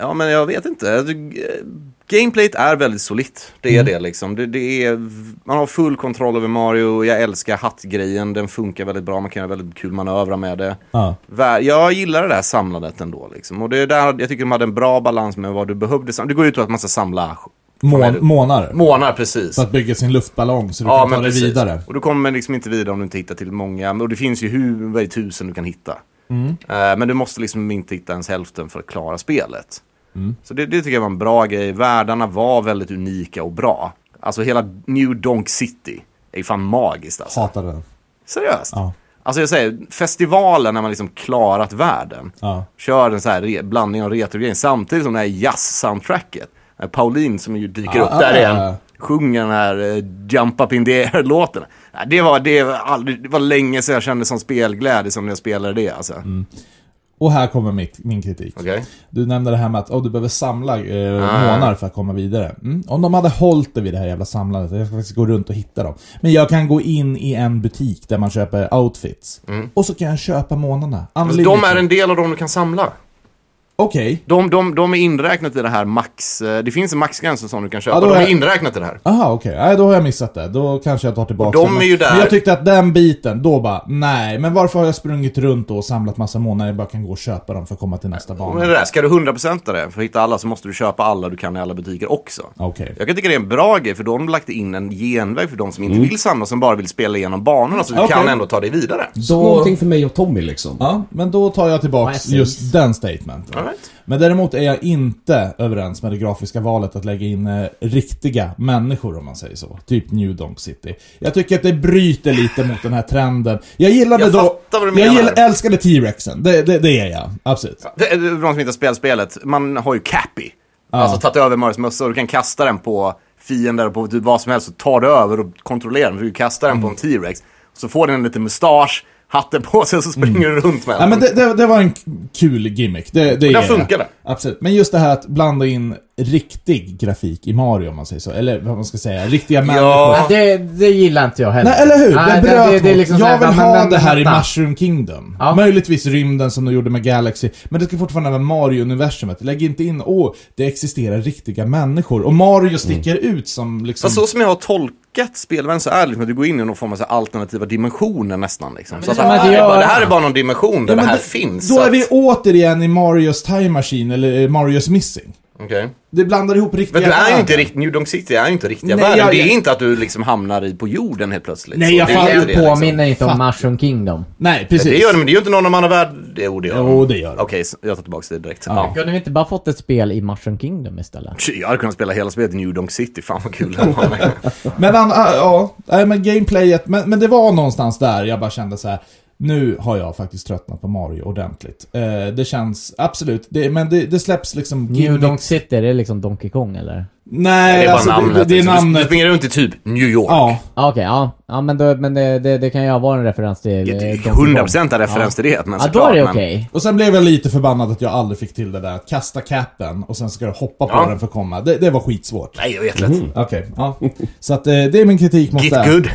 Speaker 2: Ja, men jag vet inte. Du- eh, Gameplayet är väldigt solitt. Det är
Speaker 3: Mm.
Speaker 2: det liksom. Det, det är, man har full kontroll över Mario. Jag älskar hattgrejen. Den funkar väldigt bra. Man kan göra väldigt kul manövrar med det.
Speaker 3: Ja.
Speaker 2: Vär- Jag gillar det där samlandet ändå. Liksom. Och det är där jag tycker de hade en bra balans med vad du behövde. sam- Det går ut på att man ska samla
Speaker 3: Mån, månar.
Speaker 2: månar, precis.
Speaker 3: Så att bygga sin luftballong så du
Speaker 2: Ja,
Speaker 3: kan ta
Speaker 2: men
Speaker 3: dig
Speaker 2: precis.
Speaker 3: vidare.
Speaker 2: Och du kommer liksom inte vidare om du inte hittar till många. Och det finns ju hur vad är det, tusen du kan hitta.
Speaker 3: Mm.
Speaker 2: Eh, men du måste liksom inte hitta ens hälften för att klara spelet.
Speaker 3: Mm.
Speaker 2: Så det, det tycker jag var en bra grej. Världarna var väldigt unika och bra. Alltså hela New Donk City är ju fan magiskt alltså.
Speaker 3: Hatar den.
Speaker 2: Seriöst.
Speaker 3: Ja.
Speaker 2: Alltså jag säger, festivalen när man liksom klarat världen.
Speaker 3: Ja.
Speaker 2: Kör en så här re- blandning av retrogrejen samtidigt som det här jazz-soundtracket. Eh, Pauline som ju dyker
Speaker 3: Ah,
Speaker 2: upp där
Speaker 3: ah,
Speaker 2: igen.
Speaker 3: ah.
Speaker 2: Sjunger den här eh, Jump Up In The Air-låten. Ja, Det var, det, var aldrig, det var länge sedan jag kände sån spelglädje som när jag spelade det alltså.
Speaker 3: Mm. Och här kommer mitt, min kritik.
Speaker 2: Okej.
Speaker 3: Du nämnde det här med att oh, du behöver samla eh,
Speaker 2: Ah.
Speaker 3: månar för att komma vidare. Mm. Om de hade hållit det vid det här jävla samlandet, jag ska faktiskt gå runt och hitta dem. Men jag kan gå in i en butik där man köper outfits. Och så kan jag köpa månarna.
Speaker 2: Alltså, Mm. de är en del av de du kan samla.
Speaker 3: Okej.
Speaker 2: De, de, de är inräknat i det här max... eh, Det finns en maxgräns som du kan köpa.
Speaker 3: Ja, då
Speaker 2: de
Speaker 3: är-
Speaker 2: är inräknat i det här.
Speaker 3: Aha, okej. Nej, då har jag missat det. Då kanske jag tar tillbaka
Speaker 2: Och de
Speaker 3: det.
Speaker 2: är ju där-
Speaker 3: Men jag tyckte att den biten, då bara, nej. Men varför har jag sprungit runt då och samlat massa månader? Jag bara kan gå och köpa dem för att komma till nästa
Speaker 2: Ja, Men
Speaker 3: bana.
Speaker 2: det där, ska du 100% det för att hitta alla så måste du köpa alla du kan i alla butiker också.
Speaker 3: Okej.
Speaker 2: Jag kan tycka det är en bra grej för då har de lagt in en genväg för de som inte vill samla som bara vill spela igenom banorna så du
Speaker 3: Mm. Okej.
Speaker 2: kan ändå ta dig vidare.
Speaker 1: Så någonting för mig och Tommy liksom.
Speaker 3: Ja, men då tar jag
Speaker 5: Ja, jag
Speaker 3: tillbaks
Speaker 5: säger.
Speaker 3: just den statementen.
Speaker 2: All right.
Speaker 3: Men däremot är jag inte överens med det grafiska valet att lägga in eh, riktiga människor om man säger så. Typ New Donk City. Jag tycker att det bryter lite mot den här trenden. Jag gillade
Speaker 2: Jag
Speaker 3: då...
Speaker 2: fattar vad du
Speaker 3: jag
Speaker 2: menar.
Speaker 3: älskade T-Rexen. Det, det, det är jag. Absolut.
Speaker 2: Det- För de som inte har spelat spelet, man har ju Cappy. Alltså tagit över Marios mössa och du kan kasta den på fiender och på typ vad som helst så tar du över och kontrollerar den. För du kastar den på en
Speaker 3: Mm.
Speaker 2: T-Rex. Så får den en liten mustasch, hatten på sig och så springer du runt med
Speaker 3: Mm. Ja,
Speaker 2: den.
Speaker 3: men det, det, det var en k- kul gimmick. Det, det
Speaker 2: där
Speaker 3: är
Speaker 2: funkar det.
Speaker 3: Absolut. Men just det här att blanda in riktig grafik i Mario, om man säger så. Eller vad man ska säga, riktiga människor.
Speaker 5: Ja, det, det gillar inte jag heller.
Speaker 3: Nej, eller hur?
Speaker 5: Nej,
Speaker 3: det bröt mot.
Speaker 5: är liksom så här,
Speaker 3: Jag vill
Speaker 5: men-
Speaker 3: ha
Speaker 5: men-
Speaker 3: det här
Speaker 5: vänta.
Speaker 3: i Mushroom Kingdom.
Speaker 5: Ja.
Speaker 3: Möjligtvis rymden som de gjorde med Galaxy. Men det ska fortfarande vara Mario-universumet. Lägg inte in, åh, det existerar riktiga människor. Och Mario sticker ut som liksom...
Speaker 2: Mm. Fast så som jag har tolkat spelvärlden så är det liksom att du går in i någon form av så här alternativa dimensioner nästan. Liksom. Så att,
Speaker 5: det är som att
Speaker 2: det, är
Speaker 5: jag-
Speaker 2: bara, det här är bara någon dimension där
Speaker 3: Ja, men
Speaker 2: det här
Speaker 3: då-
Speaker 2: finns.
Speaker 3: Då
Speaker 2: så
Speaker 3: är vi
Speaker 2: att-
Speaker 3: återigen i Marios Time Machine, eller eh, Marios Missing.
Speaker 2: Okej.
Speaker 3: Det blandar ihop riktiga
Speaker 2: Men du är ju
Speaker 3: världar.
Speaker 2: inte rikt, New Donk City är ju inte riktiga
Speaker 3: Nej,
Speaker 2: världen.
Speaker 3: jag-
Speaker 2: det är inte att du liksom hamnar i på jorden helt plötsligt.
Speaker 3: Nej,
Speaker 2: Så
Speaker 3: jag
Speaker 2: det är
Speaker 3: fattar.
Speaker 2: ju
Speaker 5: Det
Speaker 2: inte det, liksom.
Speaker 5: påminner inte om Mushroom Kingdom.
Speaker 3: Nej, precis.
Speaker 2: Det gör det, men det är ju inte någon annan värld. Jo, det gör de.
Speaker 3: Jo, det gör de.
Speaker 2: Okej, så jag tar tillbaka det direkt.
Speaker 3: Ja.
Speaker 2: Ja.
Speaker 5: Kunde vi inte bara fått ett spel i Mushroom Kingdom istället?
Speaker 2: Tj, Jag hade kunnat spela hela spelet i New Donk City, fan vad kul det var.
Speaker 3: Men an, ah, ja, nej, men gameplayet, men, men det var någonstans där jag bara kände så här. Nu har jag faktiskt tröttnat på Mario ordentligt. Eh, det känns, absolut, det, men det, det släpps liksom...
Speaker 5: New
Speaker 3: gimmicks-
Speaker 5: Donk City, är det liksom Donkey Kong eller?
Speaker 3: Nej,
Speaker 2: Det är bara
Speaker 3: alltså,
Speaker 2: namnet.
Speaker 3: Det, det är
Speaker 2: liksom. Du- Du
Speaker 3: namnet.
Speaker 2: springer runt i typ New York.
Speaker 3: Ja,
Speaker 5: Ja, Ah, Okej, ja. ja. Men, då, men det, det, det kan ju vara en referens till eh,
Speaker 2: typ
Speaker 5: Donkey Kong.
Speaker 2: 100% är referens till det, men
Speaker 5: Ja, då
Speaker 2: såklart,
Speaker 5: är det
Speaker 2: men-
Speaker 5: okej.
Speaker 3: och sen blev jag lite förbannad att jag aldrig fick till det där att kasta capen och sen ska du hoppa på
Speaker 2: Ja.
Speaker 3: den för att komma. Det, det var skitsvårt.
Speaker 2: Nej, jag vet lätt.
Speaker 3: Okej, ja. Så att eh, det är min kritik mot det.
Speaker 2: Get
Speaker 3: här.
Speaker 2: good.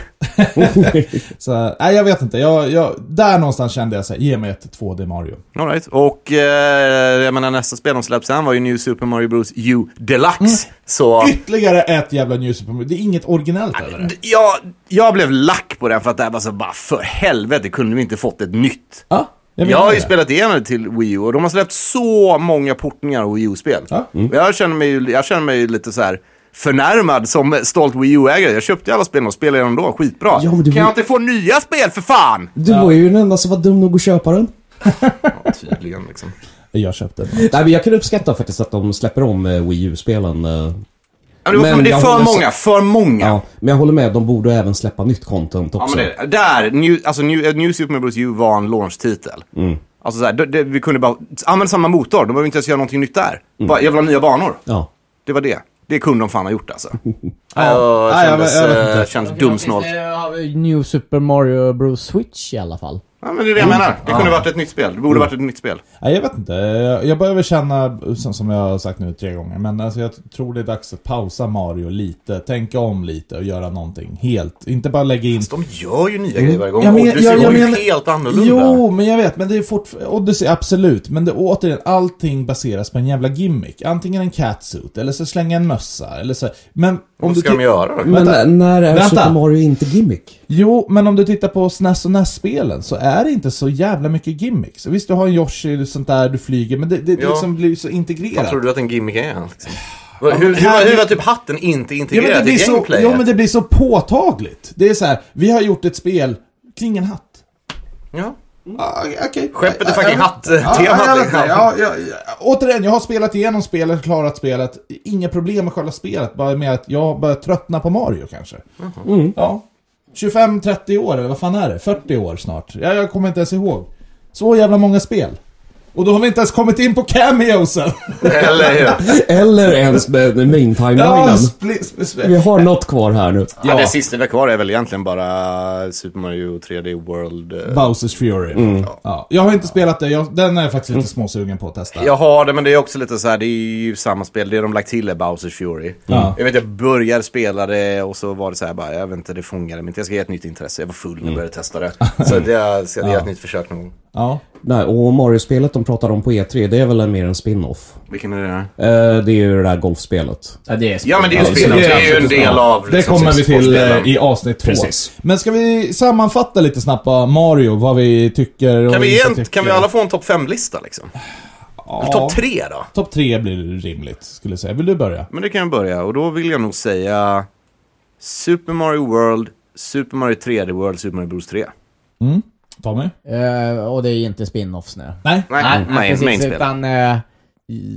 Speaker 3: Så, nej, jag vet inte. Jag, jag, där någonstans kände jag så här, ge mig ett 2D Mario.
Speaker 2: All right. Och eh, jag menar nästa spel de släpps sen var ju New Super Mario Bros U Deluxe.
Speaker 3: Mm.
Speaker 2: Så
Speaker 3: Ytterligare ett jävla New Super Mario. Det är inget originellt över det.
Speaker 2: d- jag, jag blev lack på den för att det här var så bara för helvete kunde vi inte fått ett nytt.
Speaker 3: Ja, jag
Speaker 1: Mm.
Speaker 2: Jag,
Speaker 3: menar
Speaker 2: har ju
Speaker 3: det.
Speaker 2: spelat igenom det till Wii U och de har släppt så många portningar av Wii U-spel.
Speaker 3: Ja.
Speaker 2: Och Jag, känner mig, ju- jag känner mig ju lite så här förnärmad som stolt Wii U-ägare. Jag köpte ju alla spelen och spelade dem då, skitbra.
Speaker 1: Ja, men det
Speaker 2: Kan jag
Speaker 1: var-
Speaker 2: inte få nya spel för fan?
Speaker 1: Du var ju den enda som var dum nog att köpa den.
Speaker 2: Ja, tydligen liksom.
Speaker 3: Jag köpte den.
Speaker 1: Nej, men jag kan uppskatta faktiskt att de släpper om eh, Wii U-spelen. eh.
Speaker 2: Ja, det, var,
Speaker 1: Men
Speaker 2: men det är
Speaker 1: jag
Speaker 2: för
Speaker 1: håller-
Speaker 2: många, för många.
Speaker 1: Ja, men jag håller med, de borde även släppa nytt content
Speaker 2: Ja,
Speaker 1: också.
Speaker 2: men det, där, New, alltså New, New Super Mario Bros U var en launch-titel. Alltså så här, det, det, vi kunde bara använda samma motor, de behöver inte ens göra någonting nytt där. Bara, jag vill ha nya banor.
Speaker 1: Ja.
Speaker 2: Det var det. Det kunde de fan ha gjort alltså.
Speaker 3: Ja,
Speaker 2: Ja,
Speaker 3: jag
Speaker 2: kändes
Speaker 3: vet- jag vet
Speaker 2: eh,
Speaker 3: inte.
Speaker 2: kändes
Speaker 5: Okej, då finns
Speaker 2: dumsnålt.
Speaker 5: det, ja, New Super Mario Bros Switch i alla fall.
Speaker 2: Ja, men det är det jag menar. Mm. Det kunde varit ett nytt spel. Det borde varit ett nytt spel.
Speaker 3: Nej, jag vet inte. Jag- Jag behöver känna, som, som jag har sagt nu tre gånger, men alltså jag tror det är dags att pausa Mario lite, tänka om lite och göra någonting helt. Inte bara lägga in...
Speaker 2: Fast de gör ju nya grejer varje gång.
Speaker 3: Ja, men-
Speaker 2: Odyssey
Speaker 3: ja, jag
Speaker 2: var ju
Speaker 3: menar-
Speaker 2: helt annorlunda.
Speaker 3: Jo, men jag vet, men det är fortfarande... Odyssey, absolut. Men det, återigen, allting baseras på en jävla gimmick. Antingen en catsuit, eller så slänga en mössa, eller så... Men om
Speaker 2: Vad
Speaker 3: du
Speaker 2: ska de
Speaker 3: ti-
Speaker 2: göra då?
Speaker 1: Men eh,
Speaker 3: Vänta.
Speaker 1: när är
Speaker 3: Vänta.
Speaker 1: Super Mario inte gimmick?
Speaker 3: Jo, men om du tittar på SNES och NES-spelen så är det inte så jävla mycket gimmicks. Visst, du har en Yoshi och sånt där, du flyger, men det, det
Speaker 2: Ja.
Speaker 3: liksom blir så
Speaker 2: Vad
Speaker 3: integrerat.
Speaker 2: tror du att en gimmick är? Liksom? Hur, hur, hur,
Speaker 3: här-
Speaker 2: var- hur var typ hatten inte
Speaker 3: Ja, men det
Speaker 2: integrerad
Speaker 3: blir
Speaker 2: i
Speaker 3: så,
Speaker 2: gameplayet?
Speaker 3: ja, men det blir så påtagligt. Det är så här, vi har gjort ett spel kring en hatt.
Speaker 2: Ja.
Speaker 3: Ah, okay.
Speaker 2: Skeppet är fucking hatt-temat.
Speaker 3: ja, ja, ja, ja. Återigen, jag har spelat igenom spelet, klarat spelet. Inga problem med själva spelet, bara med att jag börjar tröttna på Mario kanske. Ja. 25-30 år, eller vad fan är det? 40 år snart. Jag, jag kommer inte ens ihåg. Så jävla många spel. Och då har vi inte ens kommit in på cameosen!
Speaker 2: Eller hur?
Speaker 1: Eller ens med main timelinen.
Speaker 3: spli- sp- sp-
Speaker 1: Vi har något kvar här nu.
Speaker 2: Ja. Det sista vi har kvar är väl egentligen bara Super Mario 3D World. eh,
Speaker 3: Bowsers Fury. Ja. Jag har inte spelat det, jag, den är jag faktiskt lite småsugen på att testa.
Speaker 2: Jag har det, men det är också lite så här, det är ju samma spel. Det de lagt till är Bowsers Fury.
Speaker 3: Ja.
Speaker 2: Jag vet, jag började spela det och så var det så här bara, jag vet inte, det fångade mig inte. Jag ska ge ett nytt intresse. Jag var full när jag började testa det. Så det, jag ska ge ett nytt försök någon gång.
Speaker 3: Ja.
Speaker 1: Nej, och Mario-spelet de pratade om på E3, det är väl en, mer en spin-off.
Speaker 2: Vilken är det här?
Speaker 1: Eh, det är ju det där golfspelet.
Speaker 5: Ja, det är så.
Speaker 2: Ja, men det är ju spelen. Det är ju en del av... liksom,
Speaker 3: Det kommer vi till
Speaker 2: sportspelen.
Speaker 3: eh, i avsnitt två.
Speaker 1: Precis.
Speaker 3: Men ska vi sammanfatta lite snabbt vad Mario, vad vi tycker och
Speaker 2: Kan vi,
Speaker 3: inte
Speaker 2: egent-
Speaker 3: tycker?
Speaker 2: kan vi alla få en topp 5-lista liksom? Eller topp 3 då?
Speaker 3: Topp tre blir rimligt, skulle jag säga. Vill du börja?
Speaker 2: Men det kan jag börja. Och då vill jag nog säga Super Mario World, Super Mario 3D World, Super Mario Bros 3.
Speaker 3: Mm? Tommy?
Speaker 5: Eh, och det är inte spin-offs nu.
Speaker 3: Nej?
Speaker 2: Nej, main,
Speaker 5: precis,
Speaker 2: main spel.
Speaker 5: utan, eh,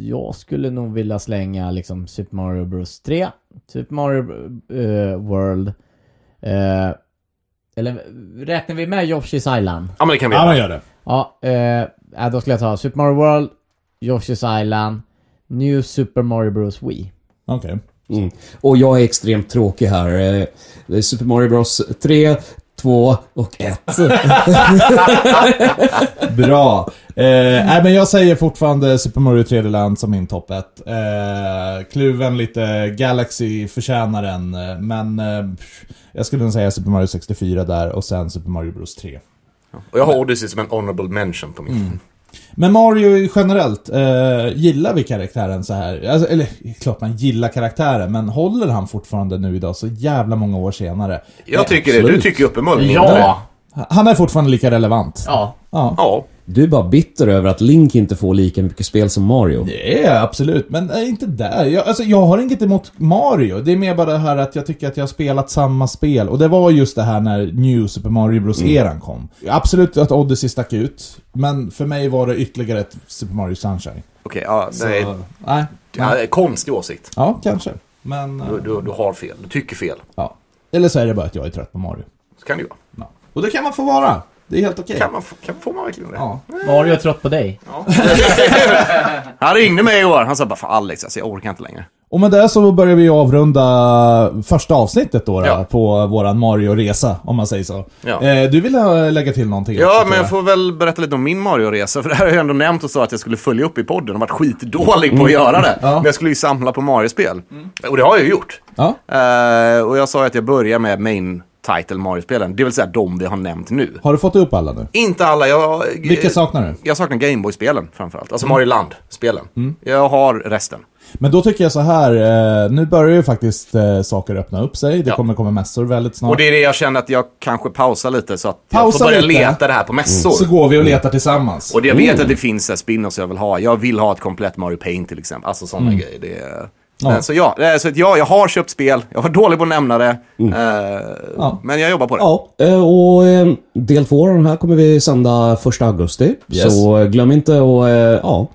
Speaker 5: jag skulle nog vilja slänga liksom Super Mario Bros 3, Super Mario eh, World, eh, eller räknar vi med Yoshi's Island?
Speaker 2: Ja, men det kan vi
Speaker 3: Ja,
Speaker 2: göra.
Speaker 3: man gör det.
Speaker 5: Ja, eh, ja, då skulle jag ta Super Mario World, Yoshi's Island, New Super Mario Bros Wii.
Speaker 3: Okej.
Speaker 1: Mm. Och jag är extremt tråkig här. Eh, det är Super Mario Bros 3, 2 och 1.
Speaker 3: Bra. Eh, nej, men jag säger fortfarande Super Mario 3D Land som min topp 1. Eh, kluven lite, Galaxy förtjänar den, eh, men eh, pff, jag skulle nog säga Super Mario 64 där och sen Super Mario Bros 3.
Speaker 2: Och jag har Odyssey som en honorable mention på min.
Speaker 3: Men Mario generellt, eh, gillar vi karaktären så här? Alltså, eller klart man gillar karaktären, men håller han fortfarande nu idag så jävla många år senare?
Speaker 2: Jag tycker det. Du
Speaker 1: absolut.
Speaker 2: tycker ju uppenbarligen inte det.
Speaker 5: Ja!
Speaker 3: Han är fortfarande lika relevant.
Speaker 5: Ja.
Speaker 3: Ja.
Speaker 2: Ja.
Speaker 1: Du är bara bitter över att Link inte får lika mycket spel som Mario.
Speaker 3: Det är jag absolut, men eh, inte där. Jag, alltså, jag har inget emot Mario. Det är mer bara det här att jag tycker att jag har spelat samma spel. Och det var just det här när New Super Mario Bros-eran kom. Absolut att Odyssey stack ut, men för mig var det ytterligare ett Super Mario Sunshine.
Speaker 2: Okej, ja, nej.
Speaker 3: Så, nej.
Speaker 2: Ja, konstig åsikt.
Speaker 3: Ja, kanske. Men... eh,
Speaker 2: Du, du, du har fel. Du tycker fel.
Speaker 3: Ja. Eller så är det bara att jag är trött på Mario.
Speaker 2: Så kan det ju vara.
Speaker 3: Ja. Och det kan man få vara. Det är helt okej.
Speaker 2: Kan man, få- kan, får man verkligen det?
Speaker 3: Ja.
Speaker 5: Mario är trött på dig.
Speaker 2: Han ringde mig igår. Han sa bara, fan Alex, alltså, jag orkar inte längre.
Speaker 3: Och med det så börjar vi avrunda första avsnittet då, då
Speaker 2: Ja.
Speaker 3: på våran Mario-resa, om man säger så.
Speaker 2: Ja.
Speaker 3: Eh, du vill eh, lägga till någonting? också,
Speaker 2: Ja,
Speaker 3: tror
Speaker 2: men jag får väl berätta lite om min Mario-resa. För det här har jag ändå nämnt och sa att jag skulle följa upp i podden. Jag har varit skitdålig på att göra det. Men jag skulle ju samla på Mario-spel. Och det har jag ju gjort.
Speaker 3: Ja.
Speaker 2: Eh, och jag sa ju att jag börjar med main title Mario-spelen. Det vill säga de vi har nämnt nu.
Speaker 3: Har du fått upp alla nu?
Speaker 2: Inte alla. Jag,
Speaker 3: Vilka Mm. saknar du?
Speaker 2: Jag saknar Gameboy-spelen framförallt. Alltså Mario Land-spelen.
Speaker 3: Mm.
Speaker 2: Jag har resten.
Speaker 3: Men då tycker jag så här, eh, nu börjar ju faktiskt eh, saker öppna upp sig. Det
Speaker 2: Ja.
Speaker 3: kommer komma mässor väldigt snart.
Speaker 2: Och det är det jag känner att jag kanske pausar lite så att jag
Speaker 3: Pausa
Speaker 2: får börja
Speaker 3: lite. Mm.
Speaker 2: leta det här på mässor.
Speaker 3: Så går Mm. vi och letar tillsammans.
Speaker 2: Och det jag vet att det finns så här spin-offs jag vill ha. Jag vill ha ett komplett Mario Paint till exempel. Alltså sådana grejer. Det är...
Speaker 3: Mm. Ja.
Speaker 2: Eh, Så ja, eh, så att ja, jag har köpt spel. Jag var dålig på att nämna det. Eh,
Speaker 3: Mm. Ja.
Speaker 2: Men jag jobbar på det.
Speaker 3: Ja.
Speaker 1: Eh, Och eh, del två av den här kommer vi sända 1 augusti.
Speaker 3: Yes.
Speaker 1: Så eh, glöm inte att eh, ja,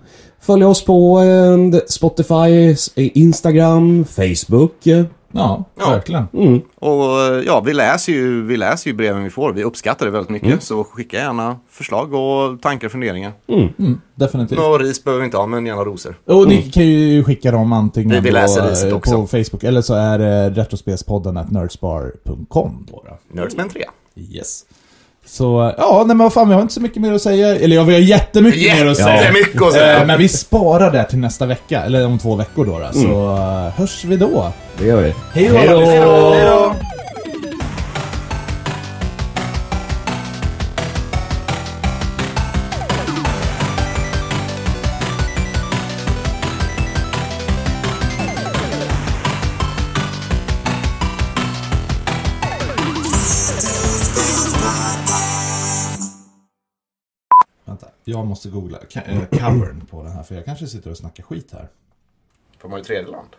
Speaker 1: följa oss på eh, Spotify, s- Instagram, Facebook. eh.
Speaker 3: Ja,
Speaker 2: Ja.
Speaker 3: verkligen.
Speaker 2: Och eh, ja, vi läser, ju, vi läser ju breven vi får. Vi uppskattar det väldigt mycket. Så skicka gärna förslag och tankar och funderingar.
Speaker 3: Definitivt.
Speaker 2: Och ris behöver vi inte ha, men gärna rosor.
Speaker 3: Och ni kan ju skicka dem antingen
Speaker 2: Mm.
Speaker 3: eh,
Speaker 2: Vi- vi läser riset
Speaker 3: på,
Speaker 2: också.
Speaker 3: på Facebook eller så eh, är det retrospelspodden at nerdspar.com. då, då.
Speaker 2: Nerdsman 3.
Speaker 3: Yes. Så, ja, nej men vad fan, vi har inte så mycket mer att säga. Eller ja, vi har jättemycket mer att säga.
Speaker 2: Jättemycket att säga.
Speaker 3: Eh, Men vi sparar det till nästa vecka, eller om två veckor då. då. Så
Speaker 2: Mm.
Speaker 3: eh, hörs vi då.
Speaker 1: Det gör vi.
Speaker 3: Hej då! alla lyssnare.
Speaker 2: Hej då!
Speaker 3: Vänta, jag måste googla ca-
Speaker 2: Mm.
Speaker 3: eh, covern på den här, för jag kanske sitter och snackar skit här.
Speaker 2: Får man ju tredje land?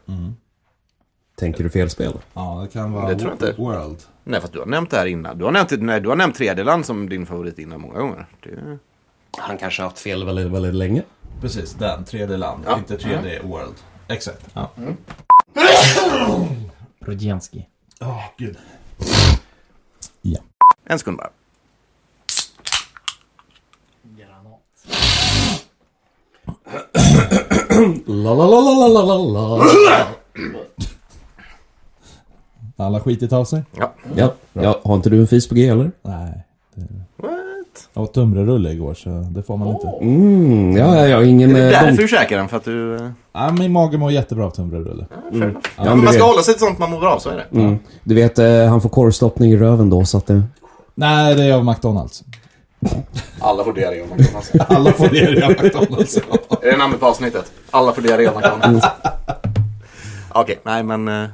Speaker 1: Tänker du fel spel?
Speaker 3: Ja, det kan vara
Speaker 2: Det tror jag inte.
Speaker 3: World.
Speaker 2: Nej, för att du har nämnt det här innan. Du har nämnt, nej, du har nämnt tredje land som din favorit innan många gånger. Det...
Speaker 1: Han kanske har haft fel väldigt, väldigt länge.
Speaker 3: Precis, den. Tredje land. Inte tredje world. Exakt. Ja. Åh,
Speaker 5: Rodjenski.
Speaker 3: gud.
Speaker 2: En sekund bara.
Speaker 1: La, la, la, la, la, la, la.
Speaker 3: Alla skitit av sig?
Speaker 2: Ja.
Speaker 1: Ja, ja, har inte du en fis på G eller?
Speaker 3: Nej.
Speaker 2: What?
Speaker 3: Jag åt tunnbrödsrulle igår, så det får man inte.
Speaker 1: Mm, ja, ja, ja, ingen...
Speaker 2: Det är
Speaker 1: eh,
Speaker 2: därför
Speaker 1: dom-
Speaker 2: du käkar den, för att du... eh,
Speaker 3: Ja, min mage mår jättebra av tunnbrödsrulle.
Speaker 2: Ja, men
Speaker 1: du
Speaker 2: man ska
Speaker 1: vet.
Speaker 2: hålla sig till sånt man mår bra av, så är det.
Speaker 1: Mm. Du vet, eh, han får korvstoppning i röven då så att det...
Speaker 3: Nej, det är av McDonalds.
Speaker 2: Alla får diarré av McDonalds.
Speaker 3: Alla får det av McDonalds.
Speaker 2: Mm. Är det namnet på avsnittet? Alla får diarré av McDonalds. Okej, nej men... eh,